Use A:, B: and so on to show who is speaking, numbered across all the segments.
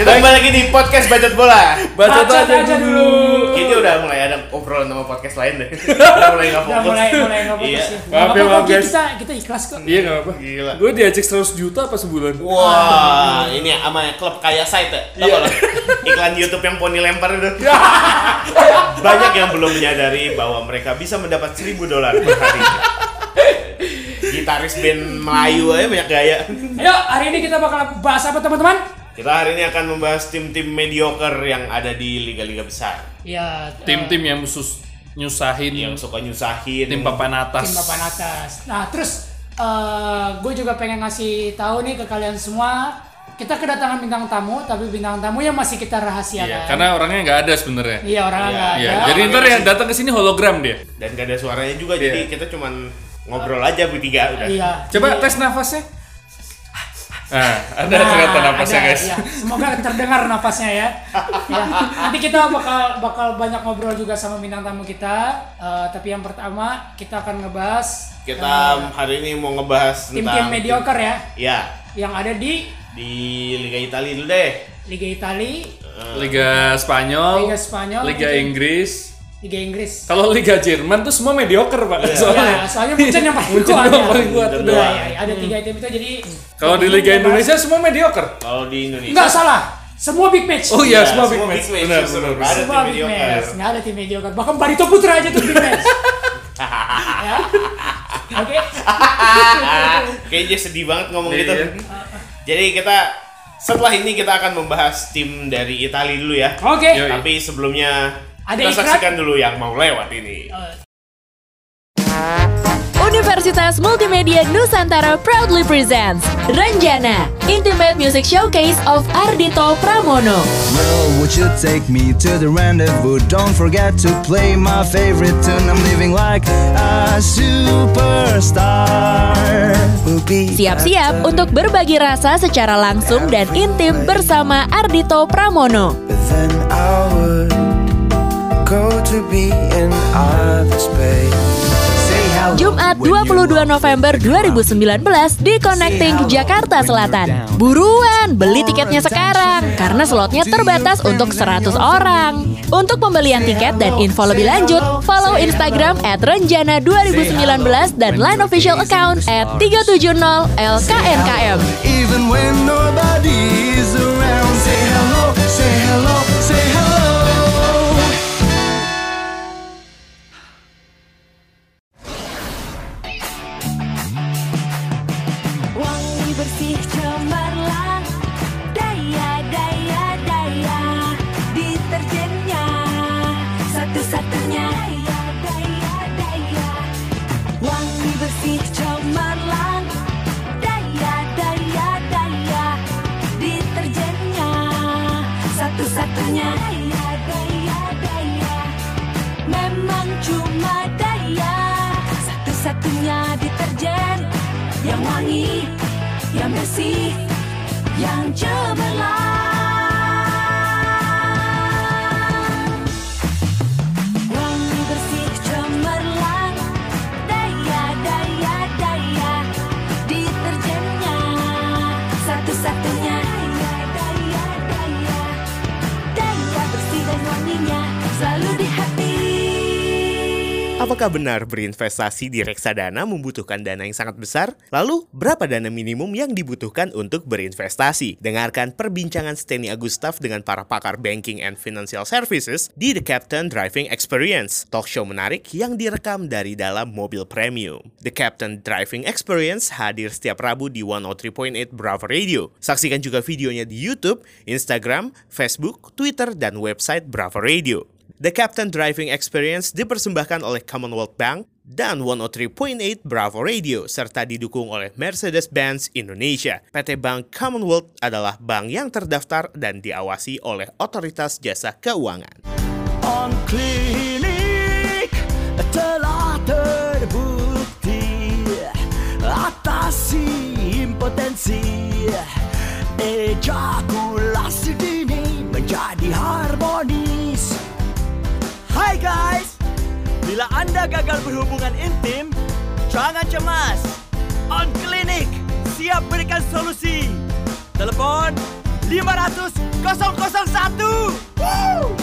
A: Kita kembali lagi di podcast Bacot Bola.
B: Bacot
C: Bacot
B: aja
C: aja
B: dulu.
C: dulu.
A: Kayaknya udah mulai ada obrolan sama podcast lain deh. Udah mulai nggak
C: Udah
A: fokus.
C: mulai mulai nggak
A: Iya.
C: fokus ya.
B: Maaf ya,
C: Nggak apa-apa,
B: maaf, guys.
C: Kita kita ikhlas kok.
B: Iya nggak apa.
A: Gila.
B: Gue diajak 100 juta apa sebulan.
D: Wah, ini ya, sama klub kaya site ya? Tau nggak Ya. lo?
A: Iya. Iklan YouTube yang poni lempar itu. Banyak yang belum menyadari bahwa mereka bisa mendapat 1000 dolar per hari. Gitaris band Melayu aja banyak gaya.
C: Ayo, hari ini kita bakal bahas apa teman-teman?
A: Kita hari ini akan membahas tim-tim mediocre yang ada di liga-liga besar
C: Ya, eh,
B: Tim-tim yang sus nyusahin
A: yang suka nyusahin.
B: tim papan atas.
C: tim papan atas. Nah, terus gue juga pengen ngasih tahu nih ke kalian semua, kita kedatangan bintang tamu, tapi bintang tamu yang masih kita kan? rahasiakan.
B: Iya, karena orangnya nggak ada sebenarnya.
C: Iya, orang
A: Iya,
C: nggak
B: Iya,
C: ada.
B: jadi ntar yang datang ke sini hologram dia. Iya.
A: dan gak ada suaranya juga jadi kita cuman ngobrol aja bertiga udah.
C: Iya.
B: Coba
C: Jadi-
B: tes nafasnya. Nah, ada
C: Nah,
B: ternyata nafasnya
C: ada,
B: guys.
C: iya. Semoga terdengar nafasnya ya. Ya, Nanti kita bakal bakal banyak ngobrol juga sama bintang tamu kita. Eh, tapi yang pertama kita akan ngebahas eh,
A: Kita hari ini mau ngebahas tentang
C: Nah, iya. tim-tim mediocre ya
A: Ya,
C: yang ada di
A: di Liga Italia dulu deh.
C: Liga Italia,
B: Liga Spanyol,
C: Liga Spanyol,
B: Liga
C: gitu.
B: Inggris.
C: Liga Inggris.
B: Kalau Liga Jerman tuh semua mediocre pak. Soalnya.
C: Ya, soalnya Munchen yang paling
B: Munchen
C: kuat.
B: Iya. yang
C: ya.
B: paling kuat,
C: Iya,
A: udah.
C: iya, iya. ada tiga tim itu jadi
B: Kalau di Liga Indonesia semua mediocre.
A: Kalau di Indonesia
C: Enggak salah. Semua big match.
B: Iya. Oh iya, semua big
A: semua
B: match.
A: big match,
B: Benar,
A: justru.
B: benar, benar.
A: Ada
C: Semua
A: tim
C: big
A: mediocre.
C: match. Nggak ada tim mediocre. Bahkan Barito Putra aja tuh big match. ya. Oke.
A: Kayaknya sedih banget ngomong
B: Iya.
A: gitu. Jadi kita setelah ini kita akan membahas tim dari Italia dulu ya.
C: Oke.
B: Yoi.
A: Tapi sebelumnya
C: Ada
A: kita
C: iklan?
A: saksikan dulu yang mau lewat ini.
C: Eh, Oh.
E: Universitas Multimedia Nusantara proudly presents Ranjana, Intimate Music Showcase of Ardito Pramono.
F: Well, would you take me to the rendezvous? Don't forget to play my favorite tune. I'm living like a superstar. We'll be
E: Siap-siap untuk berbagi rasa secara langsung dan intim bersama Ardito Pramono.
F: But then I would go to be in outer space. Say hello
E: Jumat
F: when you
E: 22 November 2019 di Connecting Jakarta Selatan. Buruan beli tiketnya sekarang karena slotnya terbatas untuk 100 orang. Untuk pembelian tiket dan info lebih lanjut, follow Instagram at Renjana 2019 dan line official account at 370 LKNKM.
F: Even when nobody's around, say hello, say hello, say hello.
E: Wangi bersih cemerlang Daya, daya, daya Deterjennya Satu-satunya Daya, daya, daya Wangi bersih cemerlang Daya, daya, daya Deterjennya Satu-satunya Daya, daya, daya Memang cuma daya Satu-satunya deterjen Yang wangi, yang bersih, yang cemerlang Wangi bersih cemerlang Daya, daya, daya Deterjennya Satu-satunya Daya, daya, daya Daya bersih dan wanginya Selalu di hati
A: Apakah benar berinvestasi di reksadana membutuhkan dana yang sangat besar? Lalu, berapa dana minimum yang dibutuhkan untuk berinvestasi? Dengarkan perbincangan Steny Agustaf dengan para pakar banking and financial services di The Captain Driving Experience, talk show menarik yang direkam dari dalam mobil premium. The Captain Driving Experience hadir setiap Rabu di 103.8 Bravo Radio. Saksikan juga videonya di YouTube, Instagram, Facebook, Twitter, dan website Bravo Radio. The Captain Driving Experience dipersembahkan oleh Commonwealth Bank dan 103.8 Bravo Radio serta didukung oleh Mercedes-Benz Indonesia. PT Bank Commonwealth adalah bank yang terdaftar dan diawasi oleh Otoritas Jasa Keuangan.
F: on klinik telah terbukti atasi impotensi ejakulasi dini menjadi harmonis. Hai guys, bila anda gagal berhubungan intim, jangan cemas. On klinik siap berikan solusi. Telepon
G: 500 001. Woo!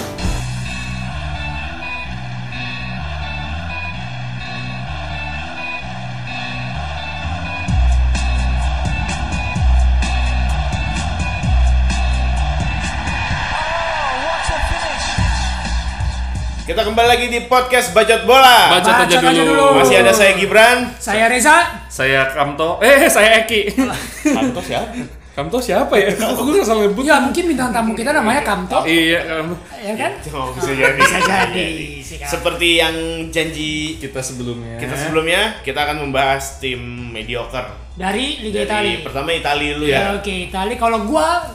A: Kita kembali lagi di podcast Bacot Bola.
B: Bacot aja
C: Bacot aja
B: dulu.
C: dulu.
A: Masih ada saya Gibran.
C: Saya Reza.
B: Saya Kamto. Eh, saya Eki.
A: Kanto siapa?
B: Kamto siapa ya? Kok gue salah nyebut?
C: Ya mungkin bintang tamu kita namanya Kamto,
B: Iya, Kamto.
C: ya kan?
A: Oh, bisa jadi.
C: Bisa jadi. sih, kan?
A: Seperti yang janji
B: Kita sebelumnya.
A: kita sebelumnya, kita akan membahas tim mediocre.
C: Dari Liga
A: Dari
C: Italia.
A: pertama Italia dulu
C: Ya,
A: ya.
C: Oke, Itali. Kalau gua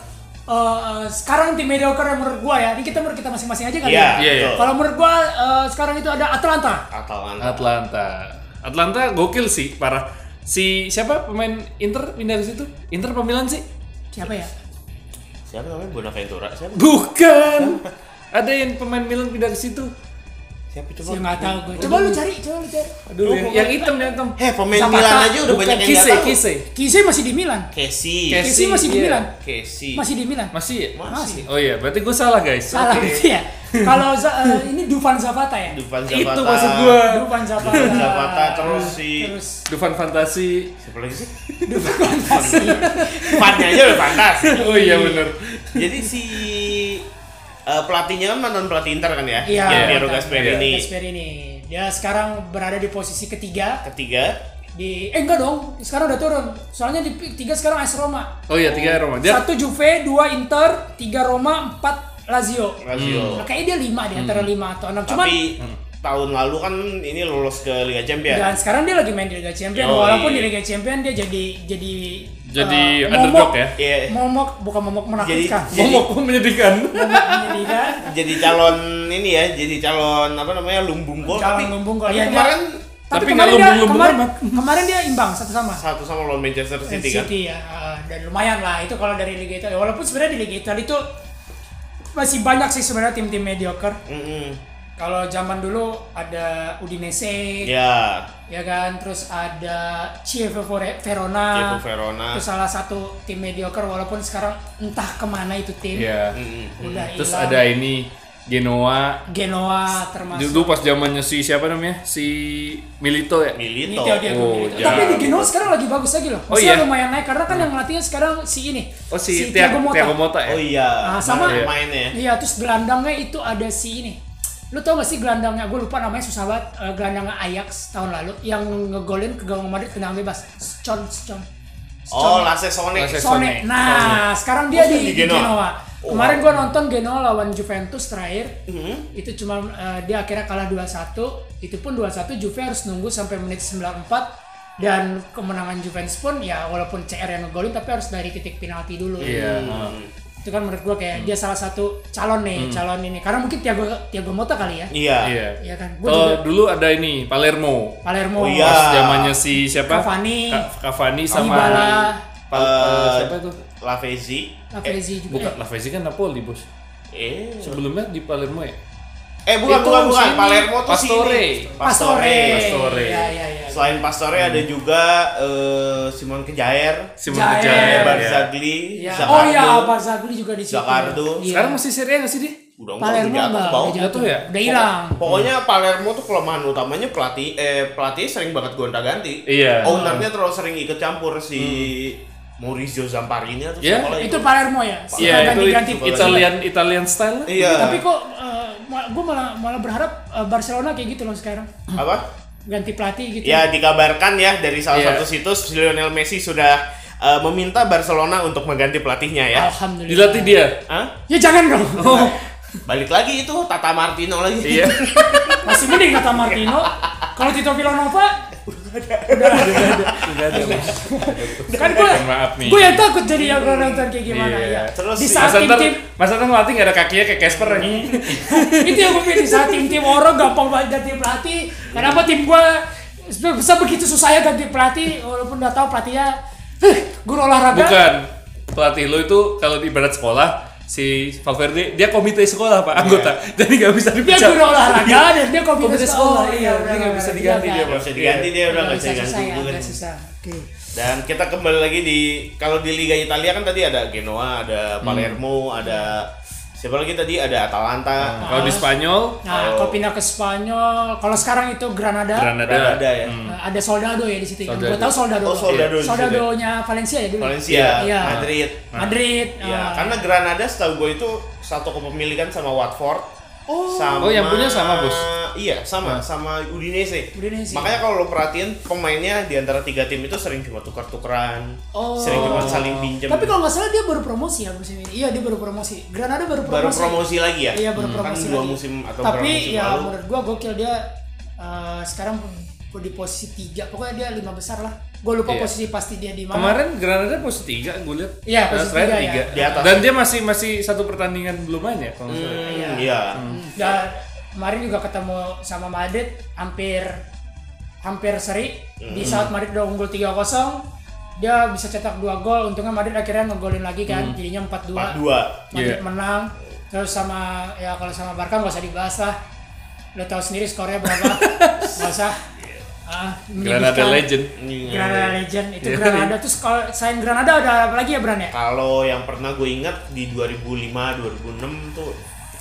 C: eh, eh, sekarang tim mediocre yang menurut gua ya, ini kita menurut kita masing-masing aja kali
A: Iya,
C: ya.
B: Iya, iya.
A: betul.
C: Kalau menurut gua eh, sekarang itu ada Atlanta.
A: Atalanta.
B: Atlanta. Atlanta gokil sih, parah. Si siapa pemain Inter pindah ke situ? Inter pemilihan sih?
C: Siapa ya?
A: Siapa namanya Bonaventura? Siapa?
B: Bukan. Ada yang pemain Milan pindah ke situ.
A: Siapa coba?
C: Saya nggak tahu gua. Coba lu cari, coba lu cari.
B: Aduh, yang, yang hitam yang hitam.
A: Eh, pemain
C: Zapata.
A: Milan aja udah
B: Bukan,
A: banyak yang
B: Kise,
A: nggak tahu.
B: Kise.
C: Kise masih di Milan.
A: Kesi.
B: Kesi.
C: Kise masih di
B: iya.
C: Milan.
A: Kesi.
C: Masih di Milan.
B: Masih ya?
A: Masih.
B: Oh iya, berarti gue salah guys.
C: Salah
B: Oke.
C: berarti ya. Kalau Za- eh, ini Dufan Zapata ya.
A: Dufan Zapata.
B: Itu maksud gue.
C: Dufan Zapata.
A: Dufan Zapata terus si
C: Terus
B: Dufan Fantasi.
A: siapa lagi sih? Fannya aja udah fantasi.
B: Oh iya bener.
A: Jadi si eh, pelatihnya kan mantan pelatih Inter kan ya?
C: Iya.
A: Gian Piero
C: Iya.
A: Gasperini.
C: Gasper ini dia sekarang berada di posisi ketiga
A: Ketiga,
C: di eh enggak dong sekarang udah turun soalnya di pi- tiga sekarang AS Roma
B: Oh iya, tiga Roma. Dia
C: satu Juve dua Inter tiga Roma empat Lazio
A: Lazio.
B: Hmm.
C: nah, kayaknya dia lima di antara lima atau enam
A: Oh.
C: cuman
A: Tapi tahun lalu kan ini lolos ke Liga Champions.
C: dan sekarang dia lagi main di Liga Champion
A: Iya. Yoi.
C: walaupun di Liga Champion dia jadi jadi eh,
B: jadi underdog ya.
A: Iya.
C: momok bukan momok menakutkan
A: Jadi-
B: Momok gue menyedihkan.
C: Momok menyedihkan.
A: Jadi calon ini ya, jadi calon apa namanya lumbung gol.
C: Calon
A: tapi-
C: lumbung gol.
A: tapi
C: Iya, dia-
A: kemarin
C: tapi,
B: Tapi nggak
C: kemarin dia
B: lumbung-lumbung
C: kemarin,
B: amat.
C: kemarin dia imbang satu sama
A: satu sama lawan Manchester City
C: City,
A: kan.
C: ya uh, dan lumayan lah itu kalau dari Liga Italia walaupun sebenarnya di Liga Italia itu masih banyak sih sebenarnya tim-tim mediocre
A: Mm-mm.
C: kalau zaman dulu ada Udinese
A: Ya,
C: ya kan terus ada Chievo Vore- Verona
A: Chievo Verona.
C: itu salah satu tim mediocre walaupun sekarang entah kemana itu tim
B: Iya.
A: Ya.
C: udah
B: Terus
C: hilang.
B: ada ini Genoa.
C: Genoa termasuk
B: Dulu pas zamannya si siapa namanya? Si Milito ya.
A: Milito.
C: Milito dia tuh,
B: Oh,
C: Milito.
B: iya.
C: Tapi di
A: ya.
C: Genoa sekarang lagi bagus lagi loh.
B: Oh,
C: Maksudnya
B: iya.
C: lumayan naik karena kan yang ngelatihnya sekarang si ini.
B: Oh si, Tiago Mota. Tiago Mota
A: Oh
B: ya.
A: iya.
C: Ah, sama
A: Mana
B: Iya.
A: mainnya.
C: Iya, terus gelandangnya itu ada si ini. Lu tau gak sih gelandangnya? Gue lupa namanya susah banget. Eh, gelandangnya Ajax tahun lalu yang ngegolin ke gawang Madrid tenang bebas. Scon, Scon.
A: Oh, Lasse Sonic.
B: Lasse-
C: Sone.
B: Sone.
C: Nah, sekarang dia
A: Maksudnya
C: di,
A: di
C: di Genoa.
A: Genoa?
C: Kemarin gua nonton Genoa lawan Juventus terakhir. Itu cuma eh, dia akhirnya kalah 2-1. Itu pun 2-1 Juve harus nunggu sampai menit 94 dan kemenangan Juventus pun ya walaupun CR yang ngegolin tapi harus dari titik penalti dulu.
B: Iya. heeh.
C: Itu kan menurut gua
B: Hmm.
C: kayak dia salah satu calon nih, calon ini. Karena mungkin Tiago Tiago Motta kali ya.
A: Iya.
B: Iya.
C: Iya kan? Gua
B: Oh,
C: juga
B: dulu ada ini Palermo.
C: Palermo,
A: Oh, iya.
B: Pas zamannya si siapa?
C: Cavani.
B: Ka- Cavani sama
C: Dybala,
B: Pal- eh, siapa itu?
A: Lavezzi.
C: Lavezzi juga.
B: Bukan
C: Eh,
B: Lavezzi kan Napoli, Bos.
A: Eh.
B: Sebelumnya di Palermo ya.
A: Eh, bukan
B: Itu
A: bukan bukan
B: sini.
A: Palermo tuh
B: Pastore.
A: sini.
C: Pastore.
B: Pastore. Hmm.
C: Iya, iya, iya.
A: Selain Pastore ada juga eh, Simon Kejair,
B: Simon
C: Jair.
B: Kejair.
C: Iya.
A: Barzagli,
C: Iya.
A: Zakardo.
C: Oh iya, Barzagli juga di situ.
A: Zakardo.
C: Iya.
B: Sekarang masih Serie A nggak sih dia?
A: Udah nggak,
C: Palermo
A: udah
C: enggak,
A: jatuh, bau.
C: udah
B: Jatuh ya?
C: Udah hilang.
A: Pokoknya Palermo tuh kelemahan utamanya pelatih eh pelatih sering banget gonta-ganti.
B: Iya. Hmm.
A: Ownernya terlalu sering ikut campur si Maurizio Zamparini atau
B: Iya,
A: siapa lagi.
C: Itu Palermo ya? Suka
B: Iya, itu
C: ganti-ganti
A: itu
C: tim.
B: Italian Italian style. lah.
A: Iya.
C: Tapi kok gue malah malah berharap eh, Barcelona kayak gitu loh sekarang.
A: apa?
C: Ganti pelatih gitu.
A: Ya dikabarkan ya dari salah
B: Iya.
A: satu situs Lionel Messi sudah eh, meminta Barcelona untuk mengganti pelatihnya ya.
C: Alhamdulillah.
B: Dilatih dia.
A: Hah?
C: Ya jangan dong.
A: Balik lagi itu Tata Martino lagi.
B: Iya.
C: Masih mending kata Martino. Kalau Tito Villanova
B: Enggak ada. Bos.
C: kan gue
B: Maaf nih.
C: gue yang takut jadi yang gua nonton kayak gimana
B: Iya.
C: ya.
A: Terus
C: di
A: si-
C: saat
B: Masa ntar,
C: tim-tim Iya.
B: masa ntar ngelatih nggak ada kakinya kayak Casper ya? anjing.
C: itu yang gue pilih saat tim tim orang gampang banget ganti pelatih kenapa tim gue bisa begitu susahnya ya ganti pelatih walaupun udah tahu pelatihnya "Huh, guru olahraga
B: Bukan. Pelatih lo itu kalau di ibarat sekolah si Valverde dia komite sekolah
A: Iya.
B: pak anggota jadi nggak bisa
C: dia
B: dipecat
C: guru olahraga dan dia komite
B: Komite
C: sekolah
B: sekolah, Oh, iya, dia nggak bisa
C: oh,
B: diganti
C: iya,
B: dia,
C: kan?
A: Nggak bisa diganti dia udah
C: Nggak
A: nggak
C: bisa
A: bisa diganti
C: susah ya
A: juga.
C: nggak susah oke
A: Dan kita kembali lagi di kalau di Liga Italia kan tadi ada Genoa, ada
C: Hmm.
A: Palermo, ada siapa lagi tadi ada Atalanta.
B: Nah, Kalau di Spanyol,
A: Oh.
C: Nah, kalau pindah ke Spanyol, kalau sekarang itu Granada,
B: Granada. Hmm.
A: Ada ya.
C: eh, ada Soldado ya di situ. Yang
B: Soldado.
C: Gue tahu Soldado.
A: Oh, Soldado di situ.
C: Soldadonya Valencia ya dulu.
A: Valencia,
C: Iya.
A: Madrid.
B: Nah.
C: Madrid.
A: Ya,
C: eh,
A: karena Granada setahu gue itu satu kepemilikan sama Watford. Oh, sama,
B: Oh, yang punya sama, Bos? Nah.
A: Iya, sama, sama Udinese.
C: Udinese.
A: Makanya kalau lo perhatiin pemainnya di antara tiga tim itu sering cuma tukar-tukaran,
C: Oh.
A: sering cuma saling pinjam.
C: Tapi kalau nggak salah dia baru promosi ya musim ini. Iya dia baru promosi. Granada baru promosi.
A: baru promosi lagi ya?
C: Iya baru
A: Hmm.
C: promosi.
A: Kan dua
C: lagi.
A: musim atau berapa
C: Tapi
A: musim
C: ya
A: lalu.
C: menurut gua gokil dia eh, sekarang di posisi tiga. Pokoknya dia lima besar lah. Gua lupa
B: Iya.
C: posisi pasti dia di mana.
B: Kemarin Granada posisi 3 gue lihat.
C: Iya, posisi
B: Nah, terakhir
C: tiga ya.
B: tiga.
A: Di atas.
B: Dan dia masih masih satu pertandingan belum main ya kalau nggak salah.
A: Hmm, iya.
C: Dan Ya, kemarin juga ketemu sama Madrid hampir hampir seri
A: Hmm.
C: di saat Madrid udah unggul 3-0 dia bisa cetak dua gol untungnya Madrid akhirnya ngegolin lagi
A: Hmm.
C: kan jadinya 4-2
A: 4-2.
C: Madrid
B: Iya.
C: menang terus sama ya kalau sama Barca nggak usah dibahas lah lo tahu sendiri skornya berapa nggak usah Ah,
B: Granada
C: menyedihkan.
B: legend. Iya.
C: Granada Legend itu Granada terus kalau selain Granada ada apa lagi ya Bran ya
A: Kalau yang pernah gue ingat di 2005 2006 tuh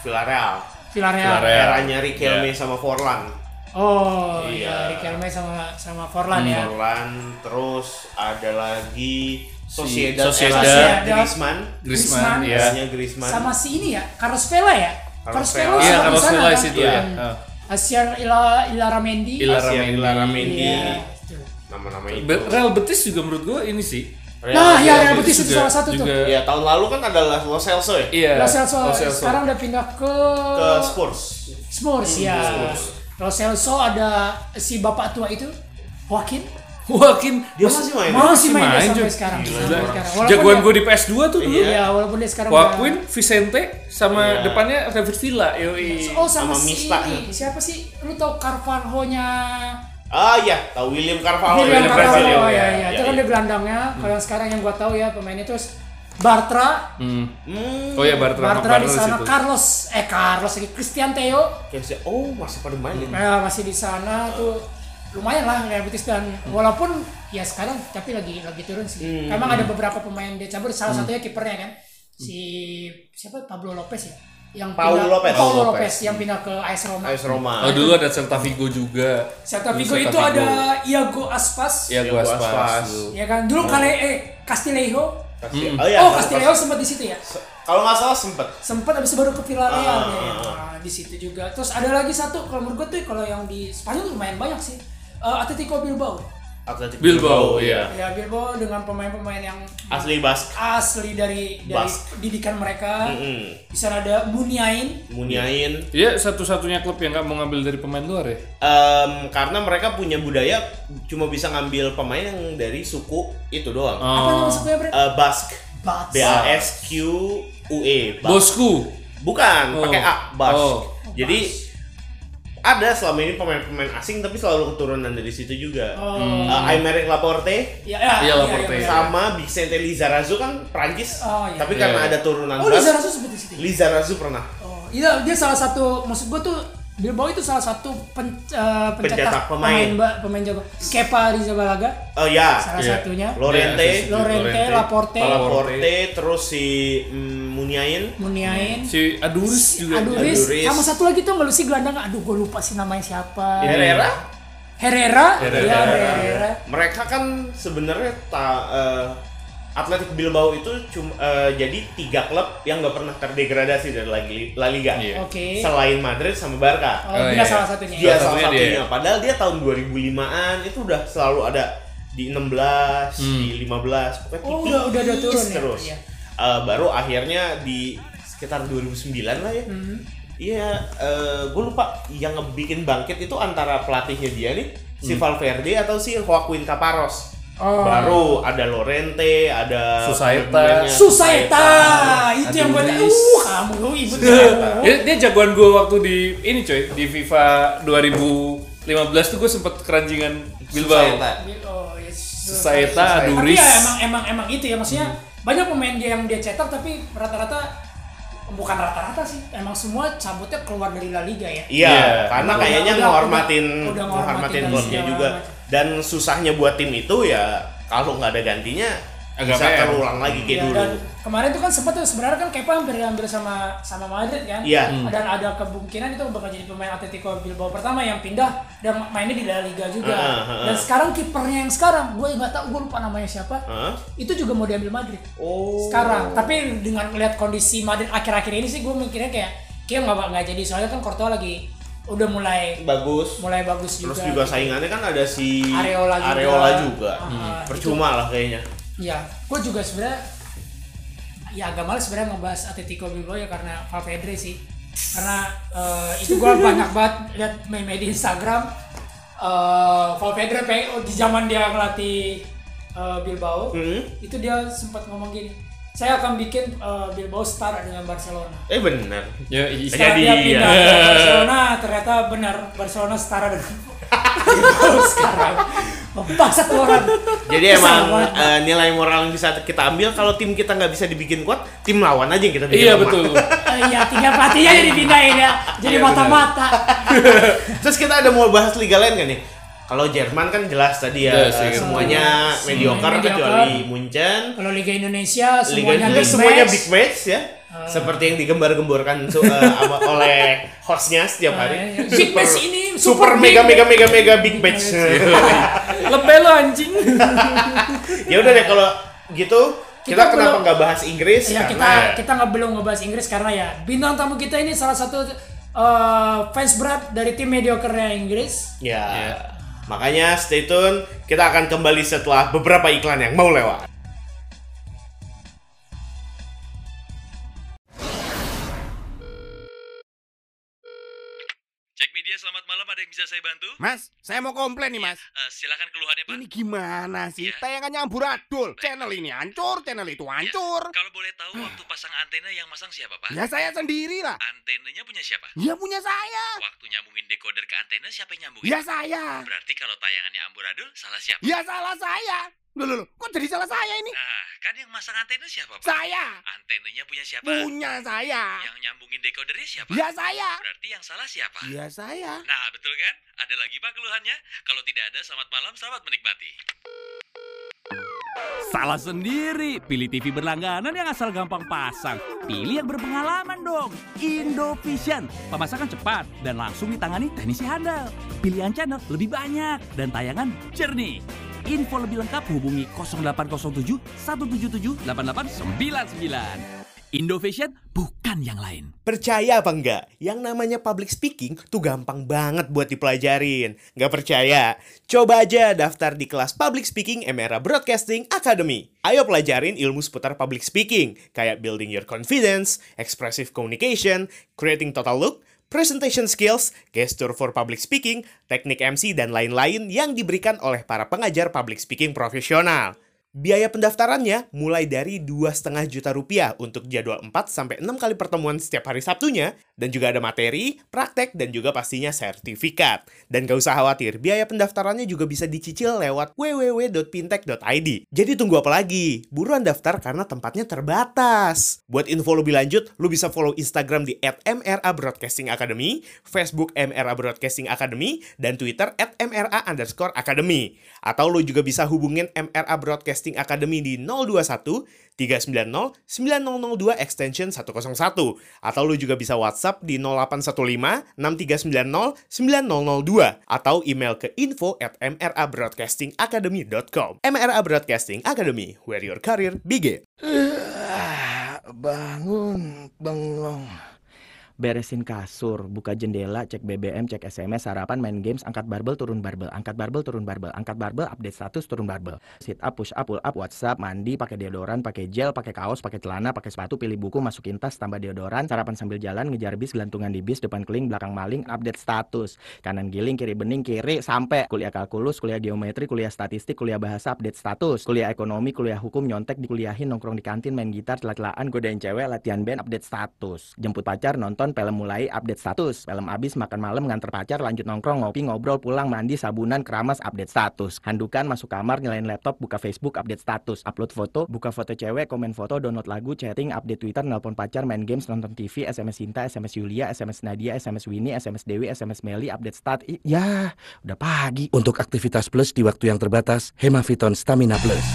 A: Villarreal.
C: Villarreal
B: Villarreal.
A: Eranya Riquelme
B: Iya.
A: sama Forlan.
C: oh
A: Iya.
C: iya Riquelme sama sama Forlan ya
B: Hmm.
A: Forlan terus ada lagi Sociedad,
B: Sociedad.
A: Sociedad.
C: Sociedad.
A: Griezmann.
B: Griezmann,
C: Griezmann.
B: ya.
A: Biasanya Griezmann.
C: sama si ini ya Carlos Vela ya
A: Carlos
C: Carlos Vela
A: Vela.
B: Iya,
C: sama
B: Carlos
C: di sana,
B: Vela
C: kan?
B: di situ ya.
C: Hmm.
B: Ah.
C: Asier Ila- Ilaramendi
B: Ilar-
A: Asier
B: Laramendi.
A: Laramendi.
C: Iya, itu.
A: Nama-nama itu.
B: Be- Real Betis juga menurut gue ini sih.
C: nah ya Real Betis
B: Betis
C: itu
B: juga-
C: salah satu tuh
B: juga-
A: Ya tahun lalu kan ada Lo Celso ya
B: Iya.
C: Lo Celso
B: Lo Celso.
C: sekarang udah pindah ke
A: ke Spurs.
C: Spurs ya Lo Celso ada si bapak tua itu Joaquin
B: Joaquin
A: Dia masih main. ya?
C: masih main, dia
B: Joy.
C: sampai sekarang
B: Gila.
C: sampai sekarang Walaupun
B: Jagoan
C: dia-
B: gue di PS2 tuh dulu.
C: Iya, walaupun dia sekarang
B: Joaquin, Vicente, sama
A: Iya.
B: depannya David Villa. Yoi.
C: udah- oh sama,
A: sama
C: si
A: Mista. ya?
C: siapa sih lu tau Carvalho-nya
A: Ah iya, tahu William Carvalho. Iya,
C: William
B: William
C: Carvalho,
B: Carvalho,
C: ya,
B: ya,
C: ya. Itu kan dia gelandangnya. Kalau yang sekarang yang gua tahu ya pemainnya terus Bartra,
B: Hmm. Oh ya Bartra,
C: Bartra di sana,
B: situ.
C: Carlos, eh Carlos lagi Christian Theo
A: Kayak sih, oh masih pada main ya.
C: eh, masih di sana tuh lumayan lah Real Betis dan
A: Hmm.
C: walaupun ya sekarang tapi lagi lagi turun sih. Memang ada
A: hmm.
C: beberapa pemain dia cabut, salah satunya kipernya kan si siapa Pablo Lopez ya yang
A: Paulo
C: pindah,
A: Lopez.
C: Paulo
A: Paulo
C: Lopez,
A: Lopez.
C: yang pindah ke AS Roma.
A: AS Roma.
B: Oh dulu ada Celta Vigo juga.
C: Celta
B: Dulu
C: Vigo itu
B: Celta Vigo.
C: ada Iago Aspas,
B: Iya
A: Iya,
B: gua
A: gua
B: aspas.
A: aspas.
B: dulu.
C: ya kan. Dulu kali eh Castillejo
A: Kasih-
B: Mm.
A: iya,
C: oh,
A: Carlos-
C: Castileo sempat di situ ya.
A: Kalau nggak salah sempet.
C: Sempat habis itu baru ke Villarreal
A: Ah.
C: ya. Nah, di situ juga. Terus ada lagi satu kalau menurut gue tuh kalau yang di Spanyol lumayan banyak sih. Eh, Atletico Bilbao.
A: Atletico
B: Bilbao, iya.
C: Ya Bilbao dengan pemain-pemain yang
A: Asli Bask.
C: asli dari dari
A: Bas.
C: didikan mereka.
A: Mm-mm.
C: Di sana ada Muniain.
A: Muniain.
B: Iya satu-satunya klub yang nggak mau ngambil dari pemain luar ya.
A: Em, karena mereka punya budaya cuma bisa ngambil pemain yang dari suku itu doang.
C: Apa
B: Oh.
C: nama maksudnya, Bre?
A: Eh, Bask.
C: Bats.
A: B A S Q U E. Bask.
B: Bosku.
A: Bukan,
B: Oh.
A: pakai A, Bask.
B: Oh.
A: Jadi ada selama ini pemain-pemain asing tapi selalu keturunan dari situ juga.
C: Oh.
A: Eh, Aymeric Laporte
C: Ya, ya,
B: Iya, Laporte.
C: ya.
A: sama Vicente Lizarazu kan Prancis.
C: Oh, iya.
A: Tapi karena
B: Iya.
A: ada turunan
C: Oh,
A: Bask,
C: Lizarazu sempat di situ. ya?
A: Lizarazu pernah
C: Oh, iya dia salah satu maksud gue tuh Bilbao itu salah satu pen- eh,
A: Pencetak
C: pencetak,
A: pemain.
C: Mbak, pemain jago. Kepa Rizabalaga
A: Oh ya,
C: salah
B: Iya.
C: satunya.
A: Lorente,
B: Iya, satu-
C: Lorente, Laporte,
A: Laporte, terus si mm, Muniain,
C: Muniain,
B: Si Aduris juga.
C: Aduris,
A: Aduris.
C: sama satu lagi tuh nggak lu sih gelandang, aduh gue lupa sih namanya siapa.
A: Herrera.
C: Herrera,
B: Herrera.
C: ya Herrera.
A: Mereka kan sebenarnya ta- eh, Athletic Bilbao itu cuma eh, jadi tiga klub yang nggak pernah terdegradasi dari lagi La Liga.
B: Iya.
C: Oke.
A: Selain Madrid sama Barca.
C: Oh,
B: Oh,
C: dia
B: iya.
C: salah satunya.
A: Dia
B: Salah
A: salah
B: satunya
A: satunya.
B: dia.
A: Padahal dia tahun 2005-an itu udah selalu ada di 16,
B: Hmm.
A: di 15, pokoknya
C: Oh, udah- udah ada
A: tipis
C: turun ya?
A: terus.
C: Iya.
A: Eh, baru akhirnya di sekitar 2009 lah ya. Iya, gue lupa yang ngebikin bangkit itu antara pelatihnya dia nih, si Valverde atau si Joaquin Caparros.
C: Hmm. Oh.
A: Baru ada Lorente, ada
B: Susaitas.
A: pemainnya
C: Susaita,
A: Susaitas.
C: itu yang Uh. gue
B: Aduris.
C: uh kamu lu ibu
B: Dia, dia jagoan gue waktu di ini coy di FIFA 2015 tuh gue sempet keranjingan Bilbao.
A: Susaitas.
C: Oh, yes.
B: Saeta,
C: Tapi
B: Aduris.
C: ya emang emang emang itu ya maksudnya
A: Hmm.
C: banyak pemain dia yang dia cetak tapi rata-rata bukan rata-rata sih emang semua cabutnya keluar dari La Liga ya.
A: Iya,
B: Iya.
A: karena
C: Udah-
A: kayaknya
C: udah- ya.
A: menghormatin
C: udah- udah menghormatin
A: menghormatin
C: dan
A: klubnya
C: segala
A: juga.
C: macam.
A: Dan susahnya buat tim itu ya
B: kalau nggak ada gantinya
H: Agak
B: bisa
H: PR.
B: terulang lagi kayak
C: Ya,
B: dulu.
C: dan kemarin tuh kan sempat tuh sebenarnya kan Kepa hampir hampir sama sama Madrid kan.
B: Iya. Hmm.
C: Dan ada kemungkinan itu bakal jadi pemain Atletico Bilbao pertama yang pindah dan mainnya di La Liga juga.
B: Ah, ah, ah.
C: Dan sekarang kipernya yang sekarang gue nggak tahu gue lupa namanya siapa.
B: Hah?
C: Itu juga mau diambil Madrid.
B: Oh.
C: Sekarang, tapi dengan melihat kondisi Madrid akhir-akhir ini sih gue mikirnya kayak kayak nggak nggak jadi soalnya kan Courtois lagi udah mulai
B: bagus.
C: mulai bagus juga. gitu.
B: Terus juga saingannya kan ada si
C: Areola juga.
B: Areola juga.
C: Ah,
B: Hmm.
C: itu-
B: Percuma lah kayaknya.
C: Ya, gue juga sebenarnya ya agak males sebenarnya ngebahas Atletico Bilbao ya karena Valverde sih. Karena eh, itu gue banyak banget lihat meme di Instagram eh Valverde pe- di zaman dia ngelatih eh, Bilbao
B: Hmm.
C: itu dia sempat ngomong gini, saya akan bikin eh, Bilbao star dengan Barcelona.
B: Eh benar.
H: Ya, iya.
C: Setelah
B: Jadi,
C: dia pindah
B: ya.
C: ke Barcelona, ternyata benar Barcelona setara dengan Bilbao sekarang. Mempak satu orang.
B: Jadi
C: Kesel
B: emang
C: banget.
B: eh, nilai moral yang bisa kita ambil kalau tim kita nggak bisa dibikin kuat, tim lawan aja yang kita bikin
H: Iya
B: lemah.
H: betul.
C: Eh, Iya, tiga pelatihnya jadi pindahin ya. Jadi
H: Iya,
C: mata-mata.
B: Terus kita ada mau bahas liga lain kan nih? Kalau Jerman kan jelas tadi ya
H: Jelas, iya.
B: semuanya
C: Semua
B: mediocre
C: mediocre.
B: kecuali Munchen.
C: Kalau Liga Indonesia
B: Liga
C: semuanya
B: Inggris
C: big
B: semuanya
C: match. Eh.
B: big match ya. Seperti yang digembar-gemborkan su- eh, ama- oleh hostnya setiap hari.
C: Eh, big match ini
B: Super mega mega mega mega big match.
C: Iya, Lebih lo anjing.
B: ya udah deh kalau gitu kita,
C: Kita
B: kenapa
C: belum-
B: nggak bahas Inggris?
C: ya kita
A: Iya.
B: Karena-
C: kita nggak belum ngebahas Inggris karena ya bintang tamu kita ini salah satu eh, fans berat dari tim mediocre Inggris.
B: ya. Makanya stay tune, kita akan kembali setelah beberapa iklan yang mau lewat.
I: Cek media, Ya, selamat malam. Ada yang bisa saya bantu?
J: Mas, saya mau komplain nih mas.
I: Eh, silakan keluhannya, Pak. Iya.
J: Ini gimana sih? Tayangannya amburadul. Channel ini hancur, channel itu hancur.
I: Kalau boleh tahu waktu pasang antena yang masang siapa, Pak?
J: Ya saya sendiri lah.
I: Antenanya punya siapa?
J: Ya punya saya.
I: Waktu nyambungin decoder ke antena siapa yang nyambungin?
J: Ya saya.
I: Berarti kalau tayangannya amburadul salah siapa?
J: Ya salah saya. Loh, loh, loh. kok jadi salah saya ini?
I: Nah, kan yang masang antena siapa, Pak?
J: Saya.
I: Antenanya punya siapa?
J: Punya saya.
I: Yang nyambungin decodernya siapa?
J: Ya saya.
I: Berarti yang salah siapa?
J: Ya saya.
I: Nah, betul kan? Ada lagi Pak keluhannya? Kalau tidak ada, selamat malam, selamat menikmati.
G: Salah sendiri, pilih TV berlangganan yang asal gampang pasang. Pilih yang berpengalaman dong, Indovision. Pemasangan cepat dan langsung ditangani teknisi handal. Pilihan channel lebih banyak dan tayangan jernih. Info lebih lengkap hubungi 0807 177 8899. Indovision bukan yang lain.
A: Percaya apa enggak? Yang namanya public speaking tuh gampang banget buat dipelajarin. Nggak percaya? Coba aja daftar di kelas Public Speaking Emera Broadcasting Academy. Ayo pelajarin ilmu seputar public speaking, kayak building your confidence, expressive communication, creating total look, presentation skills, gesture for public speaking, teknik MC, dan lain-lain yang diberikan oleh para pengajar public speaking profesional. Biaya pendaftarannya mulai dari 2,5 juta rupiah untuk jadwal 4 sampai 6 kali pertemuan setiap hari Sabtunya dan juga ada materi, praktek dan juga pastinya sertifikat. Dan gak usah khawatir, biaya pendaftarannya juga bisa dicicil lewat www.pintech.id. Jadi tunggu apa lagi? Buruan daftar karena tempatnya terbatas. Buat info lebih lanjut, lu bisa follow Instagram di @mra Broadcasting Academy, Facebook MRA Broadcasting Academy, dan Twitter at MRA underscore Academy. Atau lo juga bisa hubungin MRA Broadcasting Academy di 021 390 9002 extension 101. Atau lo juga bisa WhatsApp di 0815 6390 9002. Atau email ke info at MRA Broadcasting Academy.com. MRA Broadcasting Academy, where your career begins.
K: Bangun, bengong. Beresin kasur, buka jendela, cek BBM, cek SMS, sarapan, main games, angkat barbel, turun barbel, angkat barbel, turun barbel, angkat barbel, update status, turun barbel. Sit up, push up, pull up, WhatsApp, mandi, pakai deodoran, pakai gel, pakai kaos, pakai celana, pakai sepatu, pilih buku, masukin tas, tambah deodoran, sarapan sambil jalan, ngejar bis, gelantungan di bis, depan keling, belakang maling, update status. Kanan giling, kiri bening, kiri sampai kuliah kalkulus, kuliah geometri, kuliah statistik, kuliah bahasa, update status, kuliah ekonomi, kuliah hukum, nyontek, dikuliahin, nongkrong di kantin, main gitar, telat-telaan, godain cewek, latihan band, update status. Jemput pacar, nonton, nonton film mulai update status film abis makan malam nganter pacar lanjut nongkrong ngopi ngobrol pulang mandi sabunan keramas update status handukan masuk kamar nyalain laptop buka Facebook update status upload foto buka foto cewek komen foto download lagu chatting update Twitter nelpon pacar main games nonton TV SMS Sinta SMS Yulia SMS Nadia SMS Winnie SMS Dewi SMS Meli update stat I- ya udah pagi
L: Untuk aktivitas plus di waktu yang terbatas, Hemaviton Stamina Plus.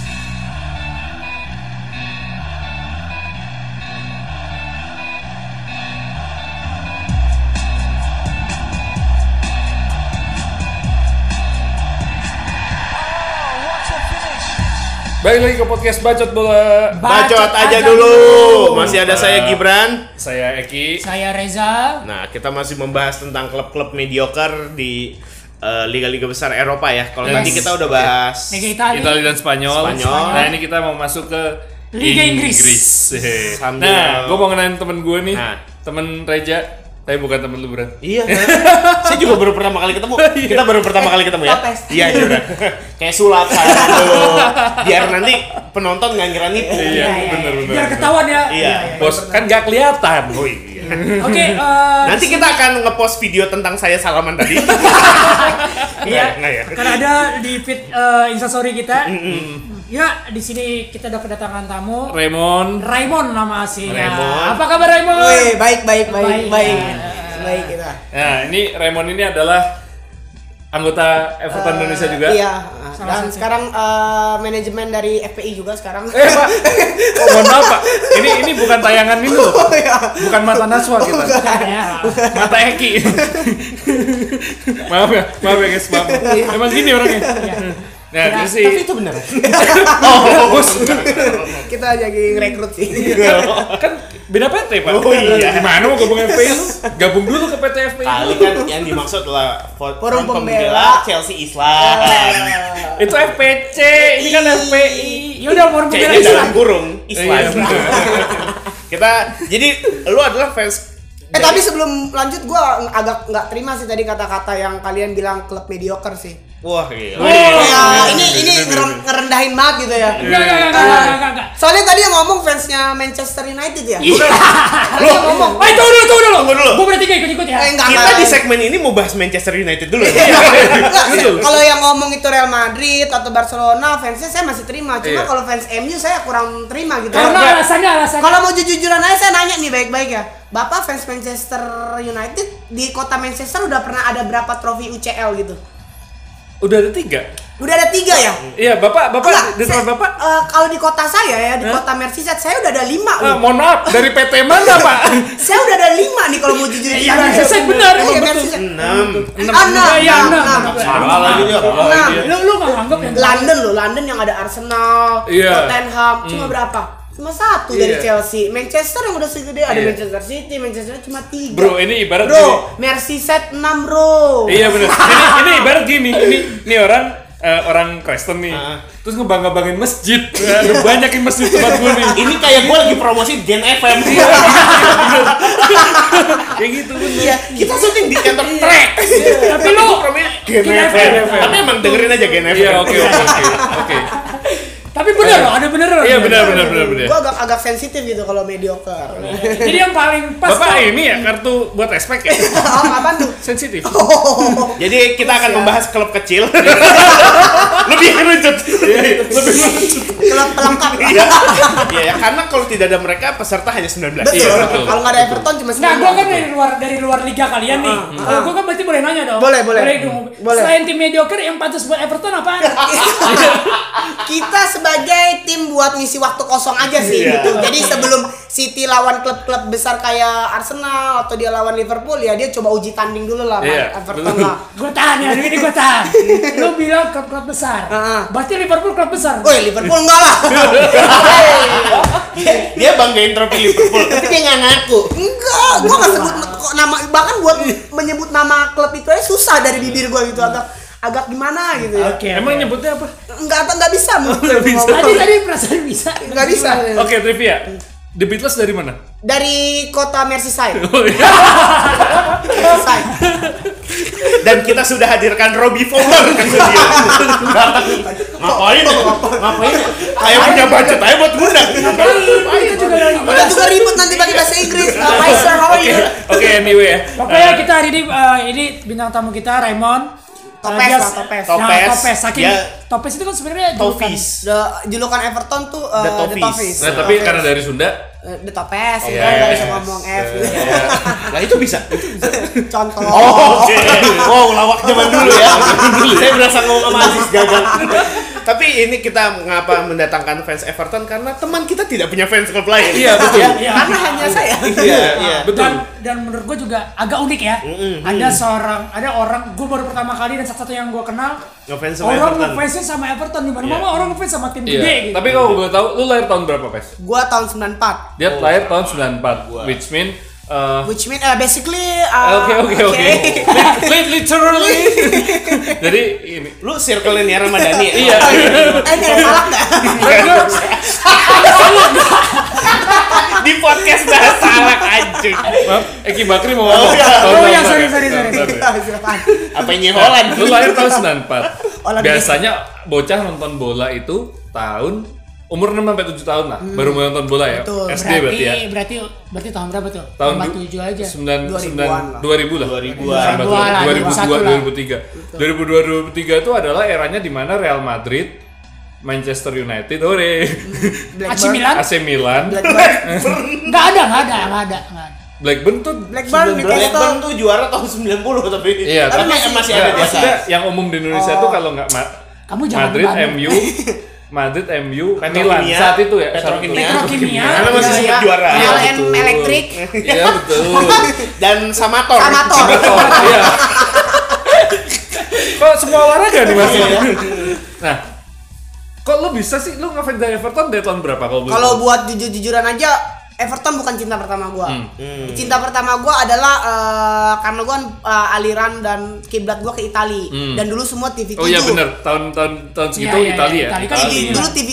B: Balik lagi ke podcast Bacot Bola.
A: Bacot Bacot aja aja dulu. dulu. Masih ada saya Gibran,
B: saya Eki.
C: Saya Reza.
A: Nah, kita masih membahas tentang klub-klub mediocre di eh, liga-liga besar Eropa ya. Kalau
B: Yes.
A: tadi kita udah bahas
C: Liga Italia.
B: Italia dan Spanyol.
A: Spanyol.
B: Nah ini kita mau masuk ke
C: Liga Inggris.
B: Hehe.
A: Sambil-
B: Nah, gue mau ngenalin temen gue nih,
A: Nah.
B: temen Reja, tapi bukan temen lu Bran.
A: Iya, kan? saya juga baru pertama kali ketemu.
B: Oh, iya.
A: Kita baru pertama kali
B: Eh,
A: ketemu ya.
M: Protes.
A: Iya, iya. udah. Kayak sulap saya dulu. Biar nanti penonton nggak ngira nipu.
B: Iya, bener bener.
C: Biar ketahuan ya.
A: Iya.
B: Bos kan gak kelihatan. Oh iya.
C: Oke, eh,
A: Nanti kita akan ngepost video tentang saya salaman tadi.
C: Iya.
A: Nggak ya?
C: Karena ada di feed eh, instastory kita. Ya, di sini kita udah kedatangan tamu.
B: Raymond.
C: Raymond nama aslinya.
B: Raymond.
C: Apa kabar Raymond?
M: Woi, baik baik baik
C: Baik,
M: baik.
C: ya.
M: Baik kita.
B: Nah ini Raymond ini adalah anggota Everton Indonesia juga.
M: Iya.
C: Sama
M: Dan
C: sih.
M: sekarang eh, manajemen dari FPI juga sekarang.
B: Eh pak, oh, mohon maaf pak, ini ini bukan tayangan ini loh, bukan mata Naswa kita,
M: Iya.
C: Ya.
B: mata Eki. maaf ya, maaf ya guys, maaf. Emang gini orangnya. Nah, terus sih.
M: Iya. Tapi itu benar.
B: Oh, bos.
M: kita jadi ngerekrut sih.
B: kan beda PT pak.
A: Oh, iya.
B: Gimana mau gabung FPI lu? Gabung dulu ke PT FPI.
A: Kali
B: dulu.
A: kan yang dimaksud adalah for-
M: Forum
A: Front
M: Pembela
A: Chelsea Islam.
B: Itu FPC, ini kan FPI.
C: Ya udah mau
A: Kayaknya
C: pembela Islam.
A: dalam kurung Islam.
B: Iya, bener.
A: kita jadi lu adalah fans
M: Eh tapi sebelum lanjut gua agak nggak terima sih tadi kata-kata yang kalian bilang klub mediocre sih.
A: wah iya. gila.
B: iya.
M: Ya, ini ini ngeren- ngerendahin banget gitu ya.
C: Enggak, enggak, enggak, Iya, enggak, enggak, enggak. Iya.
M: Soalnya tadi yang ngomong fansnya Manchester United ya.
C: Lo ngomong. Eh, tunggu dulu, tunggu dulu.
A: Tunggu dulu.
C: Gue berarti gak ikut-ikut ya.
M: Eh, enggak,
A: Kita
M: enggak.
A: di segmen ini mau bahas Manchester United dulu. ya?
M: Enggak, kalau yang ngomong itu Real Madrid atau Barcelona fansnya saya masih terima cuma kalau fans MU saya kurang terima gitu
C: Iya. Karena
M: Kalau-
C: alasannya alasannya.
M: kalau mau jujur-jujuran aja saya nanya nih baik-baik ya Bapak fans Manchester United di kota Manchester udah pernah ada berapa trofi UCL gitu?
B: Udah ada tiga.
M: Udah ada tiga ya?
B: Iya, bapak, bapak, di
M: saya-
B: depan bapak.
M: eh, kalau di kota saya ya, di kota Merseyside saya udah ada lima
B: Ah,
M: loh.
B: mohon maaf, dari PT mana pak?
M: Saya udah ada lima nih kalau mau jujur-jujuran
C: Iya, Merseyside benar,
M: Iya,
C: emang betul.
M: Merseyside.
A: Enam.
M: Ah, enam,
C: Iya,
M: enam,
C: enam.
M: enam.
B: Salah lagi dia.
M: Enam.
C: Lu lu enggak nganggap ya?
M: London loh, London yang ada Arsenal,
B: Iya.
M: Tottenham, cuma berapa? Cuma satu dari
B: Iya.
M: Chelsea. Manchester yang udah segede ada
B: Iya.
M: Manchester City, Manchester United cuma tiga.
B: Bro, ini ibarat
M: bro,
B: gini.
M: Merseyside 6 bro.
B: Iya benar. Ini, ini ibarat gini, ini ini orang eh, orang Kristen nih.
M: Ah.
B: Terus ngebangga-banggain masjid. Eh, Ada banyakin masjid tempat gue nih.
A: Ini kayak gue lagi promosi Gen FM.
B: Kayak gitu bener.
M: Iya,
A: Kita syuting di kantor track.
C: Tapi lu
A: Gen
C: Gen
A: FM.
B: FM.
A: Tapi emang dengerin aja Gen FM.
B: Iya, oke oke oke. Oke.
C: tapi bener loh, ada bener loh.
B: Iya benar benar benar benar.
M: Gue agak agak sensitif gitu kalau mediocre.
C: Jadi yang paling pas
B: Bapak
C: tuh-
B: ini ya kartu buat respect ya.
M: Oh, apa tuh?
B: Sensitif.
A: Jadi kita akan membahas klub kecil. Lebih kerucut. Lebih kerucut.
M: Klub Iya, pelengkap.
A: Iya. Iya, ya, karena kalau tidak ada mereka peserta hanya 19.
M: Betul.
B: Iya, betul.
M: Kalau nggak ada Everton cuma
C: Nah,
M: sembilan. Ah,
C: gua kan dari luar dari luar liga kalian nih. Kalau gua kan pasti boleh nanya dong.
M: Boleh, boleh.
C: dong.
M: Boleh.
C: Selain tim mediocre yang pantas buat Everton apaan?
M: kita sebagai tim buat ngisi waktu kosong aja sih
A: Iya.
M: gitu. Jadi sebelum City lawan klub-klub besar kayak Arsenal atau dia lawan Liverpool ya dia coba uji tanding dulu lah
B: Iya,
M: sama Everton
B: betul.
M: lah.
C: Gua tahan ya, ini gua tahan. Lu bilang klub-klub besar.
M: Heeh.
C: Berarti Liverpool klub besar.
M: Woi Liverpool enggak ah. lah.
A: Dia banggain trofi Liverpool. Tapi dia nggak ngaku.
M: enggak, gua nggak sebut
B: Iya.
M: kok nama bahkan buat menyebut nama klub itu aja susah dari bibir gua gitu agak agak gimana gitu ya.
C: Oke.
B: Iya. Emang nyebutnya apa? Oh,
M: Enggak enggak bisa menurut gua ngomong.
C: Tadi tadi perasaan bisa.
M: Enggak bisa.
B: Oke, trivia. The Beatles dari mana?
M: Dari kota Merseyside.
B: Oh, iya.
M: Merseyside.
A: Dan kita sudah hadirkan Robbie Fowler ke studio. Datang. Ngapain? Ngapain? Kayak punya budget aja buat ngundang.
C: Itu juga dari
M: Udah juga ribut nanti pakai bahasa Inggris. Uh, Why sir, how are you?
B: Oke, anyway ya.
C: Pokoknya
B: Eh,
C: kita hari ini eh, ini bintang tamu kita Raymond.
M: Topes
C: Eh, dia-
M: lah, Topes.
C: Nah,
M: Topes.
C: Topes. Saking
M: Dia-
C: Topes itu kan sebenarnya julukan.
M: Topis. julukan Everton tuh uh,
C: The
M: The
C: Topis.
M: Topis.
B: Nah, tapi karena dari Sunda,
M: Eh, The Topes,
B: Topes.
M: ya, nggak bisa ngomong F.
B: Iya.
A: Nah itu bisa.
M: Contoh.
A: Oh, oke. Wow, lawak zaman dulu ya. Saya berasa ngomong sama Aziz gagal. Tapi ini kita mengapa mendatangkan fans Everton karena teman kita tidak punya fans klub lain.
B: Iya, betul.
A: Ya.
M: Karena hanya saya. Kan.
A: Iya, iya.
C: Dan, dan menurut gue juga agak unik ya. Ada seorang, ada orang, gue baru pertama kali dan satu-satu yang gue kenal.
A: Ngefans sama
C: Orang
A: Everton.
C: ngefansnya sama Everton di mana mana orang ngefans sama tim
B: Iya.
C: gede gitu.
B: Tapi kalau gue tahu, lu lahir tahun berapa, Pes?
M: Gua tahun 94.
B: Dia lahir tahun 94, which mean eh,
M: Oh, Which mean uh, basically uh,
B: Oke oke oke. Lit- lit- Literally. Jadi ini
A: Lu circle-in ya Ramadhani ya? Iya.
B: Iya.
M: Eh, nggak ada salah nggak?
A: Di podcast bahas salak anjing.
B: Maaf, Eki Bakri mau ngomong.
A: iya.
B: Tahun
M: Oh ya,
B: berapa?
M: sorry sorry sorry.
B: Sorry. Iya,
M: Silakan.
A: Apanya Holland?
B: Lu lahir tahun
M: Holland
B: 94. Biasanya bocah nonton bola itu tahun umur 6 sampai 7 tahun lah baru mulai nonton bola ya.
M: Betul.
B: SD
C: berarti,
B: berarti ya.
C: berarti berarti tahun berapa tuh?
B: Tahun
C: Tahun
B: du-
C: 7 aja.
B: 9
M: 2000-an lah.
B: 2000 2000 lah.
A: 2000-an.
C: 2000-an lah, 2001 lah.
B: 2002 2003. 2002 2003 itu adalah eranya di mana Real Madrid, Manchester United, ore.
M: Hmm.
C: AC Milan?
B: AC Milan,
C: Enggak ada, enggak ada, enggak ada, nggak ada.
B: Blackburn tuh
M: Blackburn Newcastle.
A: Blackburn tuh juara tahun 90 tapi.
B: Iya,
A: tapi
B: tapi
A: masih, masih ada di
B: Nggak,
A: atas.
B: maksudnya yang umum di Indonesia
M: Oh.
B: tuh kalau nggak Ma-
C: Kamu jangan
B: Madrid,
C: banding.
B: MU, Madrid, MU,
A: Petrokimia.
B: Milan saat itu ya. saat itu.
A: Petrokimia.
C: Petrokimia.
A: Iya. Karena masih
M: Iya,
A: sempat
M: iya.
A: juara.
M: Iya.
A: Iya.
M: LN Electric.
B: Iya betul.
A: Dan Samator.
M: Amator.
B: Oh, iya. Kok semua olahraga nih kan, mas?
M: Iya.
A: Iya.
B: Nah, kok lu bisa sih lu ngefans dari Everton dari tahun berapa kalau boleh
M: Kalau
B: tahu?
M: buat jujur-jujuran aja Everton bukan cinta pertama gua.
B: Hmm.
M: Hmm. Cinta pertama gua adalah eh, karena gua eh, aliran dan kiblat gua ke Itali dan dulu semua TV 7.
B: Hmm. Oh iya benar tahun-tahun tahun segitu
C: Iya, iya,
B: Italia
C: iya,
B: ya. Hmm.
C: Italia kan
M: TV,
C: Itali.
M: dulu TV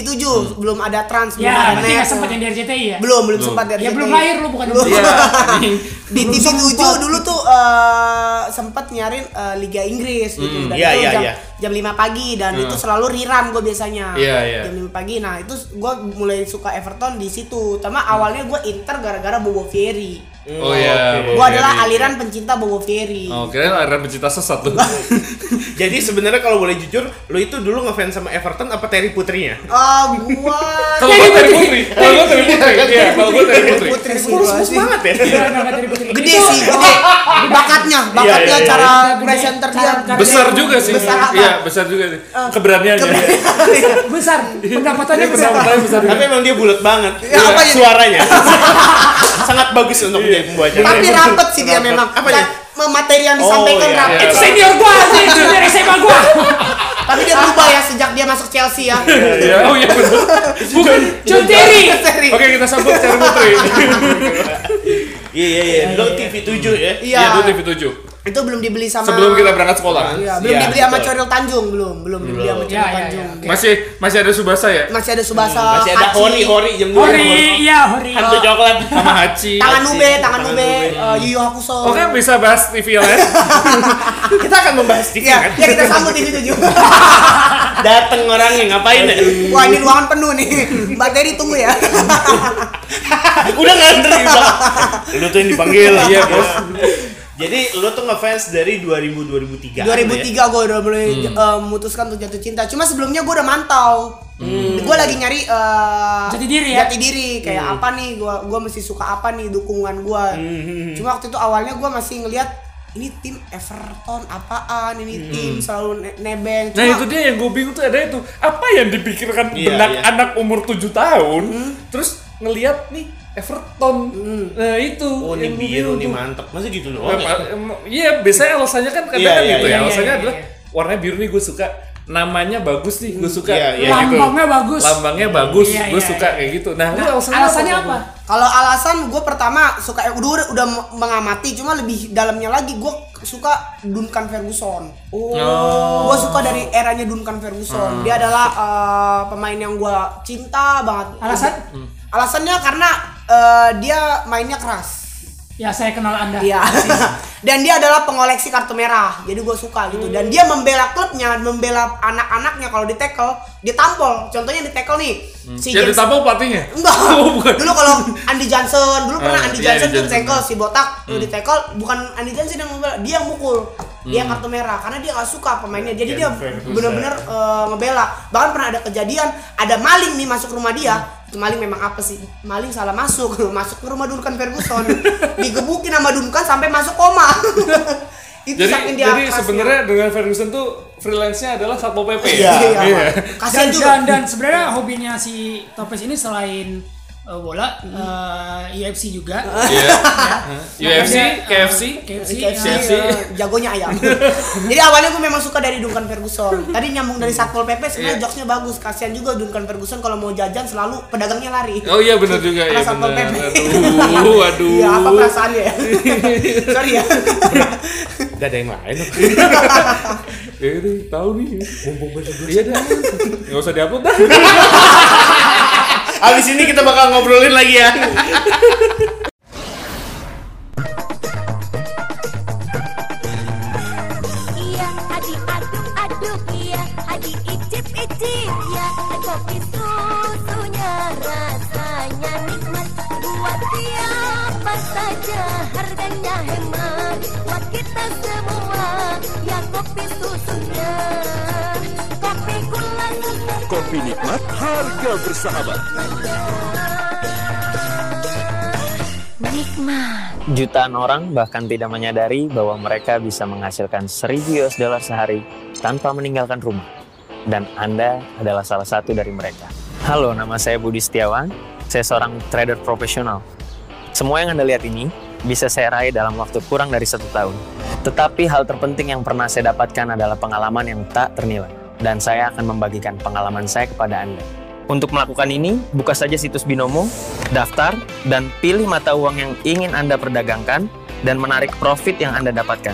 M: 7 belum ada trans, belum
C: Ya,
M: ada
C: berarti
M: net.
C: nggak sempat yang dari RCTI ya?
M: belum belum sempat dari
C: Ya
M: situ.
C: belum lahir lu bukan
M: Belum.
C: belum.
B: Iya. anjing.
M: di
C: Belum
M: TV 7
C: sempat.
M: dulu tuh eh, sempat nyarin eh, Liga Inggris gitu dan
A: iya,
M: itu
A: iya,
M: jam,
A: iya.
M: jam 5 pagi dan itu selalu riran gue biasanya
B: Iya, iya.
M: jam 5 pagi nah itu gue mulai suka Everton di situ sama awalnya gue Inter gara-gara Bobo Fieri
H: Hmm.
B: Oh iya.
M: gue adalah aliran pencinta Bobo Fieri
B: Oh, kirain aliran pecinta sesat tuh.
A: Jadi sebenarnya kalau boleh jujur, lu itu dulu ngefans sama Everton apa Terry Putrinya?
M: Ah, gua
B: Kalau gue dari Putri, kalau gue dari Putri, iya, kalau gue dari Putri. Iya,
M: Putri sih
A: Kurus
M: gua
A: kurus
M: sih.
A: banget ya.
M: Gede sih, gede. Bakatnya, bakatnya
A: iya,
M: cara
C: iya.
M: presenter
C: Cara-
M: dia
C: cara-
B: Besar juga sih.
M: Besar apa?
B: Iya, besar juga sih.
M: Oh.
B: Keberaniannya.
C: Besar, pendapatannya
B: Dia
C: besar.
B: Iya, pendapatannya besar.
A: Tapi emang dia bulat banget.
M: Ya, apa ini?
A: Suaranya sangat bagus untuk
B: Iya.
A: menjadi pembaca.
M: Tapi rapet sih dia
A: Iya, Rapet.
M: memang.
A: Apa
M: Dan materi yang disampaikan
A: iya,
M: rapet.
C: Itu senior gua, anjing, itu dari SMA gua.
M: Tapi dia berubah ya sejak dia masuk Chelsea ya.
B: Iya, oh iya benar. Bukan.
C: John Terry.
M: Materi.
B: Oke, kita sambut Terry Putri.
A: Iya iya iya. Lu TV 7 ya.
M: Iya.
B: Iya, itu TV 7.
M: Itu belum dibeli sama
B: Sebelum kita berangkat sekolah.
M: Iya, belum
A: Iya,
M: dibeli sama
A: betul.
M: Coril Tanjung, belum, belum dibeli
C: Ya,
M: sama Coril
C: ya,
M: Tanjung.
C: ya.
B: Masih masih ada Subasa ya?
M: Masih ada Subasa,
C: Hmm,
A: Masih ada
M: Aci,
A: Hori Hori jam dua.
C: Hori, iya Hori.
B: Oh.
A: Hantu coklat.
B: Sama Hachi.
M: tangan
A: Aci,
M: Ube, tangan
A: Tangan
M: Ube,
A: Ube.
C: Oh,
M: eh,
C: iya.
M: Yuyu Hakusho.
B: Oke, bisa bahas TV lain.
A: Kita akan membahas TV
M: Ya,
A: kan.
M: ya kita sambut di situ juga.
A: Dateng orangnya ngapain ya?
M: Wah ini ruangan penuh nih. Mbak Terry tunggu ya.
A: Udah ngantri di belakang. Lu tuh yang dipanggil.
B: Iya, Bos.
A: Jadi lu tuh ngefans dari 2000 2003.
M: 2003 gue udah mulai
A: Hmm.
M: eh, memutuskan untuk jatuh cinta. Cuma sebelumnya gue udah mantau.
A: Hmm.
M: Gue lagi nyari eh,
C: Jati diri ya?
M: Jati diri kayak
B: Hmm.
M: apa nih? Gue gue mesti suka apa nih dukungan gue.
C: Hmm.
M: Cuma waktu itu awalnya gue masih ngelihat ini tim Everton apaan? Ini
C: Hmm.
M: tim selalu ne- nebeng.
B: Nah
M: Cuma
B: itu dia yang gue bingung tuh ada itu apa yang dipikirkan
A: Iya,
B: benak
A: iya.
B: anak umur 7 tahun
C: Hmm.
B: terus ngelihat nih Everton nah itu
A: Oh, ini
B: yang gua
A: biru,
B: bingung
A: ini
B: tuh.
A: mantep. Masa gitu
B: Nah,
A: doang ya?
B: pa- em- Iya biasanya alasannya kan kadang
A: Iya,
B: kan
A: iya,
B: gitu
A: iya,
B: ya alasannya
C: iya,
B: adalah warnanya biru nih gue suka namanya bagus nih gue suka
A: Iya, iya,
B: gitu.
C: Lambangnya bagus.
B: lambangnya bagus
C: Iya,
B: gue
C: iya,
B: suka kayak gitu nah, lu alasannya,
C: Alasannya apa?
M: Kalau alasan gue pertama suka udah udah- udah mengamati cuma lebih dalamnya lagi gue suka Duncan Ferguson. Oh. Gue suka dari eranya Duncan Ferguson. Dia adalah eh, pemain yang gue cinta banget. Hmm.
C: Alasan?
M: Alasannya karena eh, dia mainnya keras.
C: Ya saya kenal Anda.
M: Iya. dan dia adalah pengoleksi kartu merah. Jadi gue suka gitu. Dan dia membela klubnya, membela anak-anaknya kalau di tackle, dia tampol. Contohnya di tackle nih.
B: Si Jadi
M: James-
B: Hmm. tampol pelatihnya?
M: Enggak.
B: Oh, bukan.
M: Dulu kalau Andi Johnson, dulu pernah
B: Ah,
M: Andi
B: iya,
M: Johnson
B: Andy
M: tuh
B: Johnson.
M: tackle si botak, dulu
B: Hmm.
M: di tackle bukan Andi Johnson yang membela, dia yang mukul. Dia
B: Hmm.
M: kartu merah karena dia nggak suka pemainnya. Jadi
B: Iya,
M: dia
B: Ferguson.
M: benar-benar eh, ngebela. Bahkan pernah ada kejadian ada maling nih masuk rumah dia.
B: Hmm.
M: Itu Maling memang apa sih? Maling salah masuk, masuk ke rumah Duncan Ferguson. Digebukin sama Duncan sampai masuk koma. Itu
B: Jadi,
M: saking dia
B: jadi
M: kerasnya.
B: sebenarnya dengan Ferguson tuh freelance-nya adalah Satpol PP.
M: Iya, iya.
C: dan,
M: Kasian juga.
C: Dan, dan sebenarnya hobinya si Topes ini selain eh, bola, eh, UFC juga.
B: Iya.
C: Ya.
B: UFC,
C: Makanya,
M: Nah,
C: eh,
B: KFC,
C: KFC,
M: KFC,
B: KFC.
M: eh, jagonya ayam. Jadi awalnya gue memang suka dari Duncan Ferguson. Tadi nyambung dari Satpol PP sebenarnya
B: Iya.
M: jokesnya bagus. Kasihan juga Duncan Ferguson kalau mau jajan selalu pedagangnya lari.
B: Oh iya benar juga
M: Karena
B: ya
M: Satpol
B: benar.
M: PP.
B: Aduh, aduh.
M: Iya, apa perasaannya ya? Sorry ya.
A: Gak ada yang lain.
B: Eh, ini tahu nih. Mumpung gue juga. Iya dah. Enggak usah diupload dah.
A: Abis ini kita bakal ngobrolin lagi ya.
E: Iya, haji aduk aduk iya, haji icip icip iya, kopi susunya rasanya nikmat buat siapa saja harganya hemat buat kita semua ya kopi susunya kopi gula susu
N: Kopi nikmat, harga bersahabat.
E: nikmat.
H: Jutaan orang bahkan tidak menyadari bahwa mereka bisa menghasilkan 1000 US dollar sehari tanpa meninggalkan rumah. Dan Anda adalah salah satu dari mereka. Halo, nama saya Budi Setiawan. Saya seorang trader profesional. Semua yang Anda lihat ini bisa saya raih dalam waktu kurang dari satu tahun. Tetapi hal terpenting yang pernah saya dapatkan adalah pengalaman yang tak ternilai. Dan saya akan membagikan pengalaman saya kepada Anda. Untuk melakukan ini, buka saja situs Binomo, daftar, dan pilih mata uang yang ingin Anda perdagangkan dan menarik profit yang Anda dapatkan.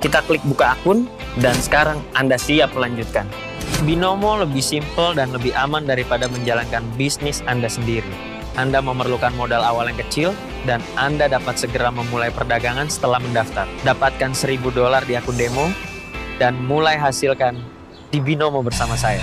H: Kita klik buka akun, dan sekarang Anda siap melanjutkan. Binomo lebih simpel dan lebih aman daripada menjalankan bisnis Anda sendiri. Anda memerlukan modal awal yang kecil, dan Anda dapat segera memulai perdagangan setelah mendaftar. Dapatkan 1000 dolar di akun demo, dan mulai hasilkan di Binomo bersama saya.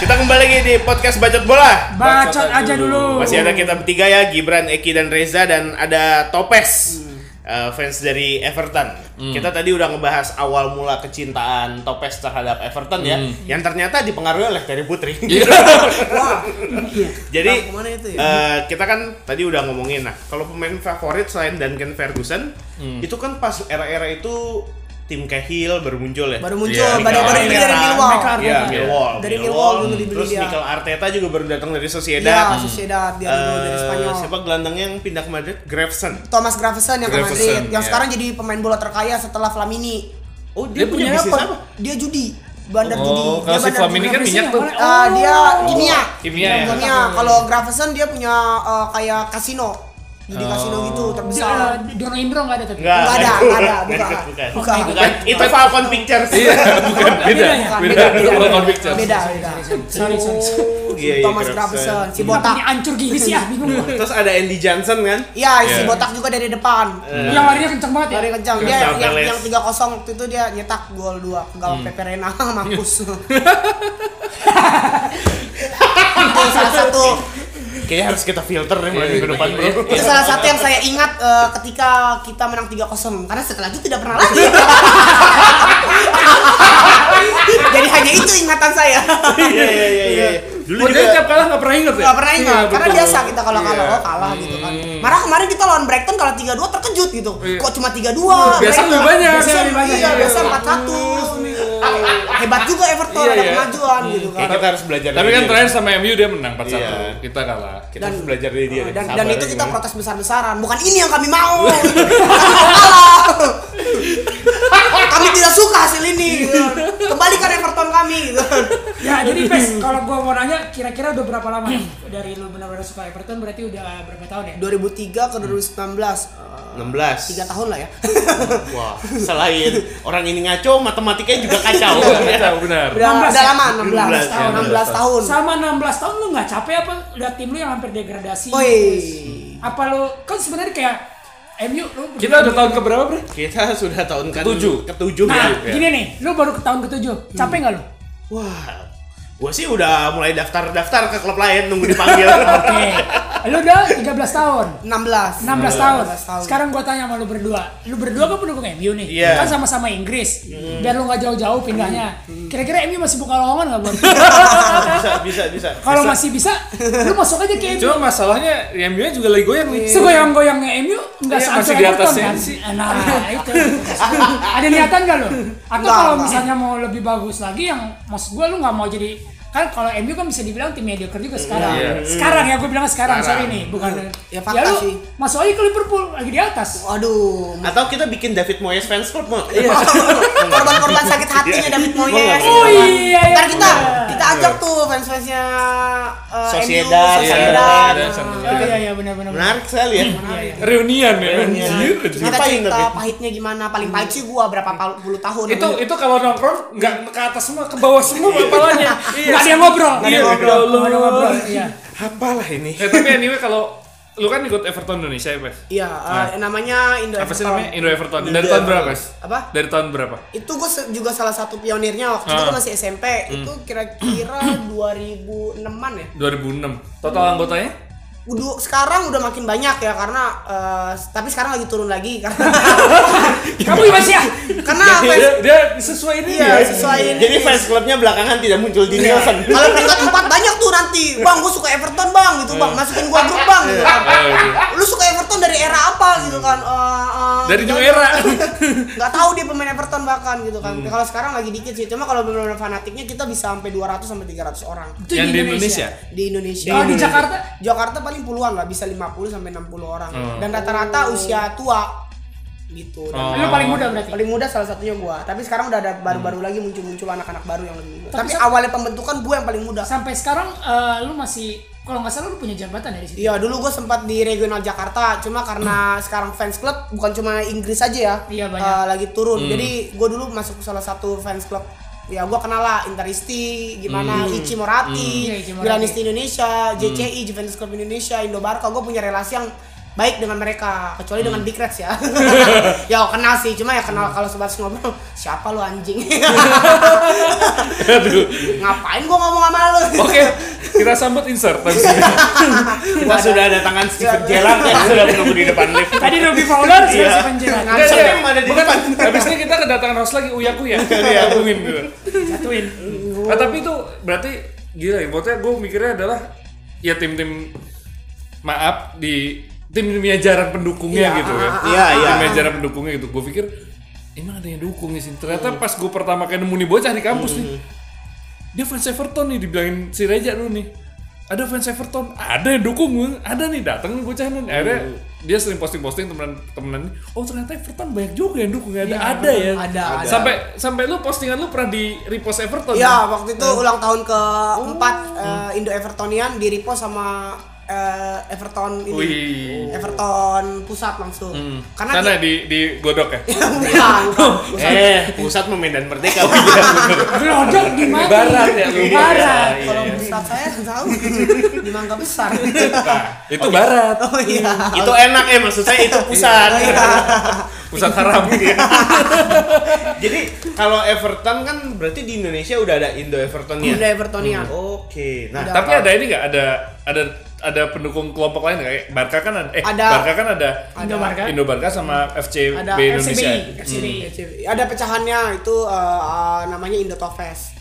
A: Kita kembali lagi di podcast Bacot Bola.
C: Bacot Bacot aja aja dulu. dulu.
A: Masih ada kita bertiga ya, Gibran, Eki dan Reza dan ada Topes. eh, fans dari Everton.
B: Hmm.
A: Kita tadi udah ngebahas awal mula kecintaan Topes terhadap Everton ya,
B: Hmm.
A: yang ternyata dipengaruhi oleh Terry Putri.
M: Wah. Iya.
A: Jadi
M: Tahu kemana itu ya?
A: eh, kita kan tadi udah ngomongin nah kalau pemain favorit selain Duncan Ferguson
M: Hmm.
A: itu kan pas era-era itu tim Cahill baru muncul ya.
M: Baru muncul, baru-baru ini dari
A: Veteran.
M: Millwall.
A: Iya,
M: Iya.
A: Millwall.
M: Dari Millwall dulu dibeli
A: Terus
M: dia.
A: Mikel Arteta juga baru datang dari Sociedad.
M: Iya, Sociedad, dia dulu dari
A: Eh,
M: Spanyol.
A: Siapa gelandangnya yang pindah ke Madrid? Graveson.
M: Thomas Gravesen yang ke
A: Gravesen,
M: Madrid, yang
A: iya.
M: sekarang jadi pemain bola terkaya setelah Flamini.
A: Oh,
B: dia Dia punya punya bisnis apa? apa?
M: Dia judi, bandar
B: Oh,
M: judi.
B: kalau si
M: bandar
B: Flamini
M: judi.
B: kan minyak tuh. Oh.
M: Ah, dia kimia.
B: Kimia ya.
M: Kimia. Kalau Gravesen dia punya eh, kayak kasino. Jadi kasino gitu
B: Oh. Iya,
M: terbesar.
C: Di- eh, Dono Indro nggak ada tapi.
M: Enggak, enggak ada, enggak ada, bukan.
A: Bukan.
M: Bukan.
A: Bukan. Itu Falcon Pictures.
B: Iya, bukan. Beda.
M: Bukan,
B: Beda.
M: beda,
B: Falcon
M: beda.
B: Pictures.
M: Beda, beda.
C: Sorry, sorry. sorry.
A: Iya, iya,
M: Thomas
A: Gravesen.
M: Gravesen, si
A: Kenapa
M: botak.
C: ini hancur gini sih ah, bingung.
A: Terus ada Andy Johnson kan?
M: Iya, si
A: Iya.
M: botak juga dari depan.
A: Eh. Yang larinya
C: kencang banget
M: ya. Lari kencang. Dia
A: Crystal
M: yang
A: Palace.
M: yang 3-0 waktu itu dia nyetak gol 2 ke gawang
A: Hmm.
M: Pepe Reina mampus. itu salah satu
A: Kayaknya harus kita filter nih mulai
B: Iya,
A: minggu depan bro.
B: iya, iya.
M: itu salah satu yang saya ingat eh, ketika kita menang 3-0 karena setelah itu tidak pernah lagi. Jadi hanya itu ingatan saya.
A: Iya iya iya iya.
B: Dulu juga tiap kalah nggak pernah inget ya?
M: Gak pernah ingat, karena
B: betul.
M: biasa kita kalau kalah,
B: Iya.
M: oh kalah gitu kan Marah kemarin kita lawan Brighton kalah 3-2 terkejut gitu Kok cuma 3-2?
B: Iya. Biasa
M: Brighton-
B: lebih banyak.
M: Biasa
B: Iya,
M: lebih banyak Iya,
B: iya.
M: biasa 4-1 Hebat juga Everton,
B: Iya,
M: ada
B: iya.
M: kemajuan gitu kan
A: Kayak kita harus belajar
B: Tapi
A: dari
B: kan
A: dia.
B: terakhir sama MU dia menang 4-1.
A: Iya.
B: Kita kalah.
A: Kita harus belajar dari dia. deh.
M: dan, dan
A: Sabarnya
M: itu kita
B: ya.
A: gimana.
M: protes besar-besaran bukan ini yang kami mau kami mau kalah kami tidak suka hasil ini kembalikan kan. Everton kami gitu
C: ya jadi Pes, kalau gua mau nanya kira-kira udah berapa lama nih dari lu benar-benar suka Everton berarti udah berapa tahun ya?
M: 2003 ke 2019
A: 16
M: tiga tahun lah ya
A: Wah, selain orang ini ngaco, matematikanya juga kacau.
B: Iya, Kacau, benar.
M: udah, udah lama 16, tahun 16 tahun
C: Sama 16 tahun lu nggak capek apa? Lihat tim lu yang hampir degradasi.
M: Oi.
C: Apa lu kan sebenarnya kayak MU lu
B: Kita udah tahun keberapa, Bre?
A: Kita sudah tahun ke
B: Ketujuh.
A: Ketujuh
C: Nah,
A: ya.
C: gini nih, lu baru ke tahun ketujuh.
M: Hmm.
C: Capek nggak lu?
A: Wah, gua sih udah mulai daftar-daftar ke klub lain nunggu dipanggil.
C: Oke. Lu udah 13 tahun. 16
M: 16
C: tahun.
M: 16 tahun.
C: Sekarang gua tanya sama lu berdua. Lu berdua kan pendukung MU nih.
A: Iya.
C: Kan sama-sama Inggris. Biar lu nggak jauh-jauh pindahnya.
M: Hmm.
C: Kira-kira MU masih buka lowongan nggak buat? lu?
A: bisa, bisa, bisa.
C: Kalau
A: Bisa.
C: masih bisa, lu masuk aja ke MU.
B: Cuma masalahnya di MU -nya juga lagi
M: Iya.
B: goyang nih.
M: Eh,
C: Segoyang-goyangnya MU nggak
B: Iya,
C: seancur
B: masih di
C: Everton
B: atasnya
C: kan?
B: sih.
C: Nah, itu. Ada niatan nggak lu? Atau
M: Nggak,
C: kalau
M: nggak.
C: misalnya mau lebih bagus lagi yang maksud gua lu nggak mau jadi kan kalau MU kan bisa dibilang tim mediocre juga sekarang.
B: Iya.
C: Sekarang ya gua bilang sekarang,
A: Sekarang.
C: sorry nih, bukan.
M: Ya, fakta
C: lu
M: sih.
C: masuk aja ke Liverpool lagi di atas.
M: Aduh,
A: Atau kita bikin David Moyes fans club Iya. mau?
M: Iya. korban-korban sakit hatinya
B: Iya.
M: David Moyes.
C: Oh iya, iya,
M: Ntar kita
C: iya.
M: kita ajak tuh fans-fansnya eh, MU,
A: Sociedad,
B: Iya,
M: Sociedad.
B: ada
M: Nah,
B: satu.
C: Oh iya iya benar benar. benar.
A: Menarik sekali ya.
B: Reunian ya. Anjir, anjir.
M: Kita
A: Ngapain,
M: cerita
A: David?
M: pahitnya gimana, paling pahit sih gua berapa pal- puluh tahun.
B: Itu itu kalau nongkrong nggak ke atas semua, ke bawah semua kepalanya. Iya.
C: Nggak ada yang ngobrol.
B: Nggak ada yang
C: Iya,
B: ngobrol.
C: nggak ada yang ngobrol. Iya.
A: Apalah ini.
B: Eh, tapi anyway kalau lu kan ikut Everton Indonesia ya, Pes?
M: Iya, eh, namanya Indo
B: Apa sih
M: Everton.
B: namanya? Indo Everton. Dari tahun berapa, Pes?
M: Apa?
B: Dari tahun berapa?
M: Itu gua se- juga salah satu pionirnya waktu itu
B: Ah.
M: gua
B: Hmm.
M: masih SMP. Itu kira-kira 2006-an ya.
B: 2006. Total anggotanya?
M: Udah sekarang udah makin banyak ya karena eh, tapi sekarang lagi turun lagi karena
C: Kamu gimana sih ya?
M: karena
B: Dia,
M: Nah, fans-
B: dia, dia ya? sesuai ini
M: Iya, sesuai ini.
A: ya.
M: Iya.
A: Jadi fans clubnya belakangan tidak muncul di Nielsen.
M: Kalau peringkat empat banyak tuh nanti, bang, gue suka Everton bang, gitu bang, masukin gue grup bang,
B: Iya.
M: gitu. Lu suka Everton dari era apa gitu kan? Eh, eh,
B: Hmm. Dari new
M: nggak-
B: era. Hmm.
M: Nggak tahu dia pemain Everton bahkan gitu kan. Kalau sekarang lagi dikit sih, cuma kalau benar-benar fanatiknya kita bisa sampai 200 sampai 300 orang
C: Itu
B: Yang di Indonesia.
M: di Indonesia.
C: Kalau di Jakarta
M: Jakarta paling puluhan lah, bisa 50 sampai 60 orang. Dan rata-rata usia tua gitu. Dan
B: Oh.
C: lu paling muda berarti.
M: Paling muda salah satunya gua, tapi sekarang udah ada
B: Hmm.
M: baru-baru lagi muncul-muncul anak-anak baru yang lebih muda. Tapi, awalnya pembentukan gua yang paling muda.
C: Sampai sekarang eh, lu masih kalau nggak salah lu punya jabatan dari situ.
M: Iya dulu gue sempat di regional Jakarta cuma karena sekarang fans club bukan cuma Inggris aja ya
C: Hmm. Iya, banyak. Hmm.
M: eh, lagi turun jadi gue dulu masuk salah satu fans club ya gue kenal lah Interisti gimana Ichi Morati
C: Hmm. Iya, Ichi Morati. Hmm.
M: Milanisti Indonesia JCI Juventus Club Indonesia Indo Barca gue punya relasi yang baik dengan mereka kecuali
C: Hmm.
M: dengan Big Reds ya ya kenal sih cuma ya kenal kalau sebatas ngobrol siapa lu anjing
B: Aduh.
M: ngapain gue ngomong sama lu
B: Oke, kita sambut insert habis ini.
A: Kita sudah ada tangan Steven Gerrard
B: kan?
A: yang sudah menunggu di depan lift.
C: Tadi Robbie Fowler sudah
A: Iya.
C: si penjerat.
B: Nggak,
A: Siapa
B: nggak.
A: yang ada di
B: Bukan,
A: depan?
B: Habis ini kita kedatangan Ros lagi uya kuya. Iya, hubungin gitu.
M: ya.
B: Satuin. Nah, tapi itu berarti gila ya. Maksudnya gue mikirnya adalah ya tim-tim maaf di tim-timnya jarang pendukungnya gitu ya.
A: Iya, iya.
B: Timnya jarang pendukungnya gitu. Gue pikir emang ada yang dukung di sini.
A: Hmm.
B: Ternyata pas gue pertama kali nemu nih bocah di kampus nih. Dia fans Everton nih dibilangin si Reja dulu nih. Ada fans Everton, ada yang dukung gue, ada nih datang nih bocah nih. Akhirnya
A: Hmm.
B: dia sering posting-posting temenan-temenan. Oh ternyata Everton banyak juga yang dukung,
G: Iya,
B: ada ada
A: Iya,
B: ya.
M: ada, ada.
B: Sampai sampai lu postingan lu pernah di repost Everton.
A: Iya,
B: kan?
M: Ya waktu
B: Iya.
M: itu ulang tahun ke empat
B: Oh.
M: eh, Indo Evertonian di repost sama eh, Everton ini.
B: Wih.
M: Everton pusat langsung. Karena dia-
B: Sana Hmm.
M: Iya,
B: di di godok ya.
M: Bukan, bukan.
A: Eh, pusat memedan merdeka. Iya.
C: Glodok di mana?
B: Barat ya, lu.
C: Barat.
B: Iya,
M: Kalau pusat saya tahu di Mangga Besar.
B: Itu barat,
M: oh iya.
A: itu enak eh maksud saya itu pusat. ya.
B: pusat haram.
A: Jadi kalau Everton kan berarti di Indonesia udah ada Indo
M: Indo
A: Evertonnya.
C: iya.
M: Evertonian.
A: Oke. Nah,
B: Tapi ada ini nggak ada ada ada pendukung kelompok lain nggak? kayak Barca kan ada, eh
M: Ada.
B: Barca kan ada
C: Indo Barca.
B: Indo Barca sama FCB
M: Ada
B: Indonesia. Hmm.
C: FCBI, FCBI.
M: Ada pecahannya itu eh, eh, namanya Indo Tofes.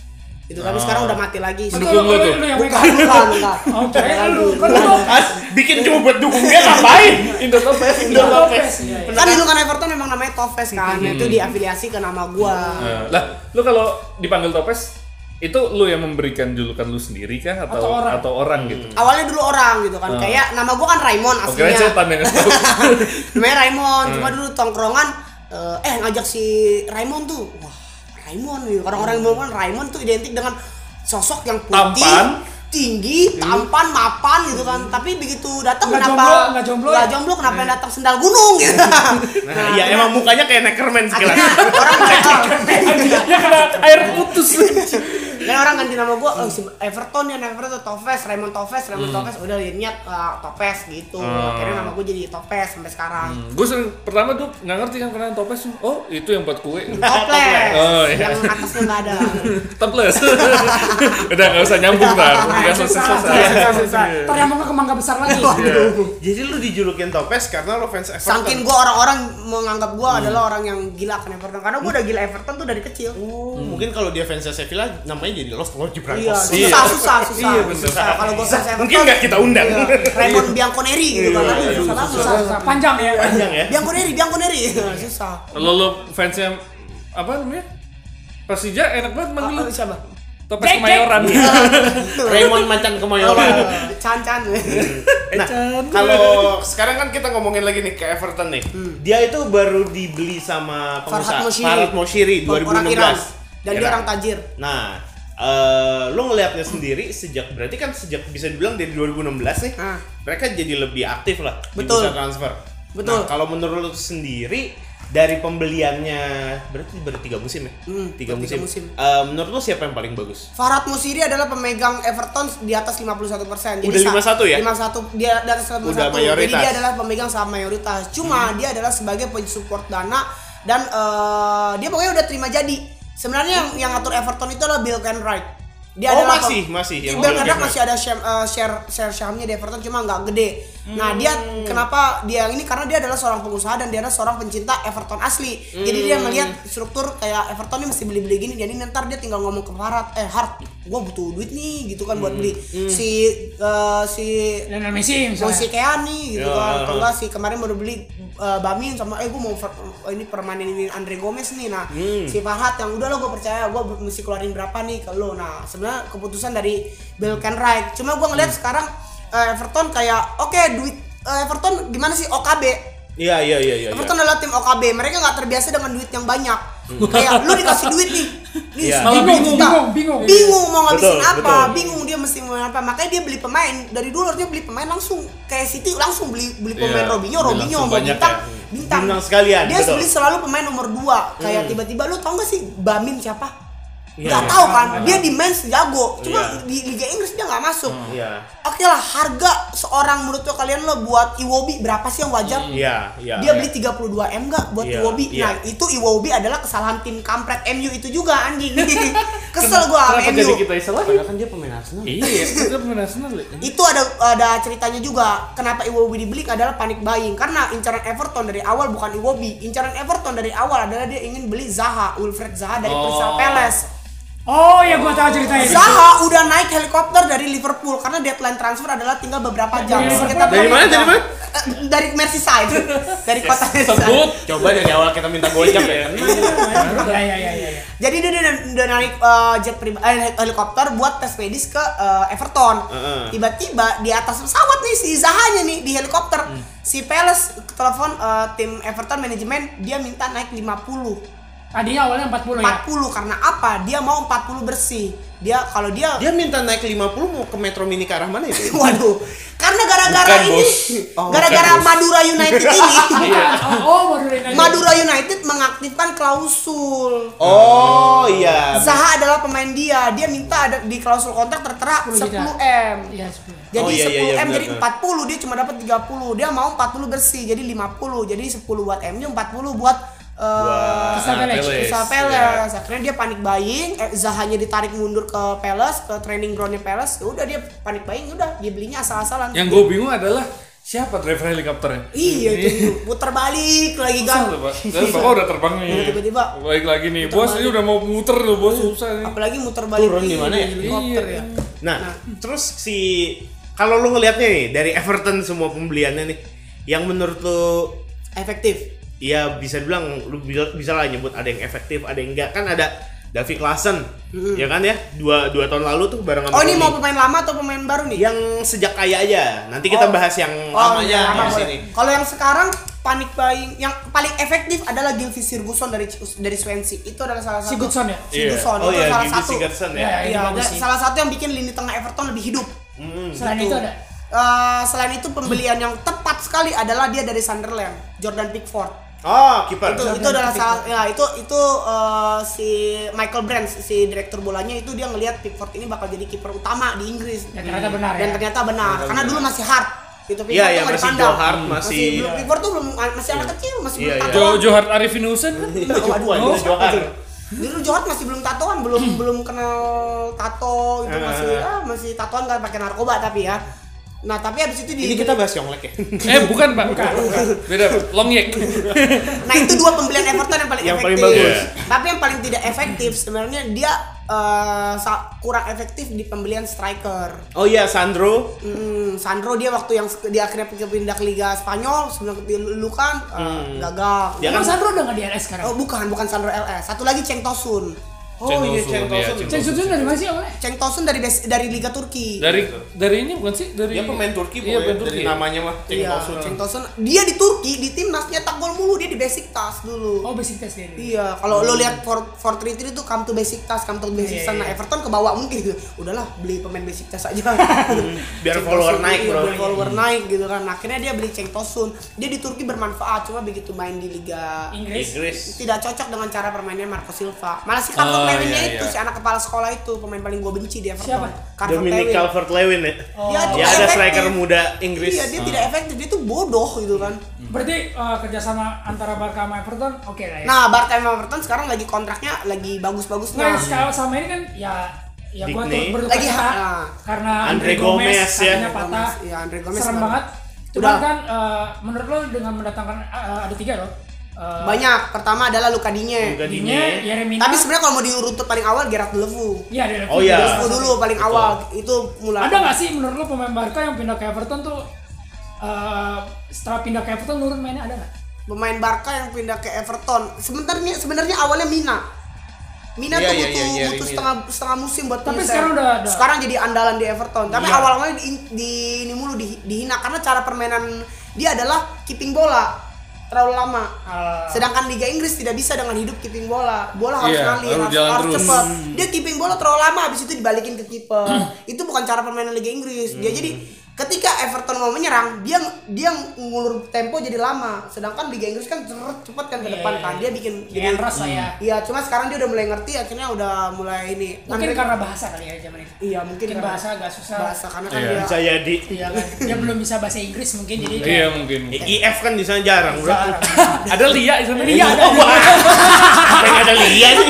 M: Itu tapi sekarang udah mati lagi.
B: Mendukung Dukung Ah. lu tuh.
C: Lu yang
M: Bukan,
C: pegang.
M: bukan, bukan.
C: Oh, kayaknya lu. Kan lu tuh
A: Ah, bikin cuma buat dukung dia ngapain?
B: Indo Topes.
A: Indo
C: Lopez.
A: Lopez.
C: Iya, iya. Hmm.
M: Kan dulu kan Everton memang namanya Tofes kan, itu diafiliasi ke nama gua.
B: Nah, lah, lu kalau dipanggil Topes itu lu yang memberikan julukan lu sendiri kah atau
C: Atau
B: atau
C: orang.
B: orang, gitu?
M: awalnya dulu orang gitu kan
C: Hmm.
M: kayak nama gua kan Raymond
B: Oke, kan
M: aslinya
B: setan yang ngasih tahu.
M: namanya Raymond cuma
C: Hmm.
M: dulu tongkrongan eh, eh ngajak si Raymond tuh wah Raymond gitu orang-orang yang bilang kan Raymond tuh identik dengan sosok yang putih,
B: Tampan.
M: tinggi, tampan, mapan gitu kan. Tapi begitu datang
C: Hmm. Nggak
M: kenapa
C: jomblo, nggak jomblo ya?
M: nggak jomblo, kenapa yang datang sendal gunung gitu.
A: Nah, ya emang mukanya kayak Neckerman sekilas.
B: ya kena air putus
M: Dan orang ganti nama gue oh, si Everton ya Everton Topes, Raymond Topes, Raymond Topes udah lihat uh, Topes gitu.
B: Hmm.
M: Akhirnya nama gue jadi Topes sampai sekarang.
B: gue Hmm, sering pertama tuh nggak ngerti kan kenaan toples tuh. oh itu yang buat kue
M: Toples.
B: oh iya
M: Yang atasnya nggak ada.
B: toples udah nggak usah nyambung tar nggak selesai selesai
A: Iya.
C: Ntar yang mau ke mangga besar lagi.
A: Jadi lu dijulukin Topes karena lu fans Iya. Everton.
M: Saking gue orang-orang menganggap gue adalah orang yang gila akan Everton karena gue udah gila Everton tuh dari kecil. Hmm.
A: Mungkin kalau dia fansnya Sevilla namanya jadi Los Los
M: Iya,
A: Gibraltar.
M: susah, susah, susah.
A: Iya, bener.
M: susah. Kalau gue fans Everton,
A: Mungkin nggak kita undang.
M: Iya. Raymond Bianconeri gitu
B: Iya,
M: kan. Aduh, susah banget, susah, susah.
C: Panjang ya.
A: Panjang ya.
M: Bianconeri, Bianconeri. Susah.
B: lo lo fansnya apa namanya Persija enak banget manggil lu
M: Oh, siapa
B: topes
M: Jack, Iya. Jack.
B: kemayoran
A: Raymond Macan Kemayoran.
M: Can-can.
A: Nah, kalau sekarang kan kita ngomongin lagi nih ke Everton nih. Dia itu baru dibeli sama
M: Farhat
A: pengusaha
M: Hmm. Moshiri.
A: Farhat Moshiri
M: Orang
A: 2016.
M: Iran. Dan dia
A: Iran.
M: orang tajir.
A: Ya kan? Nah, eh lo ngelihatnya sendiri sejak berarti kan sejak bisa dibilang dari 2016 nih, mereka jadi lebih aktif lah
M: Ah. Betul.
A: di bursa transfer.
M: Betul.
A: Nah, kalau menurut lo sendiri dari pembeliannya berarti baru tiga musim ya?
M: Hmm,
A: tiga
M: baru tiga
A: musim.
M: musim.
A: Eh, menurut lo siapa yang paling bagus?
M: Farhat Musiri adalah pemegang Everton di atas 51%.
A: Udah
M: sa-
A: 51 ya?
M: 51 dia di atas 51.
A: Udah
M: Jadi
A: mayoritas. Hmm.
M: dia adalah pemegang saham mayoritas. Cuma dia adalah sebagai pensupport dana dan eh, dia pokoknya udah terima jadi. Sebenarnya yang, yang ngatur Everton itu adalah Bill Kenwright. Dia
A: oh
M: adalah
A: masih masih
M: Bill
A: yang
M: Kenwright
A: Kenwright.
M: masih ada share, eh, share share sahamnya di Everton cuma nggak gede. Nah dia
A: Hmm.
M: kenapa dia yang ini karena dia adalah seorang pengusaha dan dia adalah seorang pencinta Everton asli. Jadi
A: Hmm.
M: dia melihat struktur kayak Everton ini mesti beli-beli gini jadi ntar dia tinggal ngomong ke Farhat eh Hart gua butuh duit nih gitu kan buat beli si eh, si
C: Hmm, Lionel Messi misalnya.
M: Moise Keani gitu
C: Ya.
M: kan. Atau enggak sih kemarin baru beli eh, Bamin sama eh gua mau fer- ini permanen ini Andre Gomez nih. Nah,
A: Hmm.
M: si Farhat yang udah lo gue percaya gue mesti keluarin berapa nih ke lo. Nah, sebenarnya keputusan dari Bill Kenwright. Cuma gua
C: Hmm.
M: ngeliat sekarang eh, Everton kayak oke duit eh, Everton gimana sih OKB?
A: Iya iya iya iya.
M: Everton adalah tim OKB, mereka nggak terbiasa dengan duit yang banyak.
A: Hmm.
M: Kayak lu dikasih duit nih, nih
A: Iya.
M: sepuluh
C: Malah bingung,
M: juta.
C: bingung, bingung.
M: mau ngabisin
A: Betul,
M: apa,
A: betul.
M: bingung dia mesti mau apa. Makanya dia beli pemain dari dulu harusnya beli pemain langsung kayak City langsung beli beli pemain
A: Iya,
M: Robinho,
A: beli
M: Robinho
A: langsung
M: mau
A: banyak
M: bintang,
A: ya.
M: bintang.
A: Bintang sekalian,
M: Dia
A: betul.
M: beli selalu pemain nomor 2 kayak
A: Hmm.
M: tiba-tiba lu tau gak sih Bamin siapa?
A: Iya,
M: Gak
A: iya.
M: tahu kan, dia di Mainz jago, cuma
A: Iya.
M: di Liga Inggris dia nggak masuk.
A: Iya.
M: Oke lah, harga seorang menurut lo kalian lo buat Iwobi berapa sih yang wajar?
A: Iya iya.
M: dia beli 32 m nggak buat
A: Iya,
M: Iwobi
A: iya.
M: nah itu Iwobi adalah kesalahan tim kampret MU itu juga anjing kesel gua sama MU
B: isolahin
A: Padahal kan dia pemain Arsenal.
B: iya kita pemain Arsenal ya.
M: itu ada ada ceritanya juga kenapa Iwobi dibeli adalah panik buying karena incaran Everton dari awal bukan Iwobi incaran Everton dari awal adalah dia ingin beli Zaha Wilfred Zaha dari
C: Oh.
M: Crystal Palace
C: Oh ya gua tahu ceritanya.
M: Zaha udah naik helikopter dari Liverpool karena deadline transfer adalah tinggal beberapa jam
C: Dari
M: Sekitar
A: Liverpool? Dari
M: berapa
A: mana,
M: jam?
A: dari mana?
M: Eh, dari Merseyside dari kota Merseyside
B: sebut
A: Coba dari awal kita minta gojek
M: Iya,
A: ya.
C: Ya ya ya ya.
M: Jadi dia udah, udah naik eh, jet priba- eh, helikopter buat tes medis ke eh, Everton.
A: Heeh.
M: Tiba-tiba di atas pesawat nih si Zahanya nih di helikopter.
C: Hmm.
M: Si Peles telepon eh, tim Everton manajemen dia minta naik 50.
C: Tadinya awalnya 40 ya.
M: 40 karena apa? Dia mau 40 bersih. Dia kalau dia
A: Dia minta naik 50 mau ke Metro Mini ke arah mana itu?
M: Waduh, karena
A: Bukan,
M: gara-gara ini,
A: Bos. Oh,
M: gara-gara
A: bukan, Iya. Bos.
M: Madura United ini,
C: Bukan. Oh, oh Madura United.
M: Madura United mengaktifkan klausul.
A: Oh iya.
M: Zaha adalah pemain dia. Dia minta ada di klausul kontrak tertera
C: 10 juta.
M: 10 m.
C: Iya, 10.
M: Jadi
A: Oh, iya, iya, iya,
M: 10 M
A: benar,
M: jadi
A: benar.
M: 40 dia cuma dapat 30. Dia mau 40 bersih jadi 50. Jadi 10 buat MU 40 buat eh
C: Crystal Palace.
M: Crystal
A: iya.
M: Palace. Akhirnya dia panik buying, eh, Zahanya ditarik mundur ke Palace, ke training groundnya Palace. Ya udah dia panik buying udah dia belinya asal-asalan.
B: yang gue bingung adalah siapa driver helikopternya
M: Iya itu putar balik lagi kan.
B: Susah tuh, Pak. Dan Bapak oh, udah terbang nih.
M: Iya, tiba-tiba.
B: Baik lagi nih, bos ini udah mau Oh, muter loh, bos susah nih.
M: Apalagi muter balik
A: Turun
M: di-
A: di mana ya?
M: di helikopter ya.
B: Iya.
A: Nah, terus si kalau lu ngelihatnya nih dari Everton semua pembeliannya nih yang menurut lu
M: Efektif.
A: ya bisa bilang lu bil- bisa lah nyebut ada yang efektif, ada yang enggak. Kan ada David Klassen, ya kan ya? Dua, dua tahun lalu tuh bareng sama
M: Oh ini
A: Rooney.
M: mau pemain lama atau pemain
A: Iya,
M: baru nih?
A: yang sejak kaya aja. Nanti kita
M: Oh.
A: bahas yang
M: Oh,
A: lamanya
M: iya, lama
A: di
M: boleh.
A: sini.
M: Kalau yang sekarang panic buying yang paling efektif adalah Gylfi Sigurdsson dari dari Swansea. Itu adalah salah satu
C: Sigurdsson ya?
M: Sigurdsson.
A: Iya. Oh
M: itu
A: iya,
M: salah
A: Gylfi
M: satu.
A: Sigurdsson ya.
M: Iya,
A: Iya,
M: iya,
A: itu bagus
M: dan
A: sih.
M: salah satu yang bikin lini tengah Everton lebih hidup.
A: Hmm,
M: Gitu.
C: Selain itu ada?
M: Eh, selain itu pembelian yang tepat sekali adalah dia dari Sunderland, Jordan Pickford.
A: Oh, kiper.
M: Itu, itu adalah salah ya itu itu eh, si Michael Brands si direktur bolanya itu dia ngelihat Pickford ini bakal jadi kiper utama di Inggris.
C: Dan ternyata benar
M: Dan
C: ya?
M: ternyata benar.
A: Ternyata
M: Karena
A: benar.
M: dulu masih hard. Itu
A: Iya,
M: tuh
A: iya,
M: nggak
A: masih
M: dipandang.
A: Joe Hart, masih-
C: Iya.
A: Iya.
M: belum- Pickford tuh belum masih anak kecil, masih belum
B: Jo
M: tatoan.
B: Johar Arifin Husen kan?
A: Tua
B: Oh,
A: itu Johar.
M: Dulu Joe Hart masih belum tatoan, belum
C: Hmm.
M: belum kenal tato itu
A: Eh.
M: masih ah, masih tatoan nggak pakai narkoba tapi ya. Nah, tapi habis itu di
A: Ini kita bahas Yonglek ya.
B: Eh bukan pak, beda pak. Longyek.
M: Nah itu dua pembelian Everton yang paling
A: Yang
M: efektif.
A: paling bagus.
M: Tapi yang paling tidak efektif sebenarnya dia eh, sa- kurang efektif di pembelian striker.
A: Oh iya, Sandro.
M: Mm, Sandro dia waktu yang se- dia akhirnya pindah ke Liga Spanyol sebelum ke Lukan eh,
A: Hmm.
M: gagal.
A: Dia kan-
C: Emang Sandro udah nggak di LS sekarang?
M: Oh bukan bukan Sandro LS. Satu lagi Ceng Tosun.
A: Oh iya, Ceng
B: Tosun, iya,
A: Tosun.
B: Ceng
C: Ceng Sutun dari mana sih awalnya?
M: Ceng Tosun dari bes- dari Liga Turki.
B: Dari dari ini bukan sih dari.
A: Dia pemain Turki pokoknya
B: Iya pemain Turki.
A: dari namanya mah Ceng
M: Iya,
A: Tosun.
M: Ceng Tosun. Dia di Turki di timnas nyetak gol mulu dia di basic tas dulu.
C: Oh basic test dia. ini.
M: Iya, kalau lo lihat for for three three itu come to basic task, come to basic
C: Iya,
M: sana
C: iya.
M: Everton ke bawah mungkin gitu. Udahlah beli pemain basic task aja.
A: Hmm, Biar
M: Ceng
A: follower
M: Tosun,
A: naik,
M: iya,
A: bro. Hmm.
M: biar follower naik gitu kan. Akhirnya dia beli Ceng Tosun. Dia di Turki bermanfaat, cuma begitu main di liga
C: Inggris.
A: Inggris.
M: tidak cocok dengan cara permainan Marco Silva. Malah si Calvert
B: Oh,
M: Lewinnya
B: iya,
M: itu
B: iya.
M: si anak kepala sekolah itu pemain paling gue benci di Everton.
C: Siapa?
M: Calvert
A: Dominic
M: Lewin.
A: Calvert-Lewin ya.
C: Oh.
A: Dia
M: Iya, Dia tidak
A: ada
M: efektif.
A: striker muda Inggris.
M: Iya, dia
C: Hmm.
M: tidak efektif. Dia tuh bodoh gitu kan.
C: Berarti eh, kerjasama antara Barca sama Everton oke lah ya.
M: Nah, Barca sama Everton sekarang lagi kontraknya lagi bagus-bagusnya.
C: Nah, sekarang sama ini kan ya ya gua tuh
A: Digny.
C: berduka
M: Lagi
C: cita
M: ha- ah.
C: karena
A: Andre
C: Andre Gomez,
A: Gomez, ya.
C: kakinya patah.
M: Iya, Andre Gomez
C: Serem
M: kenapa?
C: banget. Cuman
M: Udah.
C: kan eh, menurut lo dengan mendatangkan eh, ada tiga loh. Eh,
M: Banyak. Pertama adalah Luka Digne.
A: Luka Digne.
C: Dinya, Yeremina.
M: Tapi sebenarnya kalau mau diurut paling awal Gerard Levu.
C: Iya, ada
A: Oh, iya.
M: Levu dulu paling awal itu mulai.
C: Ada nggak sih menurut lo pemain Barca yang pindah ke Everton tuh eh, setelah pindah ke Everton nurun mainnya ada nggak?
M: pemain Barca yang pindah ke Everton. Sebenarnya sebenarnya awalnya Mina. Mina
A: Iya,
M: tuh
A: iya,
M: butuh,
A: iya, iya,
M: butuh
A: Mina.
M: setengah setengah musim buat
C: Tapi
M: penyerang.
C: sekarang udah ada.
M: sekarang jadi andalan di Everton. Tapi
A: Iya.
M: awal-awalnya di, di ini mulu di, dihina karena cara permainan dia adalah keeping bola terlalu lama. Sedangkan Liga Inggris tidak bisa dengan hidup keeping bola. Bola harus
B: Iya,
M: ngalir,
B: harus
M: harus,
B: jalan
M: harus
B: terus.
M: cepat. Dia keeping bola terlalu lama habis itu dibalikin ke kiper. itu bukan cara permainan Liga Inggris. Dia
A: Hmm.
M: jadi ketika Everton mau menyerang, dia dia ngulur tempo jadi lama. Sedangkan Liga Inggris kan cer- cepet kan ke
C: Iya,
M: depan
C: iya,
M: kan. Dia bikin
C: Dengan ras lah ya.
M: Iya, cuma sekarang dia udah mulai ngerti akhirnya udah mulai ini.
C: Mungkin
M: Andre-
C: karena bahasa kali ya zaman itu.
M: iya, mungkin
C: Mungkin
M: karena
C: bahasa agak susah.
M: bahasa karena kan
B: Iya.
M: dia
A: Saya di
C: Iya kan. Dia belum bisa bahasa Inggris mungkin jadi kayak
B: Iya mungkin.
A: IF kan di sana jarang, bro.
C: Jarang.
B: Ada Lia di sana.
C: Iya, ada.
A: Oh, wah. Apa yang ada Lia sih?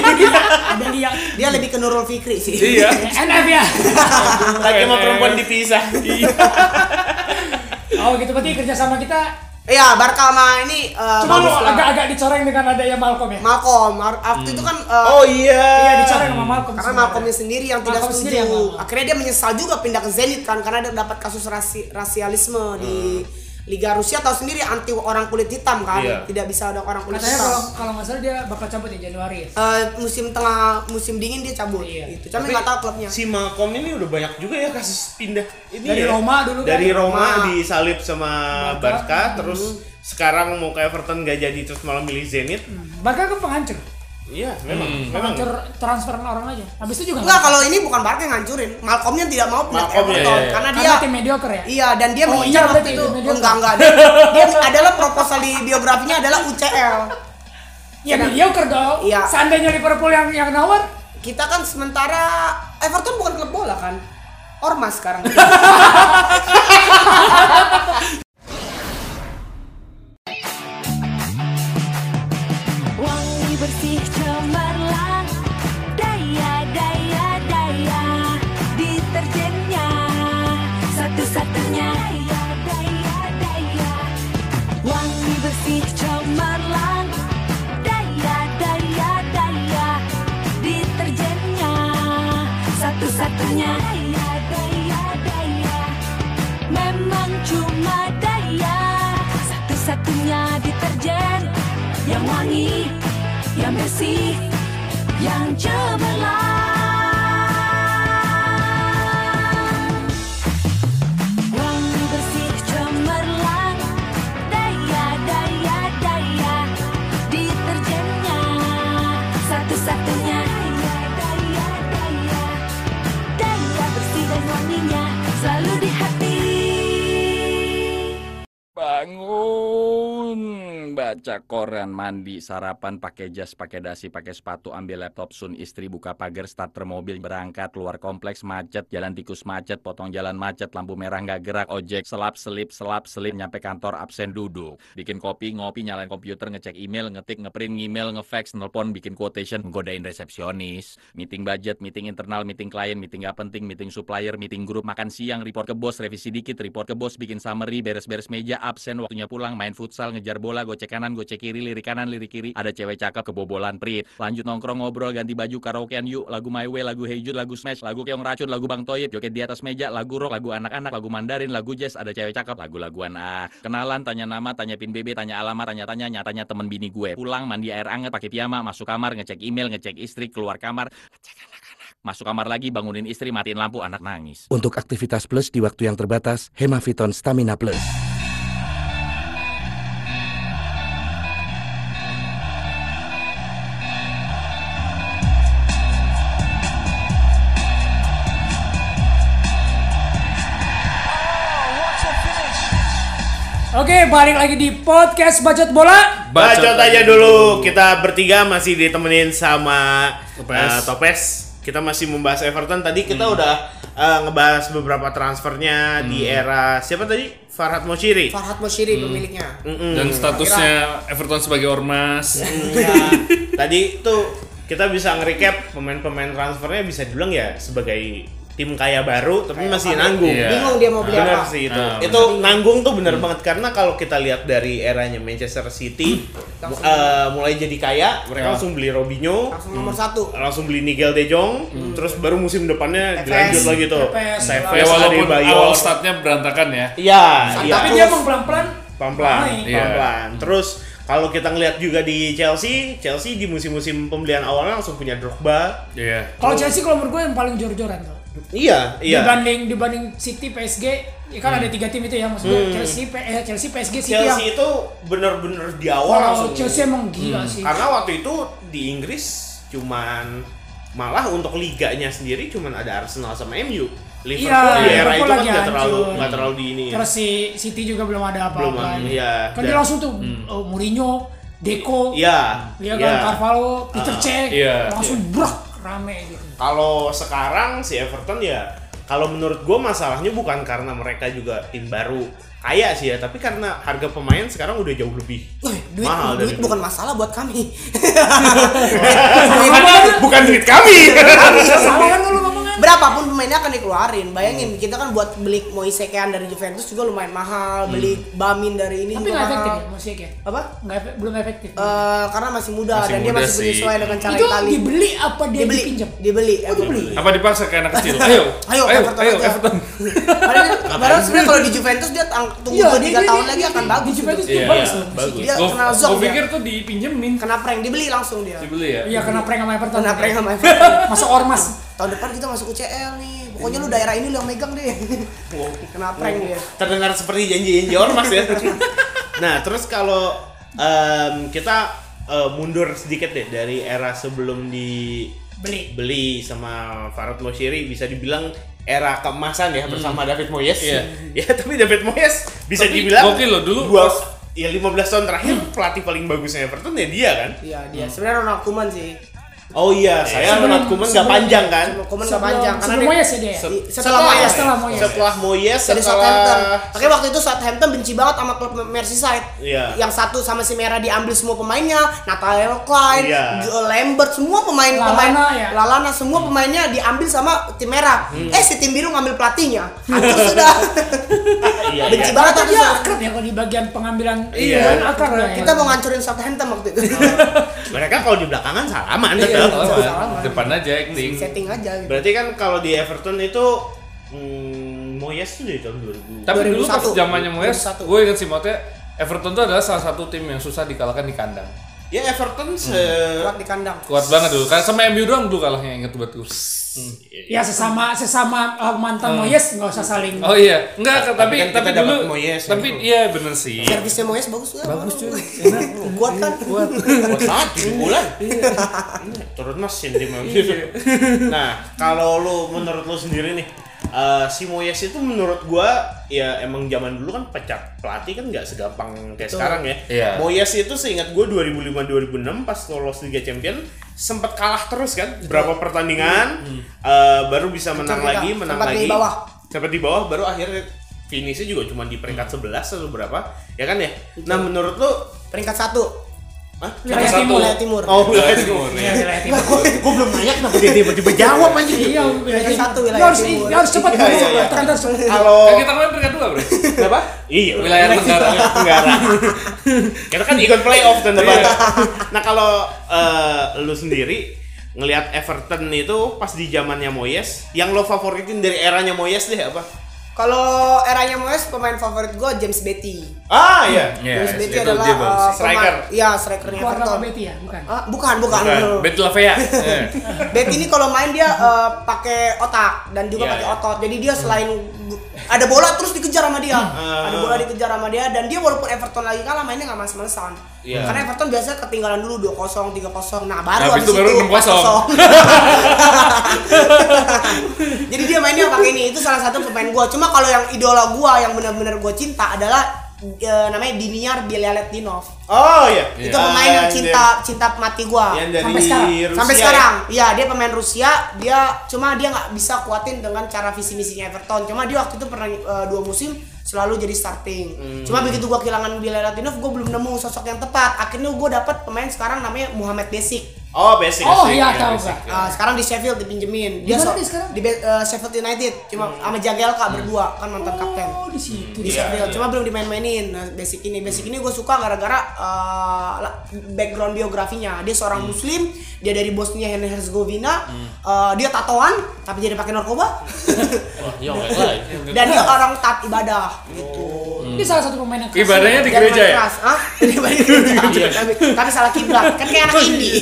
C: ada liang.
M: dia lebih ke Nurul Fikri sih.
B: Iya.
C: NF ya.
A: Laki
B: Eh,
A: sama perempuan dipisah.
C: Oh gitu berarti kerjasama kita
M: Iya, Barca sama ini eh,
C: Cuma lu
M: bagus lah.
C: agak-agak dicoreng dengan adanya Malcolm ya?
M: Malcolm, Mar- waktu itu kan eh,
A: Oh iya.
C: Iya dicoreng sama Malcolm
M: karena
C: sebenarnya.
M: Malcolmnya sendiri yang tidak
C: Malcolm sendiri
M: setuju.
C: yang ngomong.
M: Akhirnya dia menyesal juga pindah ke Zenit kan karena dia dapat kasus rasi- rasialisme di Liga Rusia tahu sendiri anti orang kulit hitam kan,
A: Hmm. Iya.
M: tidak bisa ada orang kulit
C: Katanya
M: hitam.
C: kalau kalau nggak salah dia bakal cabut ya Januari ya?
M: Eh, musim tengah musim dingin dia cabut
C: Iya.
M: gitu. Tapi nggak tahu klubnya.
A: Si Malcolm ini udah banyak juga ya kasus pindah ini
C: Dari
A: ya.
C: Roma dulu kan?
A: Dari Roma
M: Roma.
A: disalip sama
C: Barca. Hmm.
A: Barca, terus sekarang mau ke Everton gak jadi terus malah milih Zenit.
C: Barca kan penghancur,
A: Iya, memang.
B: Hmm.
A: Memang.
C: penghancur transferan orang aja. Habis itu juga
M: Enggak, kalau ini bukan Barca yang ngancurin. Malcolmnya tidak mau pindah ke
A: Malcolm,
M: Everton
A: iya, iya.
M: karena
C: karena
M: dia
C: tim mediocre ya.
M: Iya, dan dia
C: Oh,
M: mengincar
C: iya,
M: waktu
C: berarti
M: itu.
C: itu mediocre.
M: enggak, enggak. Dia, dia adalah proposal di biografinya adalah UCL.
C: Ya mediocre dong.
M: Iya.
C: Seandainya Liverpool yang yang nawar,
M: Kita kan sementara Everton bukan klub bola kan. Ormas sekarang.
C: Eh,
E: Wangi bersih cemerlang Daya, daya, daya Deterjennya Satu-satunya Daya, daya, daya Wangi bersih cemerlang Daya, daya, daya Deterjennya Satu-satunya Daya, daya, daya Memang cuma daya Satu-satunya deterjen Yang wangi, yang bersih, yang cemerlang Wangi bersih cemerlang Daya, daya, selalu di hati
I: Bangun, baca koran, mandi, sarapan, pakai jas, pakai dasi, pakai sepatu, ambil laptop Sun, istri buka pagar, starter mobil, berangkat, keluar kompleks, macet, jalan tikus macet, potong jalan macet, lampu merah nggak gerak, ojek, selap, selip, selap, selip, nyampe kantor, absen, duduk. Bikin kopi, ngopi, nyalain komputer, ngecek email, ngetik, ngeprint, ngemail, ngefax, nelpon, bikin quotation, godain resepsionis, meeting budget, meeting internal, meeting klien, meeting nggak penting, meeting supplier, meeting grup, makan siang, report ke bos, revisi dikit, report ke bos, bikin summary, beres-beres meja, absen, waktunya pulang, main futsal, ngejar bola, gocek kanan, gocek kiri, lirik kanan, lirik kiri, ada cewek cakep, kebobolan, prit, lanjut nongkrong, ngobrol, ganti baju, karaokean yuk, lagu My Way, lagu Hey Jude, lagu Smash, lagu Keong Racun, lagu Bang Toyib, joget di atas meja, lagu rock, lagu anak-anak, lagu Mandarin, lagu jazz, ada cewek cakep, lagu-laguan ah, kenalan, tanya nama, tanya pin BB, tanya alamat, tanya-tanya, nyatanya temen bini gue, pulang, mandi air anget, pakai piyama, masuk kamar, ngecek email, ngecek istri, keluar kamar, ngecek anak-anak, masuk kamar lagi, bangunin istri, matiin lampu, anak nangis.
L: Untuk aktivitas plus di waktu yang terbatas, Hemaviton Stamina Plus.
C: Oke, balik lagi di podcast Bacot Bola.
A: Bacot aja dulu. Kita bertiga masih ditemenin sama Topes. Topes. Kita masih membahas Everton. Tadi kita udah eh, ngebahas beberapa transfernya di era siapa tadi? Farhat Moshiri. Hmm.
M: Farhat Moshiri pemiliknya.
B: Hmm. Dan statusnya Everton sebagai ormas.
A: Ya. Tadi tuh kita bisa nge-recap pemain-pemain transfernya bisa dibilang ya sebagai tim kaya baru tapi masih
M: baru.
A: nanggung.
M: Iya. Bingung dia mau beli
A: Bener
M: apa.
A: sih itu.
B: Ah, Hmm.
A: itu nanggung tuh bener banget karena kalau kita lihat dari eranya Manchester City
M: Hmm.
A: mu- eh, mulai jadi kaya, mereka
B: Ya.
A: langsung beli Robinho,
M: Langsung nomor
B: Hmm.
M: satu.
A: langsung beli Nigel De Jong, terus baru musim depannya dilanjut
M: Tevez.
A: lagi tuh.
M: Tevez.
B: Ya
A: Tevez,
B: walaupun
A: Adebayo.
B: awal startnya berantakan ya.
A: Iya, iya.
C: Tapi dia emang pelan-pelan.
A: pelan-pelan,
B: Iya.
A: pelan-pelan. Terus kalau kita ngelihat juga di Chelsea, Chelsea di musim-musim pembelian awalnya langsung punya Drogba.
B: Iya.
C: Kalau Chelsea kalau menurut gue yang paling jor-joran tuh.
A: Iya, iya.
C: Dibanding dibanding City PSG, ya
A: Hmm.
C: kan ada tiga tim itu ya maksud gue. Chelsea, P- eh, Chelsea PSG City yang
A: Chelsea itu bener-bener di awal
C: Wow,
A: langsung. Hmm.
C: Chelsea emang gila sih.
A: Karena waktu itu di Inggris cuman malah untuk liganya sendiri cuman ada Arsenal sama MU. Liverpool di era
C: Iya, Liverpool
A: itu kan
C: lagi
A: nggak terlalu
C: hancur.
A: nggak terlalu di ini. ya.
C: Terus si City juga belum ada
A: Belum,
C: apa-apa.
A: iya.
C: Kan dia
A: Dan-
C: langsung tuh oh, Mourinho, Deco,
A: Iya.
C: dia
A: iya.
C: kan Carvalho, Peter
A: Ah,
C: Cech,
B: iya,
C: langsung brak rame gitu.
A: Kalau sekarang si Everton ya kalau menurut gue masalahnya bukan karena mereka juga tim baru kaya sih ya, tapi karena harga pemain sekarang udah jauh lebih
M: Wih, duit,
A: mahal dari
M: duit bukan masalah buat kami.
A: bukan duit kami.
C: Sama kan lu ngomongnya?
M: Berapapun pemainnya akan dikeluarin. Bayangin
B: Hmm.
M: kita kan buat beli Moise Kean dari Juventus juga lumayan mahal, beli
B: Hmm.
M: Bamin dari ini
C: Tapi
M: juga
C: nggak
M: mahal.
C: efektif ya musik ya?
M: Apa?
C: Nggak efe- belum efektif.
M: Eh, karena masih muda
B: Masih
M: dan dia
B: muda
M: masih
B: sih.
M: sesuai dengan cara
C: itu
M: Itali.
C: dibeli apa dia
M: Dibeli,
C: dipinjam? Oh,
M: dibeli. Everton.
B: Apa dipaksa kayak anak kecil? Ayo.
M: Ayo, Everton
B: ayo,
M: aja.
B: Everton.
M: Padahal padahal sebenarnya kalau di Juventus dia tang- tunggu dua tiga tahun lagi akan bagus.
C: Di Juventus
M: gitu.
C: Iya, dia
B: Iya,
C: bagus.
B: iya,
C: loh.
B: bagus.
M: Dia
B: Gua-
M: kenal Zong
B: gua
M: dia.
B: pikir tuh dipinjemin.
M: Kena prank ya. dibeli langsung dia.
B: Dibeli ya.
C: Iya kena prank sama Everton.
M: Kena prank sama Everton.
C: Masuk ormas.
M: Tahun depan kita masuk UCL nih. Pokoknya lu daerah ini lu yang megang deh. Kena prank dia.
A: terdengar seperti janji-janji ormas ya. nah, terus kalau em, kita eh, mundur sedikit deh dari era sebelum di
C: Beli.
A: beli sama Farad Moshiri bisa dibilang era keemasan ya bersama
M: Hmm.
A: David Moyes.
B: Iya.
A: ya, tapi David Moyes bisa
B: Tapi
A: dibilang
B: gokil loh, dulu
A: dua, ya 15 tahun terakhir pelatih paling bagusnya Everton ya dia kan.
M: Hmm. Iya, Eh, dia. Sebenarnya Ronald Koeman sih.
A: Oh iya, saya
C: Sebelum-
A: Ronald Koeman nggak
C: sebelum-
A: panjang kan?
M: Koeman
C: Sebelum-
M: enggak panjang karena
C: Sebelum
M: dia- Iya,
C: Moyes ya dia. ya?
M: Setelah
C: Setelah
M: Moyes.
C: Moyes. Setelah Moyes.
A: Setelah Moyes
M: dari Southampton.
A: setelah
M: Makanya waktu itu Southampton benci banget sama klub Merseyside.
A: Iya.
M: Yang satu sama si Merah diambil semua pemainnya, Nathaniel Klein,
A: Iya.
M: Jo- Lambert, semua pemain
C: Lalana
M: pemain
C: ya.
M: Lalana semua pemainnya diambil sama tim Merah. Eh si tim biru ngambil pelatihnya. Hancur sudah.
A: Iya,
M: benci
A: iya.
M: banget
C: Ternyata
M: sama
C: dia
M: Southampton.
C: akrab ya kalau di bagian pengambilan
A: Iya.
C: pemain akrab ya.
M: Kita mau ngancurin Southampton waktu itu.
A: Mereka kalau di belakangan salaman
B: Iya,
A: tetap.
B: salaman. Depan aja acting.
M: Setting aja gitu.
A: Berarti kan kalau di Everton itu hmm, Moyes tuh dari tahun 2000.
B: Tapi dulu pas
M: 2001.
B: zamannya Moyes,
M: 2001.
B: gue ingat sih maksudnya Everton tuh adalah salah satu tim yang susah dikalahkan di kandang.
A: ya Everton se
M: Kuat di kandang.
B: Kuat banget dulu. Kan sama MU doang dulu kalahnya inget buat gue.
A: Hmm.
C: Ya sesama sesama
A: Oh.
C: uh, mantan Moyes nggak usah saling.
B: Oh iya, enggak tapi
A: kan
B: tapi,
A: kita dapat
B: dulu
A: Moyes,
B: tapi
A: gitu.
B: iya bener sih.
M: Servisnya Moyes bagus tuh. Bagus cuy. Kuat kan? Kuat.
A: kuat
M: Iya.
A: banget di bulan. Iya,
M: Iya.
A: Turun mesin di Moyes. Nah, kalau lu menurut lu sendiri nih eh, si Moyes itu menurut gua ya emang zaman dulu kan pecat pelatih kan nggak segampang kayak
O: Betul.
A: sekarang ya.
O: Iya.
A: Moyes itu seingat gua 2005-2006 pas lolos Liga Champion sempat kalah terus kan berapa pertandingan
M: Hmm.
A: eh, baru bisa menang
M: Sempat
A: lagi
M: kita-
A: menang
M: sempat
A: lagi
M: di bawah.
A: sempat di bawah baru akhirnya finishnya juga cuma di
M: Hmm.
A: peringkat 11 atau berapa ya kan ya nah menurut lu
M: peringkat satu
A: Hah?
M: Wilayah
A: Satu.
M: timur, wilayah timur.
A: Oh, wilayah timur.
M: Iya, wilayah timur.
A: Gue belum nanya kenapa dia tiba-tiba jawab aja.
M: Iya, wilayah satu, wilayah
C: harus-
M: timur.
C: dia harus cepat,
M: Iya,
C: harus
M: iya,
C: cepat.
M: iya.
C: Tekan, tekan, tekan.
A: Kalau
B: kita kemarin peringkat dua bro.
A: Kenapa? Iya,
B: Wilayah Tenggara.
A: Tenggara. Kita kan ikut playoff dan
B: Iya.
A: Nah, kalau eh, lu sendiri ngelihat Everton itu pas di zamannya Moyes, yang lo favoritin dari eranya Moyes deh apa?
M: Kalau eranya Moyes pemain favorit gue James Betty.
A: Ah, iya.
M: James Betty
B: itu
M: adalah
B: dia bagus.
M: uh,
A: Striker.
M: pemain- Iya, strikernya
C: Keluarga
M: Everton.
C: Pak Betty ya, bukan?
M: Ah, bukan, bukan.
B: Bet Lavea. Iya.
M: Betty ini kalau main dia eh, pakai otak dan juga
B: Iya,
M: pakai
B: iya.
M: otot. Jadi dia selain ada bola terus dikejar sama dia.
B: Hmm.
M: ada bola dikejar sama dia dan dia walaupun Everton lagi kalah mainnya nggak males-malesan.
B: Iya.
M: Karena Everton biasanya ketinggalan dulu 2-0, 3-0. Nah, baru
B: Habis itu baru 6-0.
M: 4-0. Jadi dia mainnya pakai ini. Itu salah satu pemain gua. Cuma kalau yang idola gua yang benar-benar gua cinta adalah eh, namanya Diniar Belalet Dinov.
A: Oh iya.
M: Itu pemain yang cinta cinta mati gua.
A: Yang dari
M: sampai sekarang.
A: Rusia
M: sampai
A: ya?
M: sekarang. Iya, dia pemain Rusia, dia cuma dia nggak bisa kuatin dengan cara visi misinya Everton. Cuma dia waktu itu pernah eh, dua musim selalu jadi starting.
A: Hmm.
M: Cuma begitu gua kehilangan Bilal Latinov, gua belum nemu sosok yang tepat. Akhirnya gua dapat pemain sekarang namanya Muhammad Besik.
A: Oh, basic.
C: Oh,
A: basic,
C: iya,
A: ya,
C: tahu,
A: basic.
C: Kak.
M: Ah, sekarang di Sheffield
C: Di
M: dipinjemin.
C: mana
M: so-
C: dia sekarang? Hmm.
M: Di Be- eh, Sheffield United.
A: Hmm.
M: Cuma sama Jagielka berdua kan mantan kapten.
C: Oh, di situ.
M: di
C: Iya, iya.
M: Sheffield. Cuma belum dimain-mainin. Nah, basic ini, basic ini gue suka gara-gara eh, la- background biografinya. Dia seorang
B: Hmm.
M: Muslim, dia dari Bosnia dan Herzegovina. Eh, dia tatoan, tapi jadi pakai
A: Oh,
M: narkoba.
A: iya.
M: Dan dia orang taat ibadah.
C: Iya.
A: Gitu. Hmm.
C: Ini salah satu pemain yang keras.
B: Hmm. Ibadahnya di
M: Jangan
B: gereja
M: main
B: ya?
M: keras. Hah? Ibadah di gereja. tapi, tapi salah kiblat. Kan kayak
B: Oh,
M: anak
B: iya,
M: indie.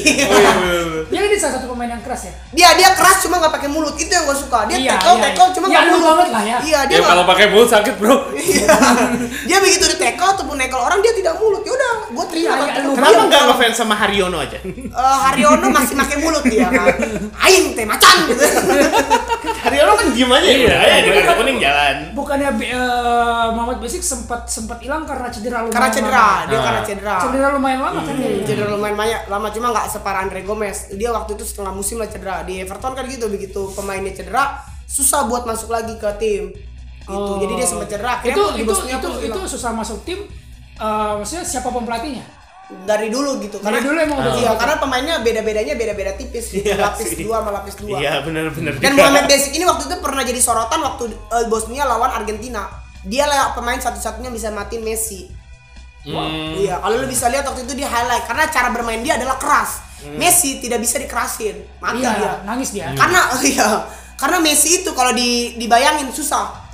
C: Dia ini salah satu pemain yang keras ya.
M: Dia dia keras cuma nggak pakai mulut. Itu yang gue suka. Dia
C: Iya,
M: tackle
C: iya,
M: tackle
C: iya.
M: cuma
C: Ya,
M: nggak
C: lu
M: mulut.
C: banget lah ya.
M: Iya, dia
B: Ya kalau
M: nggak-
B: pakai mulut sakit bro.
M: Iya. dia begitu di tackle ataupun nekel orang dia tidak mulut. Ya udah, gue terima.
C: Iya, iya, lu
A: Kenapa nggak ngefans sama Haryono aja?
M: Eh, Haryono masih pakai mulut dia kan. Aing teh macan gitu.
A: Haryono kan diem aja.
B: Iya,
A: Iya,
B: iya.
A: di kartu kuning jalan.
C: Bukannya eh, Muhammad Besik sempat sempat hilang karena cedera lumayan
M: Karena cedera,
C: lama.
M: dia
B: Nah.
M: karena cedera.
C: Cedera lumayan lama kan dia.
M: Hmm, cedera lumayan banyak lama cuma nggak separah Andre Gomez dia waktu itu setengah musim lah cedera di Everton kan gitu begitu pemainnya cedera susah buat masuk lagi ke tim gitu
C: Oh.
M: jadi dia sempat cedera
C: itu
M: di
C: itu
M: Bosnia
C: itu
M: pun
C: itu
M: hilang.
C: susah masuk tim eh, maksudnya siapa pemelatihnya
M: dari dulu gitu
C: Dari dulu emang udah
M: iya
C: gitu.
M: karena pemainnya beda bedanya beda beda tipis gitu.
A: Iya
M: lapis
A: sih.
M: dua sama lapis dua
A: Iya, benar-benar.
M: Dan Kan Muhammad Besik ini waktu itu pernah jadi sorotan waktu eh, Bosnia lawan Argentina. Dia lah pemain satu-satunya bisa matiin Messi.
C: Hmm.
M: Iya, kalau lu bisa lihat waktu itu dia highlight karena cara bermain dia adalah keras. Messi tidak bisa dikerasin,
C: Hmm.
M: mati
C: iya
M: dia.
C: nangis dia
M: Karena iya, karena Messi itu kalau di dibayangin susah.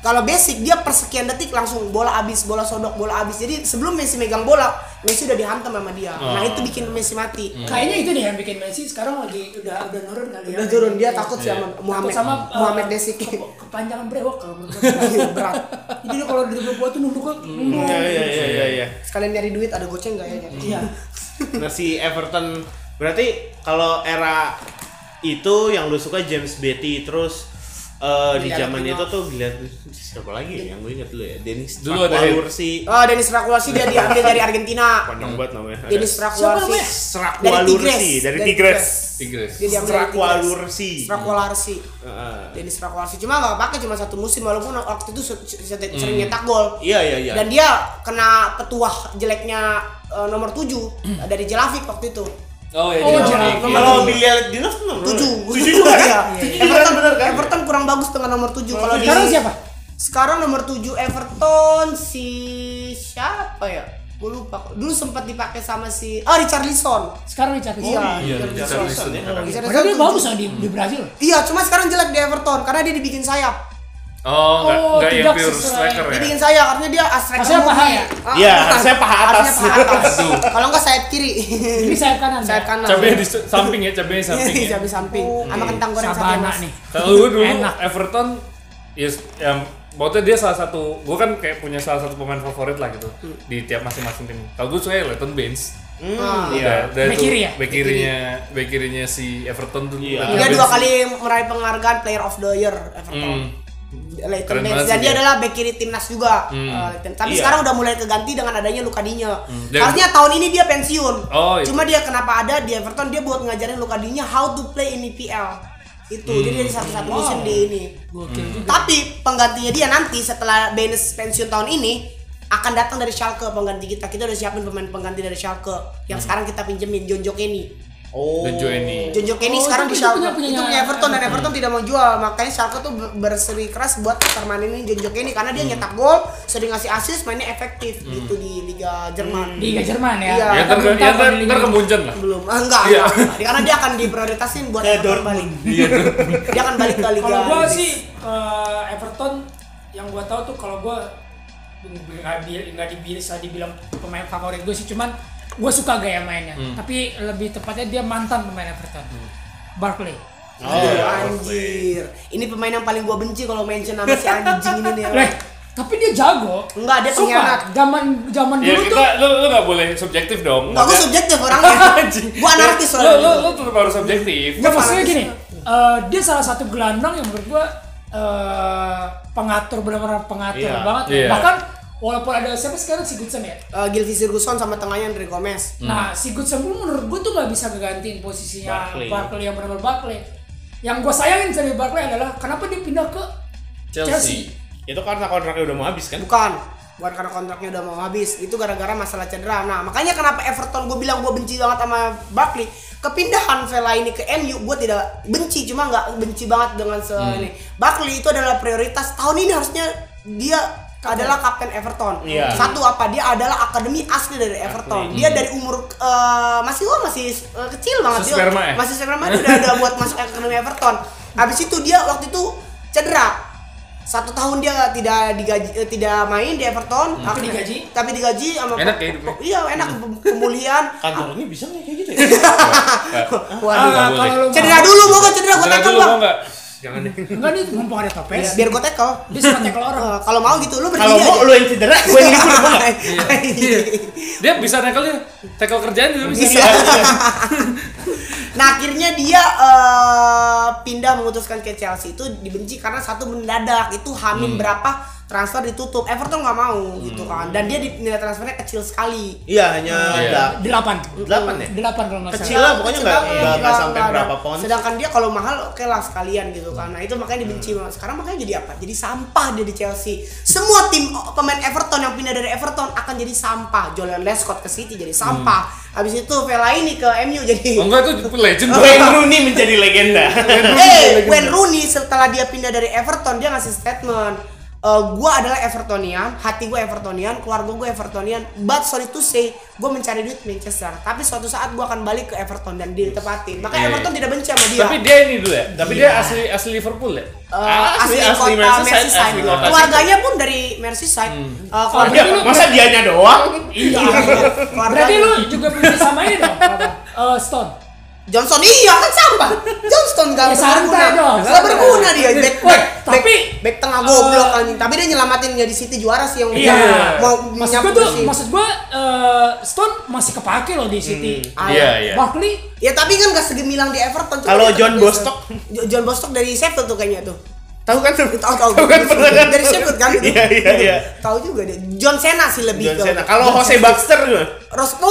M: Kalau basic dia persekian detik langsung bola abis, bola sodok, bola abis. Jadi sebelum Messi megang bola, Messi udah dihantam sama dia.
C: Oh.
M: Nah itu bikin Messi mati.
C: kayaknya itu deh yang bikin Messi sekarang lagi udah udah nurun kali ya
M: Udah turun dia takut sih sama
C: Takut
M: Muhammad
C: sama eh,
M: Muhammad Besik.
C: ke- kepanjangan brewok kalau menurut
M: Iya,
C: gue.
M: berat.
C: jadi dia kalau di depan gua tuh nunduk nunduk
A: Iya, iya, iya, iya, iya.
M: Sekalian nyari duit ada goceng gak ya?
C: iya
A: Nah si Everton berarti kalau era itu yang lu suka James Betty terus eh, di
M: Giliat
A: zaman
M: Lino.
A: itu tuh gila siapa lagi ya yang gue ingat dulu ya Dennis
B: Dulu ada
A: Pakualur si
M: Oh, Denis Rakulasi dia diambil dari Argentina.
A: panjang banget namanya ada
M: Denis Rakulasi
C: namanya?
A: Strakualursi dari Tigres
B: Tigres.
M: Dia diambil dari Tigres.
A: Strakualursi
M: Strakualursi.
A: Heeh.
M: Denis Rakulasi cuma nggak pakai cuma satu musim walaupun waktu itu se- se- sering nyetak gol.
A: Hmm. iya iya iya
M: Dan dia kena petuah jeleknya eh, nomor
A: Hmm.
M: 7 dari Jelavik waktu itu.
B: Oh ya.
C: Oh,
B: dia-
C: jangan.
B: iya.
A: kalau Bilal Dinos tuh nomor
M: 7.
A: berapa? tujuh juga
M: Iya.
A: ya
M: Everton, Everton kurang bagus dengan nomor 7 kalau
C: kan? Oh, iya.
M: di
C: sekarang siapa
M: Sekarang nomor 7 Everton si siapa ya? Gue lupa. kok. Dulu sempat dipakai sama si oh Richarlison.
C: sekarang Richard
M: Iya,
B: Iya, Richarlison ya.
M: Richarlison
C: padahal dia
M: tujuh.
C: bagus loh di, di Brazil
M: Iya, cuma sekarang jelek di Everton karena dia dibikin sayap.
B: Oh, enggak
C: Oh,
B: enggak yang
C: tidak
B: pure
C: sesuai.
B: striker ya.
M: Dibikin sayap karena dia astrek.
C: Harusnya paha ya?
M: Ah,
A: Iya, harusnya paha atas.
B: Aduh.
M: Kalau enggak sayap kiri.
C: ini sayap kanan ya?
M: sayap kanan.
B: Cabenya di samping ya, cabenya di samping.
M: Iya,
B: ya.
M: Cabe samping. Sama kentang goreng sate
C: Sabana
M: mas.
C: Oh. nih
B: Kalau gue dulu
C: Enak.
B: Everton yes, yang maksudnya dia salah
M: Hmm.
B: satu gue kan kayak punya salah satu pemain favorit lah gitu di tiap masing-masing tim. Kalau gue suka Leighton Baines.
M: Ah.
B: Iya, dan
M: Back
B: itu
M: kiri ya?
B: back kirinya, back kirinya si Everton tuh.
C: Iya.
M: Dia dua kali meraih penghargaan Player of the Year Everton.
B: Hmm.
M: Leighton
B: Keren
M: Baines
B: banget
M: dan
B: sih
M: dia
B: dia.
M: adalah back kiri timnas juga.
B: Hmm.
M: eh, Leighton. Tapi
B: Iya.
M: sekarang udah mulai keganti dengan adanya Luka Dinya.
B: Hmm. Dan-
M: Harusnya tahun ini dia pensiun.
B: Oh, iya.
M: Cuma dia kenapa ada di Everton dia buat ngajarin Luka Dinya how to play in EPL. Itu
B: Hmm.
M: jadi dia satu-satu
C: Wow.
M: musim di ini. Tapi penggantinya dia nanti setelah Baines pensiun tahun ini akan datang dari Schalke pengganti kita. Kita udah siapin pemain pengganti dari Schalke yang
B: Hmm.
M: sekarang kita pinjemin John Jokeni.
A: Oh.
B: Dan Joeni.
M: Jonjo
C: Oh,
M: Kenny sekarang
C: itu
M: di
C: punya-
M: Schalke.
C: punya-
M: itu punya
C: punya
M: Everton dan Everton tidak mau jual. Makanya Schalke tuh ber- berseri keras buat permanenin Jonjo Kenny karena dia nyetak gol, sering ngasih assist, mainnya efektif gitu di Liga Jerman.
C: Di Liga Jerman ya?
M: Iya.
B: Ya ntar
C: Belum tahu
B: ya ntar
C: di Liga.
B: ntar ke Munchen lah.
M: Belum. Ah, enggak,
B: Iya.
M: enggak, enggak. Karena dia akan diprioritasin buat Everton balik. dia akan balik ke Liga.
C: Kalau gua
M: Inggris.
C: sih eh, Everton yang gua tahu tuh kalau gua nggak bi- nggak dibi- bisa dibilang pemain favorit gue sih cuman gue suka gaya mainnya
E: Hmm.
C: tapi lebih tepatnya dia mantan pemain Everton Barkley
J: Oh,
M: Aduh,
J: iya. Hmm.
M: anjir. Ini pemain yang paling gua benci kalau mention nama si anjing ini nih.
C: Leh, tapi dia jago
M: Enggak, dia
C: Sumpah,
M: pengkhianat.
C: zaman zaman
B: Ya
C: dulu
B: kita
C: tuh
B: lu lu enggak boleh subjektif dong.
M: Enggak, gua
B: Maksudnya- Ya,
M: subjektif orangnya. Gua anarkis
B: Lu lu
M: soalnya.
B: lu tetap harus subjektif.
C: Nggak Ya, maksudnya gini, eh, dia salah satu gelandang yang menurut gua eh, pengatur benar-benar pengatur
M: Iya.
C: banget.
M: Iya.
C: Bahkan walaupun ada siapa sekarang Sigurdsson ya.
M: Uh, Gilvi Sirguson sama tengahnya Andre Gomez.
C: Nah, Sigurdsson pun menurut gua tuh nggak bisa ngegantiin posisinya
M: Barkley.
C: Barkley, yang benar-benar Barkley. Yang gua sayangin dari Barkley adalah kenapa dia pindah ke Chelsea.
A: Itu karena kontraknya udah mau habis kan?
M: Bukan, bukan karena kontraknya udah mau habis. Itu gara-gara masalah cedera. Nah, makanya kenapa Everton gue bilang gue benci banget sama Barkley. Kepindahan Vela ini ke MU gue tidak benci, cuma nggak benci banget dengan se
A: Hmm.
M: ini. Barkley itu adalah prioritas tahun ini harusnya dia adalah kapten Everton.
A: Iya.
M: Satu apa dia adalah akademi asli dari Everton.
A: Asli.
M: Dia
A: Hmm.
M: dari umur eh, masih oh, masih eh, kecil banget dia.
A: Sesperma ya?
M: Masih sperma dia udah udah buat masuk akademi Everton. Habis itu dia waktu itu cedera satu tahun dia tidak digaji eh, tidak main di
A: Hmm.
M: Everton
C: Tapi digaji?
M: tapi digaji sama
B: Enak ya hidupnya?
M: iya enak pem- pemulihan
A: kantornya bisa nggak kayak gitu
M: Waduh.
B: Nggak boleh.
C: kalau lu
M: cedera
C: mau-
M: dulu mau gak cedera gue
B: Jangan
M: tackle
B: dulu,
M: bang
B: mau nggak? Jangan deh.
C: Enggak nih, mumpung ada topes.
M: biar gue tackle
C: Dia suka tackle orang.
M: Eh, kalau mau gitu lu
A: Kalau mau, lu yang cedera, gue yang dipukul, mau nggak?
B: Dia bisa tackle-nya. Tackle kerjaan juga bisa.
M: Iya.
B: Iya.
M: Bisa. nah akhirnya dia eh, pindah memutuskan ke Chelsea itu dibenci karena satu mendadak itu Hamin
A: Hmm.
M: berapa transfer ditutup Everton nggak mau gitu kan dan dia di- nilai transfernya kecil sekali
A: Iya, hanya
M: Iya.
A: ada
C: delapan
A: delapan ya.
C: delapan kalau nggak salah.
A: Kecil lah, pokoknya nggak
M: Sedangkan-
A: nggak nggak sampai
M: nggak-
A: berapa
M: nggak.
A: pound.
M: Sedangkan dia kalau mahal oke lah sekalian gitu kan. Nah itu
A: Hmm.
M: makanya dibenci banget. Sekarang makanya jadi apa? Jadi sampah dia di Chelsea. Semua tim oh, pemain Everton yang pindah dari Everton akan jadi sampah. Julian Lescott ke City jadi sampah.
A: Hmm.
M: Habis itu Vela ini ke MU jadi.
B: Oh enggak itu legend.
A: Wayne Rooney menjadi legenda.
M: Eh, Wayne Rooney setelah dia pindah dari Everton dia ngasih statement Eh, gua adalah Evertonian, hati gua Evertonian, keluarga gua Evertonian. But sorry to say, gua mencari duit Manchester. Tapi suatu saat gua akan balik ke Everton dan ditepatin. Makanya
B: Iya.
M: Everton tidak benci sama dia.
B: Tapi dia ini dulu ya. Tapi dia
M: Iya.
B: asli asli Liverpool ya.
M: Eh, asli, kota Merseyside, keluarganya pun dari Merseyside. Eh, keluarganya
A: Iya, masa dianya doang?
M: Iya. keluarganya.
C: Berarti lu juga benci sama ini dong. apa? Eh, Stone.
M: Johnson iya kan sampah. Johnston
C: Ya,
M: gak
C: santai
M: berguna.
C: dong,
M: Gak
C: santai.
M: berguna dia. Back,
C: Woi,
M: back,
C: tapi-
M: back, back tengah goblok anjing. Tapi dia nyelamatin jadi City juara sih yang
C: Iya.
M: mau
C: maksud gue
M: nyapu
C: tuh,
M: bersih.
C: maksud gue eh, Stone masih kepake loh
A: Hmm.
C: di City.
M: Ah, Iya, iya.
C: Barkley
M: Ya tapi kan gak segemilang di Everton. Cuma
A: Kalau
M: dia
A: John
M: terbiasa.
A: Bostock?
M: Jo- John Bostock dari Sheffield tuh kayaknya tuh.
A: Tahu kan?
M: Tahu tahu.
A: Tahu kan?
M: Dari Sheffield kan?
A: Iya, iya, iya.
M: Tahu juga dia. John Cena sih lebih
A: John Cena. Kalau Jose Baxter gimana?
M: Rospo.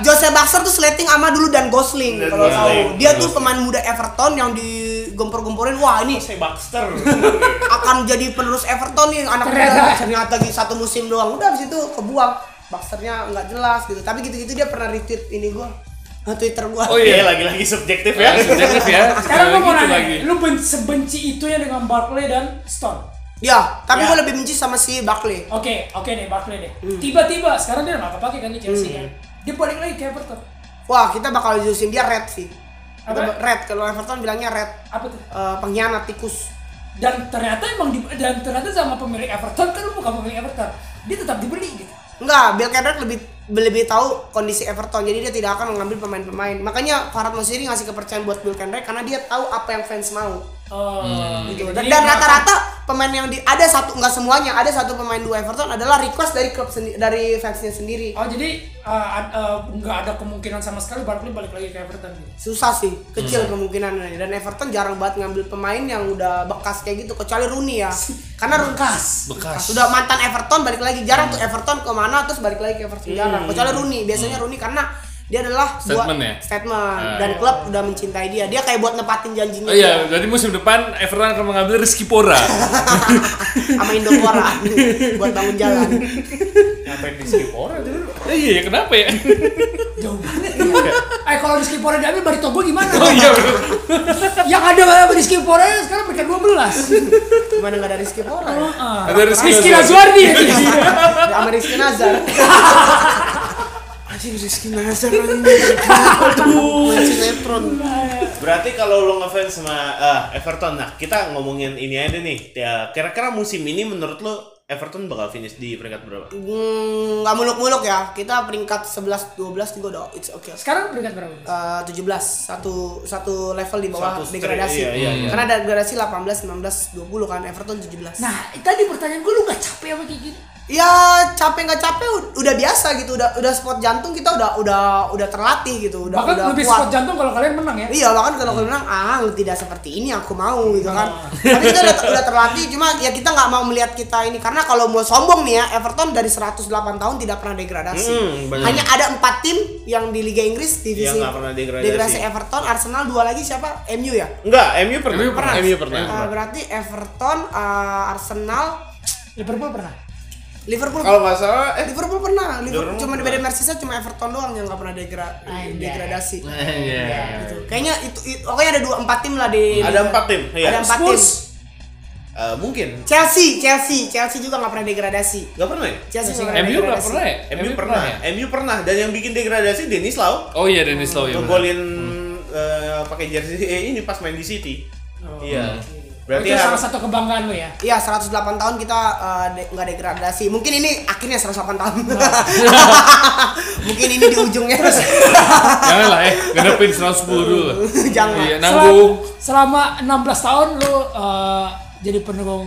M: Jose Baxter tuh slating sama dulu dan Gosling kalau
A: Gosling.
M: tahu. Dia tuh pemain muda Everton yang digempur-gempurin. Wah, ini
A: Jose Baxter.
M: akan jadi penerus Everton nih anak muda. Ternyata lagi satu musim doang. Udah habis itu kebuang. Baxternya nggak jelas gitu. Tapi gitu-gitu dia pernah retweet ini gua. eh, Twitter gua.
A: Oh iya, lagi-lagi subjektif ya.
B: Subjektif ya.
C: Sekarang gue mau
B: Gitu
C: nanya,
B: lagi.
C: lu benci, sebenci itu ya dengan Barkley dan Stone?
M: Ya, tapi gua lebih benci sama si Barkley.
C: Oke, oke deh Barkley deh. Tiba-tiba sekarang dia nggak kepake kan di Chelsea
M: Hmm.
C: kan? Dia balik lagi ke Everton.
M: Wah, kita bakal jurusin dia red sih. Kita
C: Apa?
M: ba- Red kalau Everton bilangnya red.
C: Apa tuh?
M: Eh, pengkhianat tikus.
C: Dan ternyata emang di, dan ternyata sama pemilik Everton kan lu bukan pemilik Everton. Dia tetap dibeli gitu.
M: Enggak, Bill Carrick lebih lebih tahu kondisi Everton jadi dia tidak akan mengambil pemain-pemain makanya Farhad Mosiri ngasih kepercayaan buat Bill Carrick karena dia tahu apa yang fans mau
C: Oh,
M: gitu.
C: gitu.
M: dan,
C: Jadi
M: dan
C: dia-
M: rata-rata pemain yang di, ada satu nggak semuanya ada satu pemain dua Everton adalah request dari klub sendi- dari fansnya sendiri.
C: Oh jadi eh, ad- eh, nggak ada kemungkinan sama sekali Barkley balik lagi ke Everton gitu.
M: susah sih kecil
B: Hmm.
M: kemungkinannya dan Everton jarang banget ngambil pemain yang udah bekas kayak gitu kecuali Rooney ya karena Rooney bekas
B: Bekas.
M: sudah mantan Everton balik lagi jarang tuh Everton kemana terus balik lagi ke Everton jarang
B: Hmm.
M: kecuali Rooney biasanya Rooney karena dia adalah buat-
B: Statement ya?
M: statement
B: Ah,
M: dan
B: iya.
M: klub udah mencintai dia dia kayak buat nepatin janjinya
B: Oh iya, jadi musim depan Everton akan mengambil Rizky Pora.
M: dia sama Indopora buat bangun jalan
A: Ngapain di Skipora dulu?
B: Eh, Iya, ya, kenapa ya?
M: iya.
C: Eh kalau Rizky Pora diambil Barito gue gimana?
B: Oh iya, bener.
C: Yang ada Rizky Pora sekarang peringkat 12
M: Mana nggak ada Rizky Pora ya?
B: Ada Iya. Rizky
C: Ah, Rizky
B: Nazar.
C: Nazwardi
M: Iya. sama Rizky Nazar Anjing Rizky Nazar anjing. Aduh Sinetron
A: Berarti kalau lo ngefans sama eh, Everton, nah kita ngomongin ini aja deh nih. Ya, kira-kira musim ini menurut lo Everton bakal finish di peringkat berapa?
M: Hmm, nggak muluk-muluk ya. Kita peringkat 11 12 juga udah it's okay.
C: Sekarang peringkat berapa?
M: 17 satu satu level di bawah
A: Satu straight,
M: degradasi.
A: iya, iya, iya.
M: Karena ada degradasi 18 19 20 kan Everton 17.
C: Nah tadi pertanyaan gue lu gak capek sama kayak gitu? gini?
M: ya capek nggak capek ud- udah biasa gitu. Udah udah spot jantung kita udah udah udah terlatih gitu. Udah
C: Bahkan
M: udah
C: lebih
M: kuat.
C: spot jantung kalau kalian menang ya?
M: Iya bahkan kalau kalian bilang ah lu tidak seperti ini aku mau gitu
A: Oh.
M: kan. Tapi kita udah, udah terlatih cuma ya kita nggak mau melihat kita ini karena kalau mau sombong nih ya Everton dari 108 tahun tidak pernah degradasi.
A: Hmm, benar.
M: Hanya ada empat tim yang di Liga Inggris divisi
A: Yang nggak pernah degradasi.
M: Everton, Arsenal dua lagi siapa? MU ya.
A: Enggak, MU pernah.
B: MU pernah.
A: MU Iya, pernah.
M: Ah, berarti Everton, ah, Arsenal,
C: Liverpool pernah.
M: Liverpool
A: Kalau nggak salah, eh,
M: Liverpool pernah. Liverpool,
A: Liverpool
M: cuma
A: pernah.
M: beda Merseyside cuma Everton doang yang nggak pernah degra-
C: Ah,
M: degradasi.
A: Ah,
B: Iya.
M: Gitu. Kayaknya itu, itu pokoknya ada dua empat tim lah di
A: Ada empat tim, iya.
M: kan Ada empat tim.
A: Spurs. Eh, mungkin.
M: Chelsea, Chelsea, Chelsea juga nggak pernah degradasi.
A: Gak pernah ya?
M: Chelsea juga
B: MU
M: nggak
B: nggak
M: degradasi.
B: pernah ya?
A: MU pernah. MU pernah. Dan yang bikin degradasi Denis Lau.
B: Oh iya, Hmm. Dennis Law ya. bener.
A: Ngegolin eh, pakai jersey eh, ini pas main di City. Iya. Berarti
C: itu salah
A: harus
C: satu kebanggaan lu ya?
M: Iya, 108 tahun kita eh, de- nggak degradasi. Mungkin ini akhirnya 108 tahun. Mungkin ini di ujungnya.
B: Jangan lah ya, ngadepin 110 dulu lah.
M: Jangan.
B: Iya, nanggung.
C: Selama, selama 16 tahun lu eh, jadi pendukung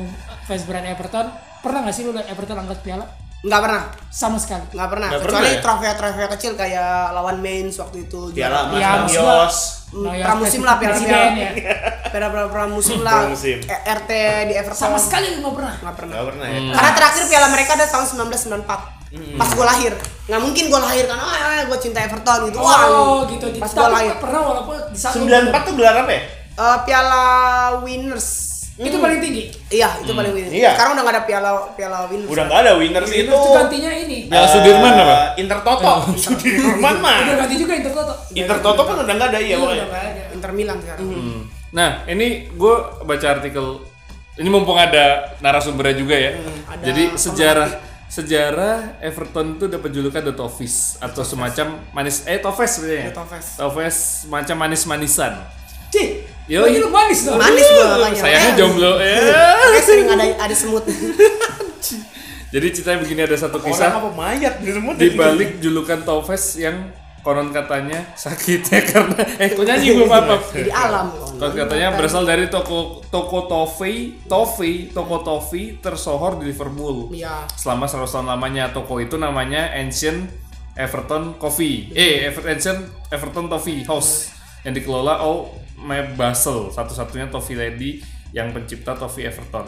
C: fans berat Everton, pernah gak sih lu liat Everton angkat piala?
M: Nggak pernah,
C: Sama sekali.
M: nggak pernah.
A: Nggak
M: Kecuali
A: pernah ya?
M: trofea-trofea kecil kan, kayak lawan Mainz waktu itu.
A: Piala Mas
C: Iya,
A: Bang
C: maksud gua-
A: Yos.
M: Hmm,
C: Noyos
M: pramusim lah, piala
C: presiden
M: piala.
C: ya.
M: Piala piala pramusim lah.
A: Pramusim.
M: E- RT di Everton.
C: Sama sekali lu gak pernah.
M: Nggak pernah. Hmm.
A: Gak pernah ya. Hmm.
M: Karena terakhir piala mereka ada tahun 1994. Pas gue lahir, nggak mungkin gue lahir karena ah, gue cinta Everton gitu. Wah,
C: Oh gitu, gitu.
M: Pas gue
C: Tapi
M: lahir,
C: pernah walaupun di saat lu-
A: 94 tuh gelar apa ya?
M: Eh, piala winners.
C: Itu paling tinggi.
M: Iya, itu paling winners.
A: Iya.
M: Sekarang udah nggak ada piala piala winners. Iya.
A: Udah gak ada winners itu. Eh,
C: Itu gantinya ini.
B: Piala Ya, Sudirman apa?
A: Inter Toto. Sudirman mah.
C: Udah ganti juga Intertoto.
A: Inter Toto kan udah gak ada iya
C: Udah
A: makanya. Hmm.
C: gak ada.
M: Inter Milan sekarang.
B: Nah, ini gue baca artikel. Ini mumpung ada narasumbernya juga ya.
M: ada
B: Jadi sejarah sejarah Everton itu dapat julukan The Toffees atau semacam manis eh Toffees sebenarnya.
M: The Toffees.
B: Toffees macam manis-manisan.
M: Cih,
B: Yo,
C: Lagi lu manis dong.
M: manis gue katanya.
B: sayangnya jomblo. Eh.
M: Kayak sering ada ada semut.
B: Jadi ceritanya begini ada satu
A: Orang
B: kisah
A: apa mayat di rumah
B: di balik julukan Toffees yang konon katanya sakitnya karena eh kok nyanyi gue apa
M: Di alam.
B: Konon katanya berasal dari toko toko toffee, toffee, toko toffee tersohor di Liverpool.
M: Iya.
B: Selama 100 tahun lamanya toko itu namanya Ancient Everton Coffee. Eh, Ever- Ancient Everton Toffee House yang dikelola O. Mae Basel, satu-satunya toffee lady yang pencipta toffee Everton.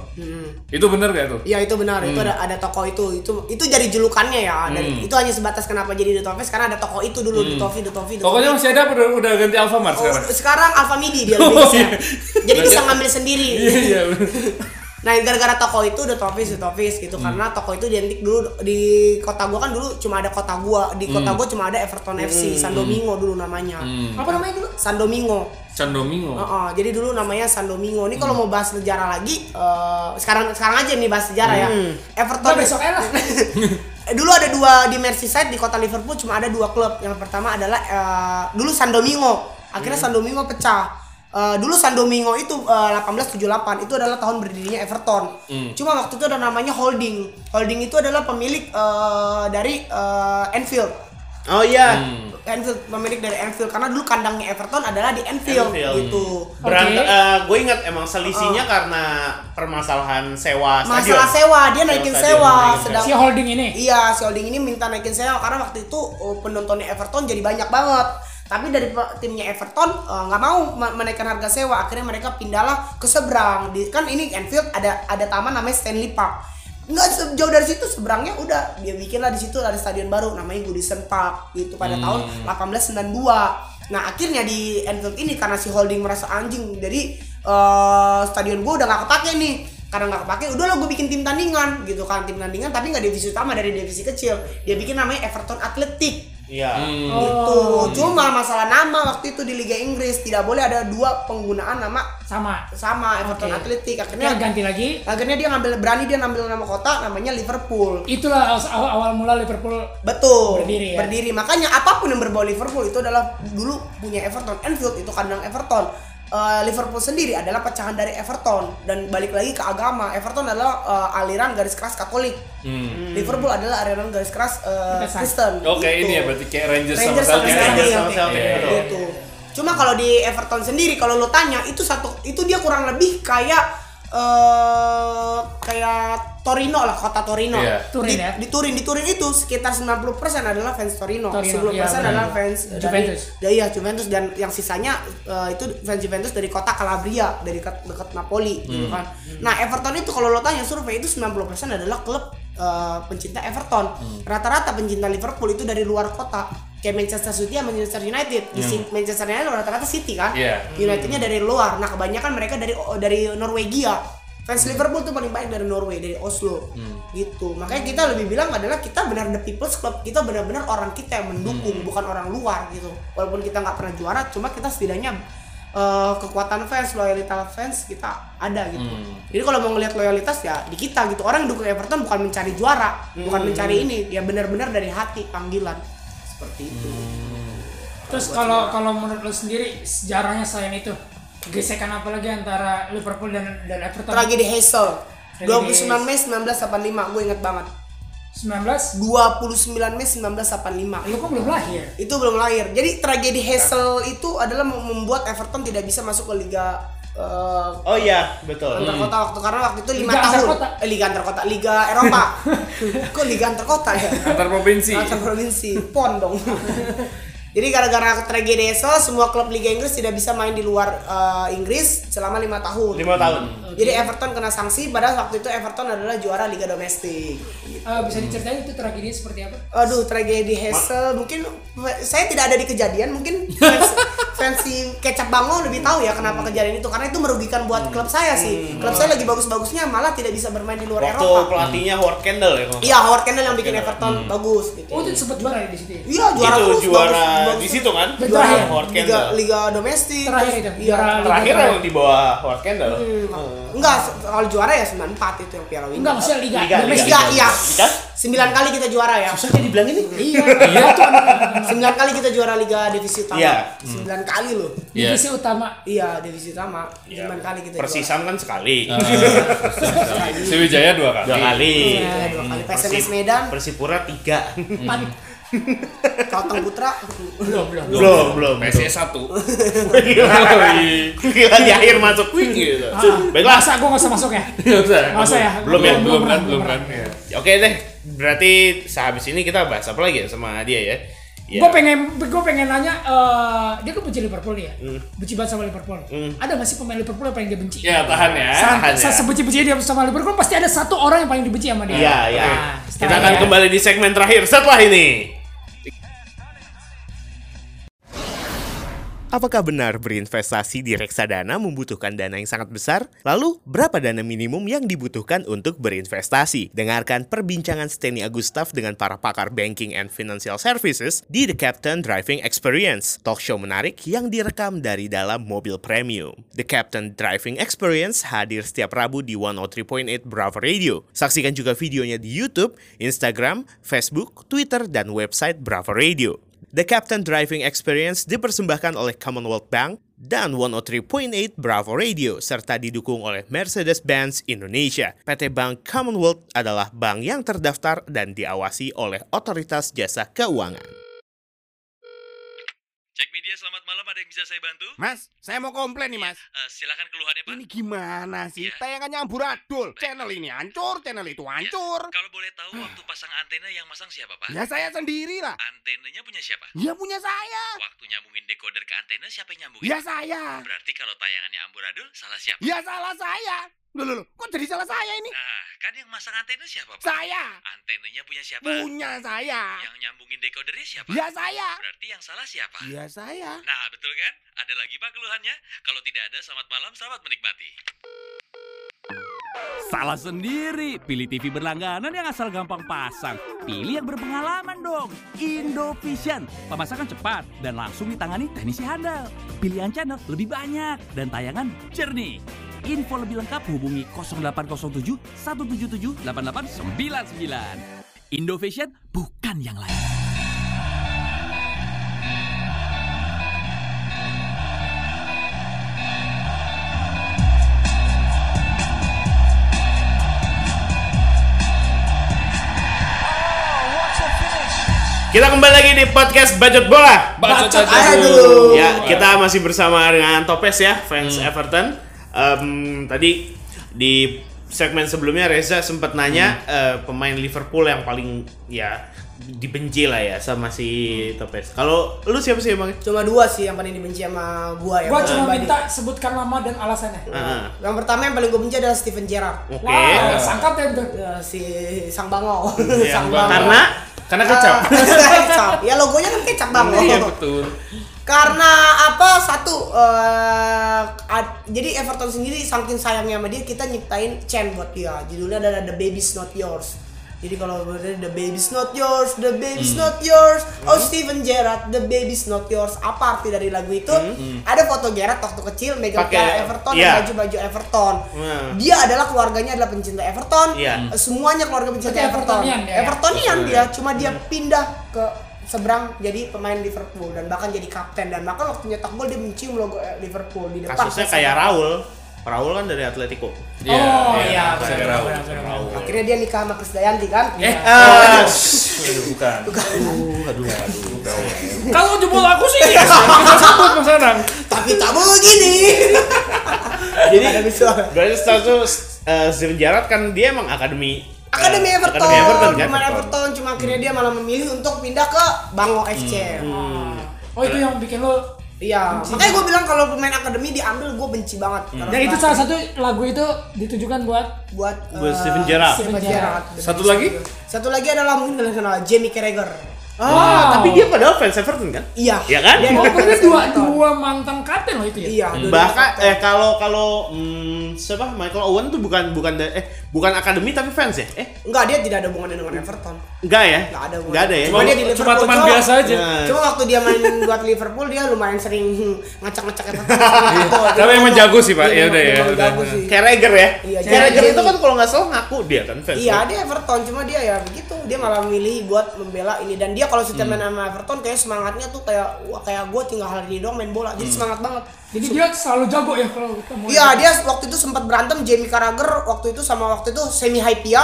B: Itu bener gak tuh?
M: Hmm. Iya itu benar,
B: Hmm.
M: itu ada ada toko itu. Itu itu jadi julukannya ya. Dari, Itu hanya sebatas kenapa jadi The Toffees karena ada toko itu dulu The Toffee, The Toffee, The
B: Hmm. Tokonya
M: Toffee.
B: masih ada apa udah, udah ganti Alfamart
M: Oh,
B: sekarang?
M: sekarang Alfa Midi dia
B: Oh,
M: lebih bisa.
B: iya.
M: Jadi bisa
B: Berarti-
M: ngambil sendiri.
B: Iya, iya. bener.
M: Nah, gara-gara toko itu udah topis, udah topis gitu. Karena toko itu identik dulu di kota gua kan dulu cuma ada kota gua. Di kota gua cuma ada Everton FC, San Domingo dulu namanya.
C: Apa namanya dulu?
M: San Domingo.
B: Candomingo.
M: Heeh, jadi dulu namanya San Domingo. Ini kalau mau bahas sejarah lagi, eh, sekarang sekarang aja nih bahas sejarah ya.
A: Hmm.
M: Everton
C: Nggak, besok aja lah.
M: dulu ada dua di Merseyside di kota Liverpool cuma ada dua klub. Yang pertama adalah eh, dulu San Domingo. Akhirnya
A: Hmm.
M: San Domingo pecah. Eh, dulu San Domingo itu eh, 1878 itu adalah tahun berdirinya Everton.
A: Hmm.
M: Cuma waktu itu ada namanya holding. Holding itu adalah pemilik eh, dari eh, Anfield.
B: Hmm.
A: Oh iya.
M: Anfield pemilik dari Anfield karena dulu kandangnya Everton adalah di Anfield,
A: Anfield.
M: gitu.
A: Iya, Berant- eh, gue ingat emang selisihnya karena permasalahan sewa stadion.
M: Oh. Masalah sewa, dia naikin
A: stadion,
M: sewa,
A: naikin
M: sedang
C: Si holding ini?
M: Iya, si holding ini minta naikin sewa karena waktu itu uh, penontonnya Everton jadi banyak banget. Tapi dari pe- timnya Everton uh, nggak mau ma- menaikkan harga sewa, akhirnya mereka pindahlah ke seberang. Di, kan ini Anfield ada ada taman namanya Stanley Park. Nggak se- jauh dari situ seberangnya udah dia bikinlah di situ ada stadion baru namanya Goodison Park gitu pada
P: Hmm.
M: tahun 1892. Nah akhirnya di Anfield ini karena si holding merasa anjing jadi eh, stadion gue udah nggak kepake nih karena nggak kepake udah lo gue bikin tim tandingan gitu kan tim tandingan tapi nggak divisi utama dari divisi kecil dia bikin namanya Everton Athletic
A: Iya.
M: gitu
C: Oh,
M: cuma masalah nama waktu itu di Liga Inggris tidak boleh ada dua penggunaan nama
C: sama
M: sama Everton Athletic
C: Dia
M: akhirnya
C: ganti lagi
M: akhirnya dia ngambil berani dia ngambil nama kota namanya Liverpool
C: Itulah awal, awal mula Liverpool
M: Betul.
C: Berdiri ya?
M: Berdiri. Makanya apapun yang berbau Liverpool itu adalah dulu punya Everton. Anfield itu kandang Everton. Eh, Liverpool sendiri adalah pecahan dari Everton dan balik lagi ke agama. Everton adalah eh, aliran garis keras Katolik.
B: Hmm.
M: Liverpool adalah aliran garis keras eh,
C: Protestan.
M: Kristen.
B: Oke
M: Gitu.
B: ini ya berarti kayak Rangers,
M: Rangers
B: sama
M: sama
B: Celtic.
M: Celtic.
B: Iya.
M: Gitu. Cuma kalau di Everton sendiri kalau lo tanya itu satu itu dia kurang lebih kayak eh kayak Torino lah kota Torino.
P: Iya.
M: di,
C: ya?
M: di Turin, di Turin itu sekitar 90% adalah fans Torino,
C: Torino,
M: 10%
C: iya, benar.
M: adalah fans dari-
C: Juventus.
M: ya iya Juventus dan yang sisanya eh, itu fans Juventus dari kota Calabria dari dekat, dekat Napoli gitu
P: Hmm.
M: kan. Nah, Everton itu kalau lo tanya survei itu 90% adalah klub eh, pencinta Everton.
P: Hmm.
M: Rata-rata pencinta Liverpool itu dari luar kota. Kayak Manchester City sama Manchester United. Di
P: Hmm.
M: City- Manchester United rata-rata City kan.
P: Iya.
M: Unitednya dari luar. Nah, kebanyakan mereka dari dari Norwegia. Fans Liverpool tuh paling banyak dari Norway, dari Oslo gitu makanya kita lebih bilang adalah kita benar the people's club kita benar-benar orang kita yang mendukung bukan orang luar gitu walaupun kita nggak pernah juara cuma kita setidaknya eh, kekuatan fans loyalitas fans kita ada
H: Hmm.
M: gitu jadi kalau mau ngelihat loyalitas ya di kita gitu orang yang dukung Everton bukan mencari juara bukan
C: Hmm.
M: mencari ini ya benar-benar dari hati panggilan Hmm. seperti itu
C: Terus kalau kalau menurut lo sendiri sejarahnya selain itu gesekan apa lagi antara Liverpool dan dan Everton?
M: tragedi Hazel
C: Tragedi
M: 29 Mei 1985 gue inget banget
C: 19
M: 29 Mei 1985
C: Lu kok belum lahir?
M: itu belum lahir jadi tragedi Hazel itu adalah mem- membuat Everton tidak bisa masuk ke liga eh,
A: Oh iya, betul.
M: antar kota waktu karena waktu itu lima
C: Liga antar
M: tahun
C: kota.
M: Eh, liga antar kota liga Eropa kok liga antar kota ya
B: Antar provinsi.
M: antar provinsi pon dong jadi gara-gara tragedi Hazel semua klub liga Inggris tidak bisa main di luar eh, Inggris selama lima tahun
A: Lima tahun.
M: jadi Everton kena sanksi padahal waktu itu Everton adalah juara liga domestik
C: Eh, bisa diceritain itu tragedinya seperti apa?
M: Aduh, tragedi Hazel. Mungkin saya tidak ada di kejadian. Mungkin fans, fans si kecap Bango lebih tahu ya kenapa kejadian itu. Karena itu merugikan buat klub saya sih. Klub saya lagi bagus-bagusnya malah tidak bisa bermain di luar
A: Waktu
M: Eropa. Hmm.
A: pelatihnya Howard Kendall ya. kalau nggak
M: Iya,
A: salah.
M: Howard Kendall yang bikin
A: Kendall. Hmm.
M: Everton bagus gitu.
C: Oh, itu sempat juara ya di situ. ya?
M: Iya, juara
A: itu
M: terus,
A: juara
M: bagus, bagus.
A: di situ kan?
M: Dan
A: Juara
M: terakhir,
A: Howard
M: Liga,
A: Kendall.
M: Liga domestik.
C: Terakhir
M: terus-
C: itu,
M: Iya.
C: juara Liga
A: Terakhir yang di bawah Howard Kendall. Hmm.
M: Enggak, kalau juara ya 94 itu yang Piala Winner.
C: Enggak, maksudnya Liga.
M: Liga,
C: Domestik.
M: Liga, iya.
A: Liga?
M: 9 kali kita juara ya. Susah
A: kayak dibilang ini.
M: Iya.
B: Iya.
M: tuh. 9 kali kita juara Liga divisi utama.
A: Iya.
M: 9 kali loh.
B: Iya. Divisi
C: utama.
M: Iya, divisi utama. 9 kali kita
A: Persisan kan sekali.
B: Sriwijaya dua kali.
A: Dua kali.
M: Iya, dua kali. PSMS
A: Persib-
M: Medan.
A: Persipura tiga.
M: juara. Kalteng Putra. Belum, belum.
A: belum belum
B: PSIS satu.
A: Gila di akhir masuk wing gitu.
C: Ah,
A: Baiklah.
C: masa gue gak usah masuk ya?
B: Nggak usah.
C: Nggak usah ya?
A: Belum ya?
B: Belum kan? Belum kan? Iya.
A: Oke deh. Berarti sehabis ini kita bahas apa lagi ya sama dia ya? Ya.
C: Gue pengen gue pengen nanya eh, dia kan benci Liverpool ya?
A: Hmm.
C: Benci banget sama Liverpool. Ada gak sih pemain Liverpool yang paling dia benci?
B: Ya, tahan ya,
C: Sa-
A: Iya, tahan
C: sa-
A: ya.
C: Sebenci-bencinya dia sama Liverpool pasti ada satu orang yang paling dibenci sama dia.
A: Iya, iya.
C: Nah,
A: Kita
C: setelah
A: akan
C: ya.
A: kembali di segmen terakhir setelah ini. Apakah benar berinvestasi di reksadana membutuhkan dana yang sangat besar? Lalu, berapa dana minimum yang dibutuhkan untuk berinvestasi? Dengarkan perbincangan Steny Agustaf dengan para pakar banking and financial services di The Captain Driving Experience, talk show menarik yang direkam dari dalam mobil premium. The Captain Driving Experience hadir setiap Rabu di 103.8 Bravo Radio. Saksikan juga videonya di YouTube, Instagram, Facebook, Twitter, dan website Bravo Radio. The Captain Driving Experience dipersembahkan oleh Commonwealth Bank dan 103.8 Bravo Radio serta didukung oleh Mercedes-Benz Indonesia. PT Bank Commonwealth adalah bank yang terdaftar dan diawasi oleh Otoritas Jasa Keuangan.
I: Cek media selamat malam ada yang bisa saya bantu?
J: Mas, saya mau komplain nih mas.
I: Eh, silakan keluhannya Pak. Iya.
J: Ini gimana sih? Tayangannya amburadul. Channel ini hancur, channel itu hancur. Ah,
I: Kalau boleh tahu waktu pasang antena yang masang siapa Pak?
J: Ya saya sendiri lah.
I: Antenanya punya siapa?
J: Ya punya saya.
I: Waktu nyambungin decoder ke antena siapa yang nyambungin?
J: Ya saya.
I: Berarti kalau tayangannya amburadul salah siapa?
J: Ya salah saya. Loh, loh, loh, kok jadi salah saya ini?
I: iya. Nah, kan yang masang antena siapa Pak?
J: Saya.
I: Antenanya punya siapa?
J: Punya saya.
I: Yang nyambungin decodernya siapa?
J: Ya saya.
I: Berarti yang salah siapa?
J: Ya saya.
I: Nah, betul kan? Ada lagi Pak keluhannya? Kalau tidak ada, selamat malam, selamat menikmati.
G: Salah sendiri, pilih TV berlangganan yang asal gampang pasang. Pilih yang berpengalaman dong, Indovision. Pemasakan cepat dan langsung ditangani teknisi handal. Pilihan channel lebih banyak dan tayangan jernih. Info lebih lengkap hubungi 0807 177 8899. Indovision bukan yang lain.
A: Kita kembali lagi di podcast Bacot Bola.
B: Bacot Bacot aja aja dulu. dulu.
A: Ya, kita masih bersama dengan Topes ya, fans Everton. Em, tadi di segmen sebelumnya Reza sempat nanya eh, pemain Liverpool yang paling ya dibenci lah ya sama si Topes. Kalau lu siapa sih emang?
M: Cuma dua sih yang paling dibenci sama gua ya.
C: Gua
M: gua
C: cuma
M: pribadi.
C: minta sebutkan nama dan alasannya.
A: Heeh.
M: Yang pertama yang paling gue benci adalah Steven Gerrard.
A: Oke. Iya.
C: Wah, sangkat ya itu.
M: Ya, si Sang Bangau.
B: Iya,
A: Ya,
M: Sang Bangau.
A: karena karena kecap.
M: Ah, kecap. Ya logonya kan kecap Bangau.
B: Iya betul.
M: Karena apa satu eh, ad- jadi Everton sendiri saking sayangnya sama dia kita nyiptain chant buat dia. Judulnya adalah The Baby's Not Yours. Jadi kalau berarti The Baby's Not Yours, The Baby's
A: Hmm.
M: Not Yours, Oh Steven Gerrard, The Baby's Not Yours. Apa arti dari lagu itu? Ada foto Gerrard waktu kecil megang
A: Hmm. Pakai-
M: piala Everton
A: iya.
M: dan baju-baju Everton.
A: Hmm.
M: Dia adalah keluarganya adalah pencinta Everton.
A: Iya.
M: Eh, Semuanya keluarga pencinta
C: Berarti
M: Everton.
C: Evertonian dia ya?
M: Evertonian dia, cuma dia pindah ke seberang jadi pemain Liverpool dan bahkan jadi kapten dan bahkan waktu nyetak gol dia mencium logo eh, Liverpool di depan.
A: Kasusnya kayak
M: Raul.
A: Raul. Raul kan dari Atletico.
C: Oh,
B: Iya,
C: iya,
B: saya
C: benar,
B: Raul.
C: benar, benar.
A: Raul.
M: Akhirnya dia nikah sama Krisdayanti kan?
B: Eh,
A: Ah,
B: Aduh, bukan.
A: aduh, aduh, aduh.
B: Kalau jempol aku sih, kita sebut Mas Anang. Iya,
M: Tapi tak begini.
A: Jadi
M: Ada suara.
A: berarti status eh, Steven Gerrard kan dia emang akademi eh,
M: Akademi Everton,
A: akademi Everton kan? Hmm.
M: pemain Everton, cuma akhirnya dia malah memilih untuk pindah ke Bango
B: Hmm.
M: FC.
A: Hmm.
C: Oh itu yang bikin lo
M: Iya, makanya gue bilang kalau pemain akademi diambil gue benci banget.
C: Hmm. Dan itu salah satu lagu itu ditujukan buat
M: buat
A: Buat
M: eh,
A: Steven Gerrard.
M: Steven Gerrard.
B: Satu lagi?
M: Satu lagi adalah mungkin kalian kenal Jamie Carragher.
A: Ah, tapi dia padahal fans Everton kan?
M: Iya.
A: Iya kan?
M: Dia
C: Oh,
M: adalah
C: berarti dua
M: Everton.
C: dua mantan kapten lo itu ya?
M: Iya. dua-dua
A: Bahkan
M: kapten.
A: eh kalau kalau hmm, siapa Michael Owen tuh bukan bukan da- eh bukan akademi tapi fans ya? Eh
M: enggak dia tidak ada hubungannya dengan Everton.
A: enggak ya?
M: Enggak ada hubungannya.
A: Enggak ada ya?
B: Cuma,
M: dia di
B: cuma
M: Liverpool
B: teman
M: doang.
B: biasa aja.
A: Nah.
M: Cuma waktu dia main buat Liverpool dia lumayan sering hmm, ngacak-ngacak Everton. Betul, dia
B: Tapi emang
M: ngomong.
B: jago sih, Pak.
M: Iya,
B: Ya udah,
M: memang
B: ya udah.
M: jago sih.
A: Carragher ya?
M: Iya,
A: Carragher
M: Carragher.
A: itu kan kalau nggak salah ngaku dia kan fans.
M: Iya,
A: kan?
M: dia Everton cuma dia ya begitu. Dia malah milih buat membela ini dan dia kalau setiap
A: Hmm.
M: main sama Everton kayak semangatnya tuh kayak wah kayak gue tinggal hari ini doang main bola. Jadi
A: Hmm.
M: semangat banget.
C: Jadi dia selalu jago ya kalau ketemu.
M: Iya, dia waktu itu sempat berantem Jamie Carragher waktu itu sama waktu itu Semi Hypia.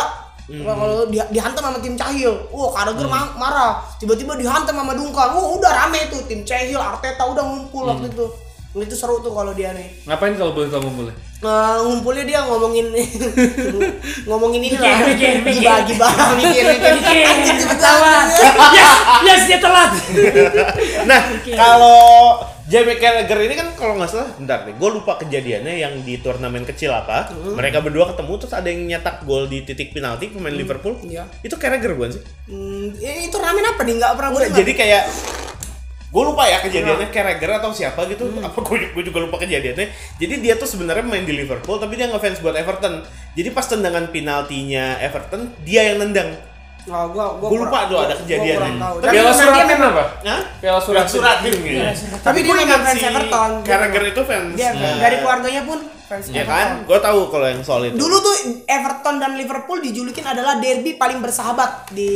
A: Hmm.
M: Wah, Kalau di, dihantam sama tim Cahil, wah Carragher ma- marah. Tiba-tiba dihantam sama Dungkan, wah udah rame tuh tim Cahil, Arteta udah ngumpul
A: Hmm.
M: waktu itu. Itu seru tuh kalau dia nih.
B: Ngapain kalau boleh kamu boleh?
M: Eh, ngumpulnya dia ngomongin ngomongin ini lah
C: Mikir, mikir, mikir.
M: bagi bagi mikir mikir
C: Mikir,
M: Anjing, cepet
C: ketahuan.
M: banget.
C: Yes, yes dia telat.
A: Nah, kalau Jamie Carragher ini kan kalau nggak salah, bentar deh, gue lupa kejadiannya yang di turnamen kecil apa. Mereka berdua ketemu terus ada yang nyetak gol di titik penalti pemain Liverpool.
M: iya.
A: Itu Carragher bukan sih?
M: Hmm, ini itu ramen apa nih nggak pernah gue dengar.
A: Jadi kayak gue lupa ya kejadiannya
M: Iya.
A: Carragher atau siapa gitu. Apa gue gue juga lupa kejadiannya. Jadi dia tuh sebenarnya main di Liverpool tapi dia ngefans buat Everton. Jadi pas tendangan penaltinya Everton, dia yang nendang.
M: Nah, gua, gua
A: Gue lupa
M: kurang-
A: tuh ada
M: gua- gua
A: kejadiannya.
M: kurang tahu.
A: Tapi
M: Dan
B: Piala
M: karena dia
B: suratin
M: memang-
B: apa?
A: Hah?
B: Piala
A: Surat
B: suratin.
A: suratin gitu.
M: Tapi dia
A: Gua
M: memang
A: ingat
M: fans Everton. Dia
A: Carragher
M: memang-
A: itu fans.
M: Dia
A: eh,
M: dari keluarganya pun fans
C: Iya
A: Ya
M: Everton.
A: kan, gue tahu kalau yang soal itu.
M: Dulu tuh Everton dan Liverpool dijulukin adalah derby paling bersahabat di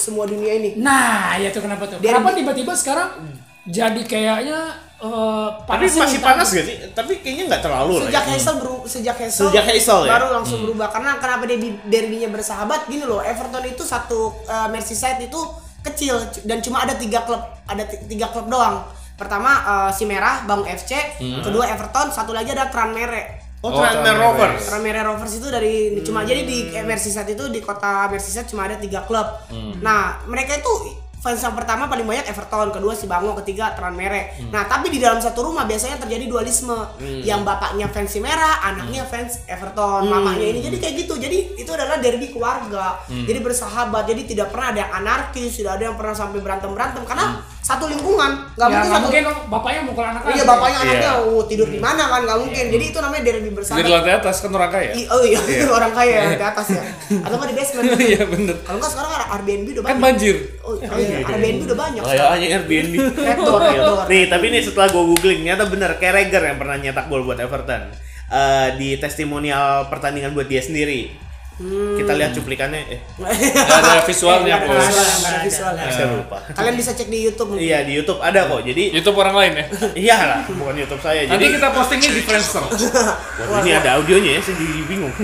M: semua dunia ini.
C: Nah, ya tuh kenapa tuh?
M: Dia-
C: Kenapa tiba-tiba sekarang jadi kayaknya eh,
A: tapi
C: panasnya
A: masih
C: minta-
A: panas gak sih? Tapi kayaknya nggak terlalu lah.
M: Sejak
A: Ya.
M: Hazel beru- sejak Hazel,
A: Sejak Hazel, ya?
M: baru langsung berubah karena kenapa derby derbynya bersahabat gini loh. Everton itu satu eh, Merseyside itu kecil c- dan cuma ada tiga klub, ada ti- tiga klub doang. Pertama eh, si Merah, Bang FC,
A: Hmm.
M: kedua Everton, satu lagi ada Tranmere.
A: Oh, Oh, Tranmere Hmm. Tranmere. Rovers.
M: Tranmere Rovers itu dari cuma jadi di eh, Merseyside itu di kota Merseyside cuma ada tiga klub.
E: Hmm.
M: Nah, mereka itu fans yang pertama paling banyak Everton, kedua si Bango, ketiga Tranmere.
E: Hmm.
M: Nah, tapi di dalam satu rumah biasanya terjadi dualisme
E: Hmm.
M: yang bapaknya fans si Merah, anaknya fans Everton,
E: Hmm.
M: mamanya ini. Jadi kayak gitu. Jadi itu adalah derby keluarga.
E: Hmm.
M: Jadi bersahabat. Jadi tidak pernah ada yang anarkis, tidak ada yang pernah sampai berantem-berantem karena satu lingkungan.
C: Ya,
M: Nggak
C: nggak
M: mungkin satu
C: mungkin bapaknya mukul anaknya.
M: Iya, bapaknya
B: Iya.
M: anaknya oh, tidur di mana kan nggak mungkin. Jadi itu namanya derby
B: Jadi di
M: bersahabat.
B: lantai atas kan orang kaya.
M: I- oh iya,
B: Iya.
M: orang kaya
B: Iya.
M: di atas ya. Atau nggak di basement.
B: Iya bener.
M: Kalau nggak sekarang Airbnb udah banyak.
B: Kan banjir.
M: Oh, iya, Airbnb udah banyak.
A: Kayaknya Oh, iya, Airbnb.
M: Rektor, rektor.
A: nih, tapi nih setelah gue googling, ternyata bener Carragher yang pernah nyetak gol buat Everton. Eh, di testimonial pertandingan buat dia sendiri.
M: Hmm.
A: Kita lihat cuplikannya. Eh.
B: Nggak ada visualnya,
A: Nggak ada
B: Bos.
A: visualnya, nggak ada
M: Ada visualnya.
A: Saya lupa.
M: Kalian bisa cek di YouTube. mungkin.
A: Iya, di YouTube ada kok. Jadi
B: YouTube orang lain ya?
A: Iya lah, bukan YouTube saya.
B: Nanti
A: Jadi
B: kita postingnya di Friendster.
A: Waduh, ini ada audionya ya, saya jadi bingung.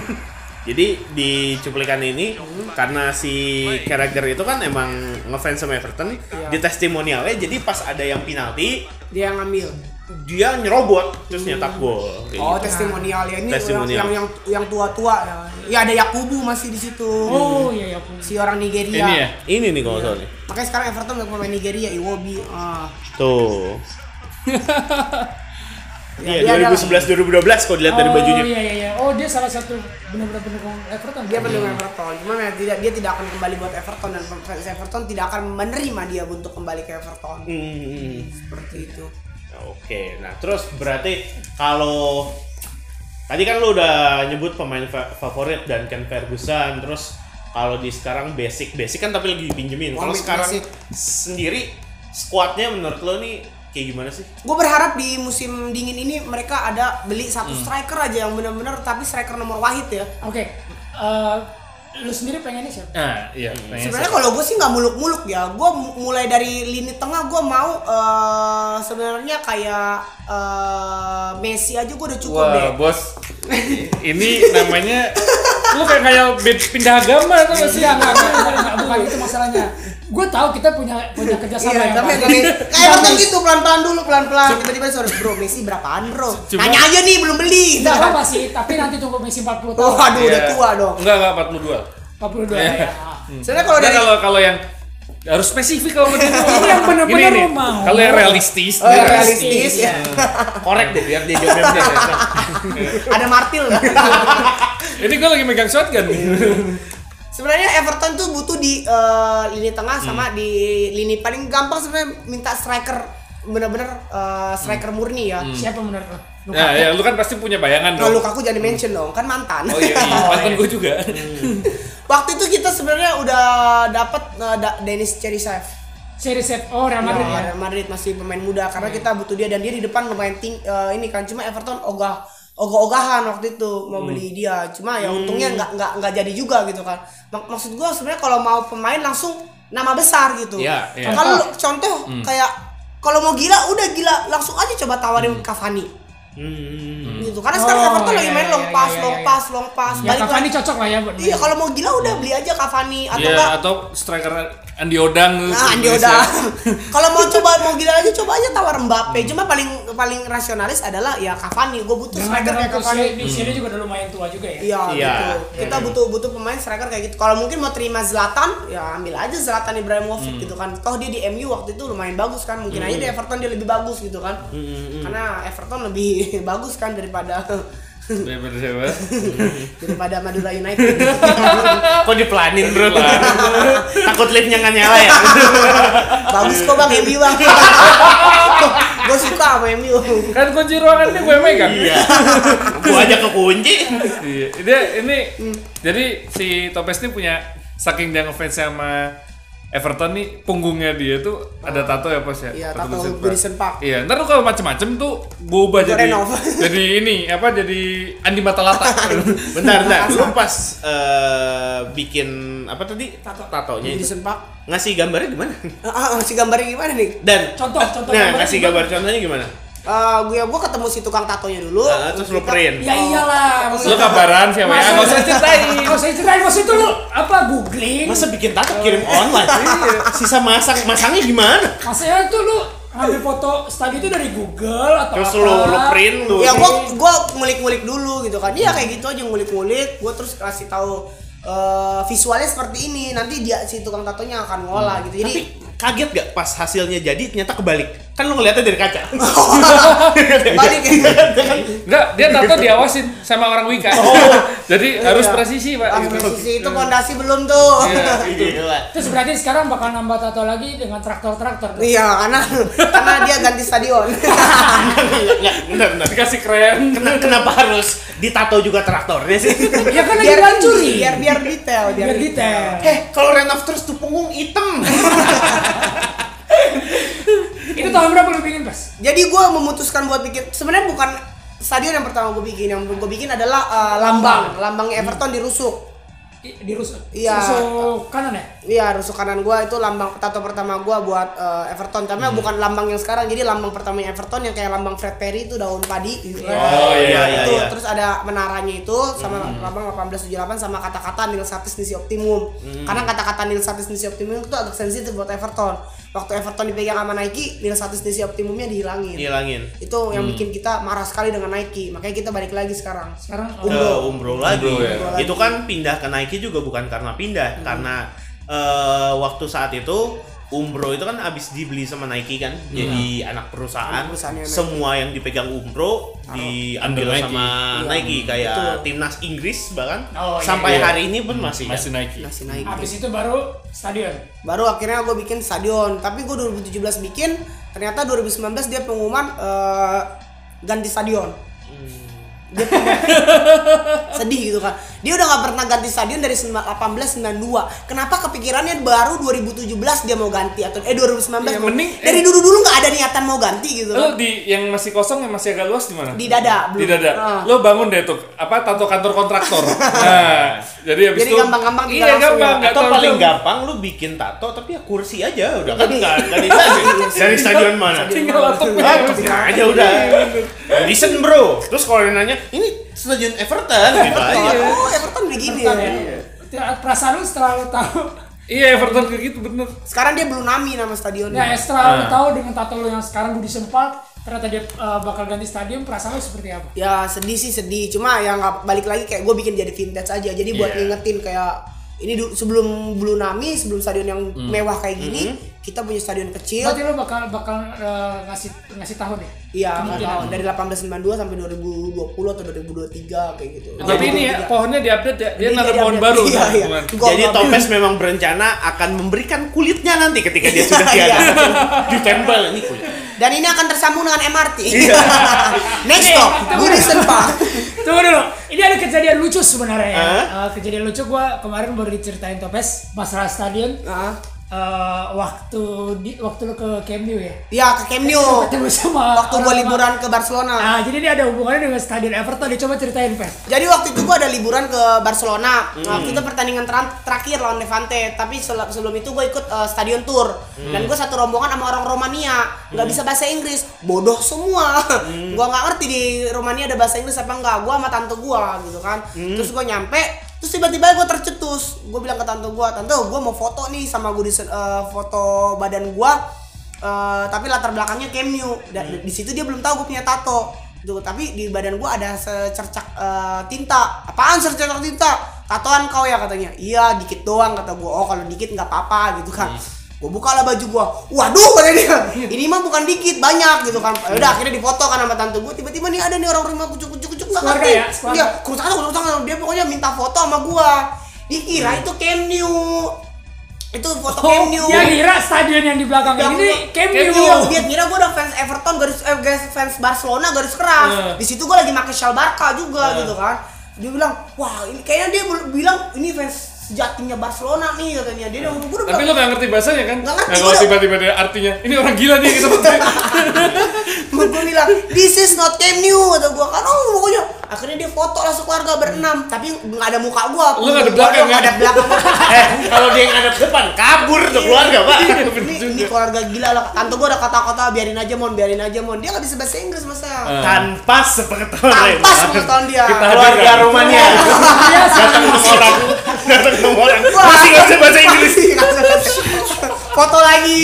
A: Jadi di cuplikan ini karena si karakter itu kan emang ngefans sama Everton, di testimonialnya jadi pas ada yang penalti
M: Dia ngambil.
A: dia nyerobot terus nyetak gol. Kayak
M: Oh,
A: gitu.
M: testimonial ya ini
A: Testimonial.
M: orang yang yang yang tua-tua ya. Ya ada Yakubu masih di situ.
A: Oh,
M: iya Yakubu. Si orang Nigeria.
A: Ini ya? nih kalau soalnya.
M: Makanya sekarang Everton banyak pemain Nigeria, Iwobi. Ah.
A: Tuh.
M: Ya,
A: Iya,
M: dia ada-
A: 2011 2012 kalau dilihat dari
C: oh,
A: bajunya.
C: Iya iya iya. Oh, dia salah satu benar-benar pendukung Everton.
M: Dia pendukung Everton. Cuman ya, tidak dia tidak akan kembali buat Everton dan fans Everton tidak akan menerima dia untuk kembali ke Everton.
A: Hmm.
M: Seperti itu.
A: Oke, nah terus berarti kalau tadi kan lu udah nyebut pemain fa- favorit dan Ken Ferguson, terus kalau di sekarang basic basic kan tapi lagi dipinjemin. Kalau
M: Basic,
A: sekarang
M: basic.
A: sendiri squadnya menurut lo nih kayak gimana sih?
M: Gue berharap di musim dingin ini mereka ada beli satu
A: Hmm.
M: striker aja yang benar-benar tapi striker nomor wahid ya.
C: Oke. Eh, lu sendiri pengennya siapa?
B: Nah, iya. pengen
M: Sebenarnya
B: saya.
M: kalau gue sih nggak muluk-muluk ya. Gue mu- mulai dari lini tengah gue mau eh, sebenarnya kayak eh, Messi aja gue udah cukup deh.
B: Wah, bos. Ini namanya lu kayak kayak bed- pindah agama atau nggak sih?
C: Iya, enggak, enggak, enggak, enggak, bukan itu masalahnya. Gue tahu kita punya punya kerjasama
M: Iya,
C: yang
M: tapi
C: bagus.
M: tapi kayak Everton
C: Bagus.
M: gitu pelan-pelan dulu pelan-pelan. Tiba-tiba suara bro Messi berapaan bro?
B: Cuma-
M: Nanya aja nih belum beli.
C: Nggak apa-apa sih, tapi nanti tunggu Messi 40 tahun.
M: Oh, aduh, udah
B: Iya.
M: tua dong.
B: Enggak, enggak 42.
C: 42
B: Iya.
C: ya.
B: Hmm.
M: Sebenarnya kalau
B: Nah,
M: dari-
B: kalau kalau yang harus spesifik kalau begitu.
C: Ini yang bener-bener
B: Gini, gini.
C: lu mau.
B: Kalau yang realistis,
M: Oh,
B: Hmm. dia
M: realistis, ya.
A: Korek deh biar dia jawabnya bener.
M: Ada martil nggak?
B: ya. Ini gue lagi megang shotgun
M: Iya.
B: nih.
M: Sebenarnya Everton tuh butuh di eh, lini tengah
B: Hmm.
M: sama di lini paling gampang sebenarnya minta striker bener-bener eh, striker murni ya.
B: Hmm.
C: Siapa menurut lo?
B: Nah, ya lu kan pasti punya bayangan
M: Nah,
B: dong.
M: Lukaku jangan mention dong, kan mantan.
B: Oh iya, iya. mantan gue juga.
M: Hmm. Waktu itu kita sebenarnya udah dapat eh, da- Dennis Cherisev. Iya,
C: Cherisev, oh Real Madrid ya.
M: Real Madrid masih pemain muda karena kita butuh dia dan dia di depan lumayan ting eh, ini kan cuma Everton ogah ogah-ogahan waktu itu mau
E: Hmm.
M: beli dia cuma ya
E: Hmm.
M: untungnya nggak nggak nggak jadi juga gitu kan Mak- maksud gua sebenarnya kalau mau pemain langsung nama besar gitu
E: Iya, iya.
M: kalau lu- contoh
E: Hmm.
M: kayak kalau mau gila udah gila langsung aja coba
E: Hmm.
M: tawarin Cavani
C: Hmm,
M: gitu karena sekarang
C: Oh,
M: Everton lagi
C: iya,
M: main
C: iya,
M: long
C: iya,
M: pass
C: iya,
M: long
C: iya.
M: pass long pass
C: Ya, Cavani
M: lagi.
C: cocok lah ya buat
M: iya kalau mau gila udah beli aja Cavani atau
B: Iya,
M: nggak
B: atau striker Andi Odang. Iya.
M: Nah, Andi Odang. Kalau mau coba mau gila lagi coba aja tawar Mbappe. Cuma paling paling rasionalis adalah ya Cavani. Gue butuh
C: Dengan
M: striker kayak
C: dalam usia
M: Cavani.
C: di sini juga udah lumayan tua juga ya.
M: Iya,
A: Iya.
M: gitu. Kita butuh butuh pemain striker kayak gitu. Kalau mungkin mau terima Zlatan, ya ambil aja Zlatan Ibrahimovic
A: Hmm.
M: gitu kan. Toh dia di MU waktu itu lumayan bagus kan. Mungkin aja
A: Hmm.
M: di Everton dia lebih bagus gitu kan. Karena Everton lebih bagus kan daripada
B: Daripada siapa?
M: daripada Madura United.
A: Kok dipelanin bro? Takut liftnya nggak nyala ya?
M: bagus kok Bang MU Bang. gue suka sama MU.
B: Kan kunci ruangannya gue megang.
A: Iya. Gue aja kekunci.
B: Iya. Dia ini
M: Hmm.
B: jadi si Topes ini punya saking dia ngefans sama Everton nih punggungnya dia tuh ada tato ya pos ya.
M: Iya, tato
B: Vincent Park.
M: Vincent Park.
B: Iya, ntar lu kalau macem-macem tuh gue ubah
M: Gua
B: jadi
M: renov.
B: jadi ini apa jadi Andi Matalata.
A: Bentar, bentar. Lu pas eh, bikin apa tadi? Tato. Tatonya itu.
M: Vincent Park.
A: Ngasih gambarnya gimana?
M: Ah, ah, si gambarnya gimana nih?
A: Dan
M: Contoh,
A: Nah,
M: contoh gambarnya
A: ngasih
M: gimana?
A: gambar contohnya gimana?
M: Eh, gue gue ketemu si tukang tatonya dulu.
A: Ah, terus lu print.
C: Ya
M: iya.
C: iyalah.
A: Lu kabaran sih sama ya, nggak usah ceritain.
C: Kalau saya ceritain maksud itu lu apa googling?
A: Masa bikin tato kirim online? Sisa masang, masangnya gimana?
C: Maksudnya itu lu ambil foto stag itu dari Google atau
A: Terus
C: apa.
A: lu, lu print lu.
M: ya gua gua ngulik-ngulik dulu gitu kan iya kayak gitu aja ngulik-ngulik gua terus kasih tahu eh, visualnya seperti ini nanti dia si tukang tatonya akan ngolah gitu jadi
A: Tapi kaget gak pas hasilnya jadi ternyata kebalik? Kan lu ngeliatnya dari kaca. ya? Iya
M: balik
A: kan?
B: Enggak, dia tato diawasin sama orang Wika.
A: Oh.
B: Jadi harus
M: Iya. Oh.
B: presisi, Pak.
M: harus
B: gitu.
M: presisi itu fondasi belum tuh
B: Iya, gila.
C: Terus berarti sekarang bakal nambah tato lagi dengan traktor-traktor. dong?
M: iya karena karena dia ganti stadion
A: Enggak, benar benar.
B: Dikasih keren.
A: Kenapa, harus ditato juga traktornya sih?
C: ya kan lagi
M: biar
C: dihancurin.
M: biar biar detail biar,
C: Biar detail.
A: Eh, kalau renov terus tuh punggung hitam.
C: Itu tahun berapa lu bikin, Pas?
M: jadi gue memutuskan buat bikin sebenarnya bukan stadion yang pertama gue bikin yang gue bikin adalah eh, lambang lambang Everton dirusuk
C: I- Di rusuk.
M: Iya.
C: Rusuk kanan ya?
M: Iya, rusuk kanan gua itu lambang tato pertama gua buat eh, Everton. Tapi
C: Hmm.
M: bukan lambang yang sekarang. Jadi lambang pertamanya Everton yang kayak lambang Fred Perry itu daun padi gitu. kan.
A: Oh, iya, iya,
M: Itu
A: iya.
M: terus ada menaranya itu sama lambang 1878 sama kata-kata Nil Satis Nisi Optimum. Karena kata-kata Nil Satis Nisi Optimum itu agak sensitif buat Everton. Waktu Everton dipegang sama Nike, Nil Satis Nisi Optimumnya dihilangin.
A: Ngilangin.
M: Itu yang
A: Hmm.
M: bikin kita marah sekali dengan Nike. Makanya kita balik lagi sekarang.
C: Sekarang
A: Ke umroh lagi.
B: Umroh, ya.
M: Umroh lagi. Hmm.
A: Itu kan pindah ke Nike juga bukan karena pindah, karena eh, waktu saat itu Umbro itu kan abis dibeli sama Nike kan,
B: Hmm.
A: jadi anak perusahaan.
M: Anak perusahaannya Nike.
A: Semua yang dipegang Umbro diambil
B: Under Nike.
A: sama
M: Iya.
A: Nike kayak
M: Betul.
A: timnas Inggris bahkan
C: Oh, iya.
A: sampai
B: Iya.
A: hari ini pun masih. ya?
B: Masih Nike.
M: Nasi Nike.
C: Habis itu baru stadion.
M: baru akhirnya gue bikin stadion tapi gue 2017 bikin ternyata 2019 dia pengumuman eh, ganti stadion
C: Hmm.
M: Dia pengumuman- sedih gitu kan dia udah nggak pernah ganti stadion dari 1892 kenapa kepikirannya baru 2017 dia mau ganti atau eh 2019
C: Iya,
B: Ya,
M: mau-
B: mending, eh.
M: dari dulu dulu nggak ada niatan mau ganti gitu
C: Eh,
B: Lo di yang masih kosong yang masih agak luas di mana?
M: Di dada,
B: Di
M: belum.
B: dada.
M: Ah.
B: Lo bangun deh tuh apa tato kantor kontraktor. nah, jadi habis
M: Jadi
B: itu
M: gampang-gampang tinggal
B: Iya,
M: langsung
B: gampang.
M: ya.
B: Nggak
A: Atau
B: tahu
A: paling
B: tuh. Iya.
A: gampang lu bikin tato tapi ya kursi aja udah kan nggak nggak dikasih. dari stadion mana?
B: Tinggal laptop.
A: Ah, cepet
B: iya.
A: aja udah. Listen bro. Terus kalau yang nanya, ini stadion Everton gitu aja.
M: oh Everton begini ya
C: Perasaan lu setelah lu tahu
B: Iya, Everton kayak gitu bener.
M: sekarang dia belum nami nama stadionnya
C: Nah, setelah lu tahu dengan tato lu yang sekarang Budi Sempat ternyata dia uh, bakal ganti stadion, perasaan lu seperti apa?
M: ya sedih sih sedih cuma ya nggak balik lagi kayak gue bikin jadi vintage aja jadi buat ngingetin kayak ini dulu sebelum Blue Nami sebelum stadion yang
C: Hmm.
M: mewah kayak gini kita punya stadion kecil
C: Berarti lu bakal bakal uh, ngasih ngasih tahun ya?
M: Iya, nggak
C: Kemungkinan.
M: tahu. dari 1892 sampai 2020 atau 2023 kayak gitu.
B: Tapi ini ya pohonnya diupdate ya. Dia
M: Ini
B: nanam
M: jadi
B: pohon
M: update.
B: baru. kan,
M: Iya, iya.
B: Bukan.
M: Gua
A: Jadi
M: ngambil.
A: Topes memang berencana akan memberikan kulitnya nanti ketika dia sudah
M: Iya.
A: tiada. Ditempel ini kulit. Iya.
M: Dan ini akan tersambung dengan MRT. Next stop, Budison Park.
C: Tunggu dulu, ini ada kejadian lucu sebenarnya. ya.
A: Hah?
C: Eh, kejadian lucu gua kemarin baru diceritain Topes masalah stadion.
M: Nah,
C: Eh, waktu di waktu lu ke Camp Nou ya.
M: ya ke Camp Nou.
C: Ketemu sama
M: Waktu gue
C: orang-
M: liburan ke Barcelona.
C: Ah, jadi ini ada hubungannya dengan stadion Everton. Dia coba ceritain, Pes.
M: Jadi waktu itu gua ada liburan ke Barcelona.
C: Hmm.
M: Nah, kita pertandingan teran- terakhir lawan Levante, tapi sel- sebelum itu gue ikut eh, stadion tour.
C: Hmm.
M: Dan gue satu rombongan sama orang Romania, nggak bisa bahasa Inggris, bodoh semua.
C: Hmm.
M: gua nggak ngerti di Romania ada bahasa Inggris apa enggak. Gua sama tante gua gitu kan.
C: Hmm.
M: Terus gua nyampe, terus tiba-tiba gua tercetus. Gue bilang ke tante gua, "Tante, gua mau foto nih sama gue foto badan gua Eh, tapi latar belakangnya Camp Nou. Da-
C: Hmm.
M: Di situ dia belum tahu gue punya tato. Tuh, tapi di badan gue ada secercak eh, tinta. Apaan secercak tinta? Tatoan kau ya katanya. Iya, dikit doang kata gue. Oh, kalau dikit nggak apa-apa gitu
C: Hmm.
M: kan. Gue bukalah baju gue. Waduh, katanya dia. Ini mah bukan dikit, banyak gitu kan.
C: Hmm.
M: Ya udah akhirnya difoto kan sama tante gue. Tiba-tiba nih ada nih orang rumah kucuk-kucuk-kucuk nggak
C: Keluarga
M: ngerti.
C: ya, keluarga.
M: Iya, kerusakan kerusakan dia pokoknya minta foto sama gue. Dikira itu Camp Nou. Itu foto Camp Nou.
C: Hmm. Oh, dia kira stadion yang di belakang ini Camp
M: Iya,
C: Nou.
M: dia kira gue udah fans Everton garis eh, garis- fans Barcelona garis keras.
B: Iya.
M: Di situ gue lagi pakai shal Barca juga gitu kan. Dia bilang, "Wah, ini kayaknya dia bel- bilang ini fans sejatinya Barcelona nih," katanya. Dia udah gue udah
B: Iya. Tapi lo
M: bilang,
B: gak ngerti bahasanya kan?
M: iya, Nggak ngerti,
B: Nah, kalau
M: gua-
B: tiba-tiba ada artinya, ini orang gila nih kita penting.
M: gue bilang, "This is not Camp Nou," kata gue kan. Oh, pokoknya akhirnya dia foto lah sekeluarga berenam, tapi nggak ada muka gue.
B: Lu nggak ada belakang,
M: nggak ada
B: kan?
M: belakang.
A: Eh, kalau dia yang ngadep depan, kabur tuh keluarga, Pak.
M: Iya. ini, ini keluarga gila lah. Tante gue udah kata-kata biarin aja mon, biarin aja mon. Dia nggak bisa bahasa Inggris
B: Ah.
M: masa.
A: Tanpa sepengetahuan lain.
M: Tanpa sepengetahuan dia.
A: keluarga Romania.
C: Iya,
A: Datang ke orang, datang ke orang.
M: Wah.
A: Masih nggak bisa bahasa Inggris.
M: Foto lagi.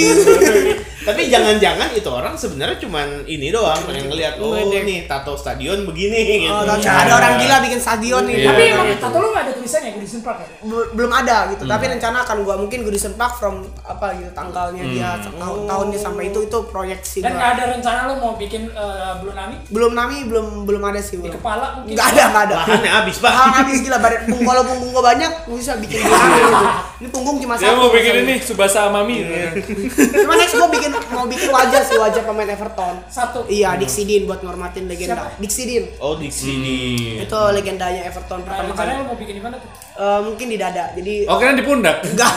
A: Tapi jangan-jangan itu orang sebenarnya cuman ini doang pengen ngeliat oh nih tato stadion begini
M: Oh,
A: gitu.
M: tato- ada orang gila bikin stadion nih.
A: Iya.
C: Tapi emang tato lu nggak ada tulisannya Goodison Park ya?
M: Bel- belum ada gitu
A: Hmm.
M: tapi rencana akan gua mungkin gue disempak from apa gitu tanggalnya dia
C: Hmm.
M: tahun tahunnya sampai itu itu proyeksi
C: Dan
M: gua.
C: nggak ada rencana lu mau bikin eh, Blue Nami?
M: belum nami belum belum ada sih di
C: kepala mungkin.
M: nggak ada nggak ada
A: Bahannya habis, Pak.
M: bahan habis gila badan pung- kalau punggung gua banyak gua bisa bikin Nami gitu. ini punggung cuma
B: Dia
M: satu
B: mau bikin
M: misalnya.
B: ini Subasa Amami.
M: Iya.
B: Nah.
M: cuma next gua bikin mau bikin wajah sih wajah pemain Everton
C: satu
M: iya
A: Hmm.
M: Dixie Dean buat ngormatin
C: Siapa?
M: legenda Dixie Dean
A: Oh di sini.
M: Hmm. itu legendanya Everton pertama kali
C: rencananya lu mau bikin di mana tuh?
M: Eh, mungkin di dada jadi
B: Oh keren di pundak.
M: Enggak.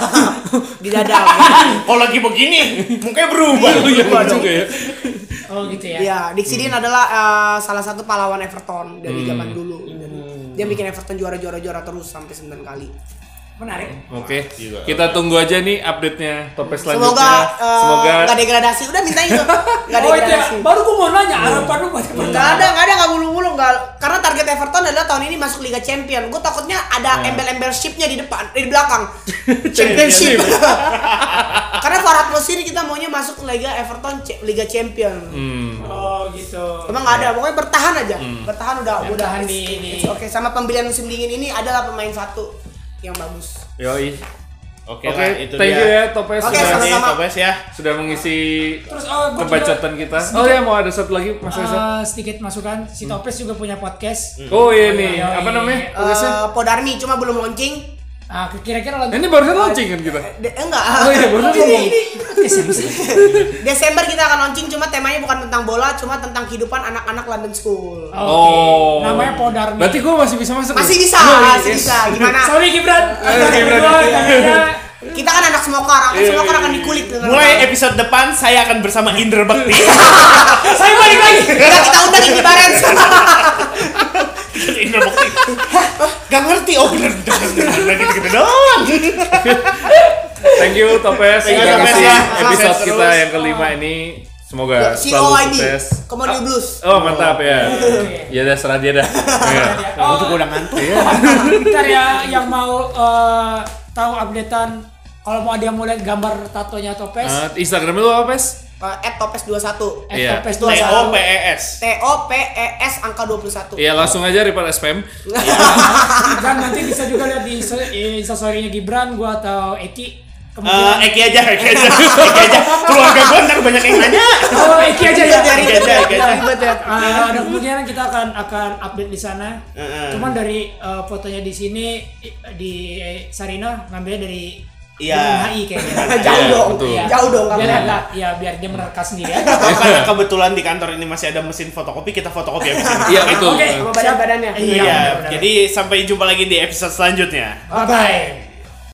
M: di dada
A: Kalau Oh, lagi begini mukanya berubah.
B: Iya bener juga ya.
C: Oh gitu ya.
M: Iya, Dixie Dean adalah eh, salah satu pahlawan Everton dari
B: Hmm.
M: zaman dulu. Jadi, Dia bikin Everton juara-juara-juara terus sampai 9 kali.
C: Menarik.
B: Oke, kita tunggu aja nih update-nya topik selanjutnya.
M: Semoga eh,
B: Semoga
M: nggak degradasi. Udah minta itu. Enggak
C: Oh itu ya.
M: degradasi.
C: Baru gua mau nanya harapan lu buat
M: Enggak ada, enggak ada, enggak bulu-bulu, enggak. Karena target Everton adalah tahun ini masuk Liga Champion. Gue takutnya ada
B: Nah.
M: embel-embel ship-nya di depan, eh, di belakang. Championship. Karena Farhat Mosiri kita maunya masuk Liga Everton C- Liga Champion.
B: Hmm.
C: Oh gitu.
M: Emang nggak ada,
B: Ya.
M: pokoknya bertahan aja. Bertahan udah,
C: Ya,
M: udah.
C: bertahan
M: It's-
C: di- di-
M: it's Oke, sama pembelian musim dingin ini adalah pemain satu yang bagus.
B: Yoi.
A: Oke,
B: Oke,
A: lah, itu
B: thank
A: dia.
B: you ya Topes
M: Oke,
B: sudah
M: sama-sama.
A: Topes ya.
B: sudah mengisi
C: Terus, oh, gua
B: kebacotan
C: juga
B: kita. Oh
C: sedikit-
B: ya mau ada satu lagi Mas Reza.
C: Eh, sedikit masukan si Topes juga punya podcast.
B: Oh iya nih,
C: Yoi.
B: apa
M: Hmm.
B: namanya?
M: Eh,
B: Podcastnya?
M: Podarmi cuma belum launching.
C: Ah, kira-kira lagi.
B: Ini barusan launching kan kita.
M: De- eh, enggak.
B: Oh iya, barusan
M: Ini-
B: ngomong.
M: ini- eh. Desember kita akan launching cuma temanya bukan tentang bola, cuma tentang kehidupan anak-anak London School.
B: Oh.
C: Namanya Podarmi.
B: Berarti gua masih bisa masuk.
M: Masih
B: ya?
M: bisa,
B: Yoi,
M: masih
B: yes.
M: bisa. Gimana?
C: Sorry Gibran.
B: Ayo, Gibran.
C: Gua kayaknya
M: Kita kan anak smoker, anak
B: Iya,
M: smoker
B: iya,
M: akan
B: iya.
M: dikulik dengan
A: Mulai episode depan saya akan bersama Indra Bakti.
C: Saya balik lagi.
M: Enggak, kita undang ini bareng.
A: Indra Bakti. Gak ngerti oh bener bener bener gitu gitu doang.
B: Thank you Topes
A: Thank you,
B: sudah
A: Topes,
B: ngisi
A: ya.
B: episode
A: Sukses
B: kita
A: terus.
B: yang kelima ini. Semoga selalu
M: COID,
B: sukses.
M: Comedy Blues.
B: Oh mantap ya. Ya udah serah dia dah. Iya.
A: Kamu tuh udah ngantuk.
C: Ntar ya yang mau eh, tahu updatean kalau mau ada yang mau lihat gambar tatonya Topes,
B: Eh, Instagram lu apa, Pes?
M: Eh, Topes 21.
C: at
B: iya.
C: Topes
M: T O P E
A: TOPES.
M: S. T O P E S angka 21.
B: Iya, langsung aja daripada spam.
C: dan nanti bisa juga lihat di Insta- instastorynya Gibran, gua atau Eki.
A: Eh,
C: Kemudian,
A: Eki aja, Eki aja, Eki aja. Keluarga gue ntar banyak yang nanya.
C: oh Eki aja ya.
M: Dari
A: Eki aja, Eki aja.
M: ribet ya.
C: Eh, ada kemungkinan kita akan akan update di sana.
A: Heeh.
C: Cuman dari eh, fotonya di sini i- di Sarina ngambilnya dari
A: Iya.
C: Gunung HI kayaknya.
M: Jauh
B: Iya,
M: dong.
B: betul.
M: Jauh dong
C: biar
M: kamu.
C: agak ya biar dia menerka sendiri ya. aja.
A: Makanya kebetulan di kantor ini masih ada mesin fotokopi, kita fotokopi abis ini.
B: Iya, betul.
C: Oke,
M: Sama badan-badannya.
C: Iya.
A: Iya,
C: benar-benar.
A: jadi sampai jumpa lagi di episode selanjutnya.
C: Bye bye.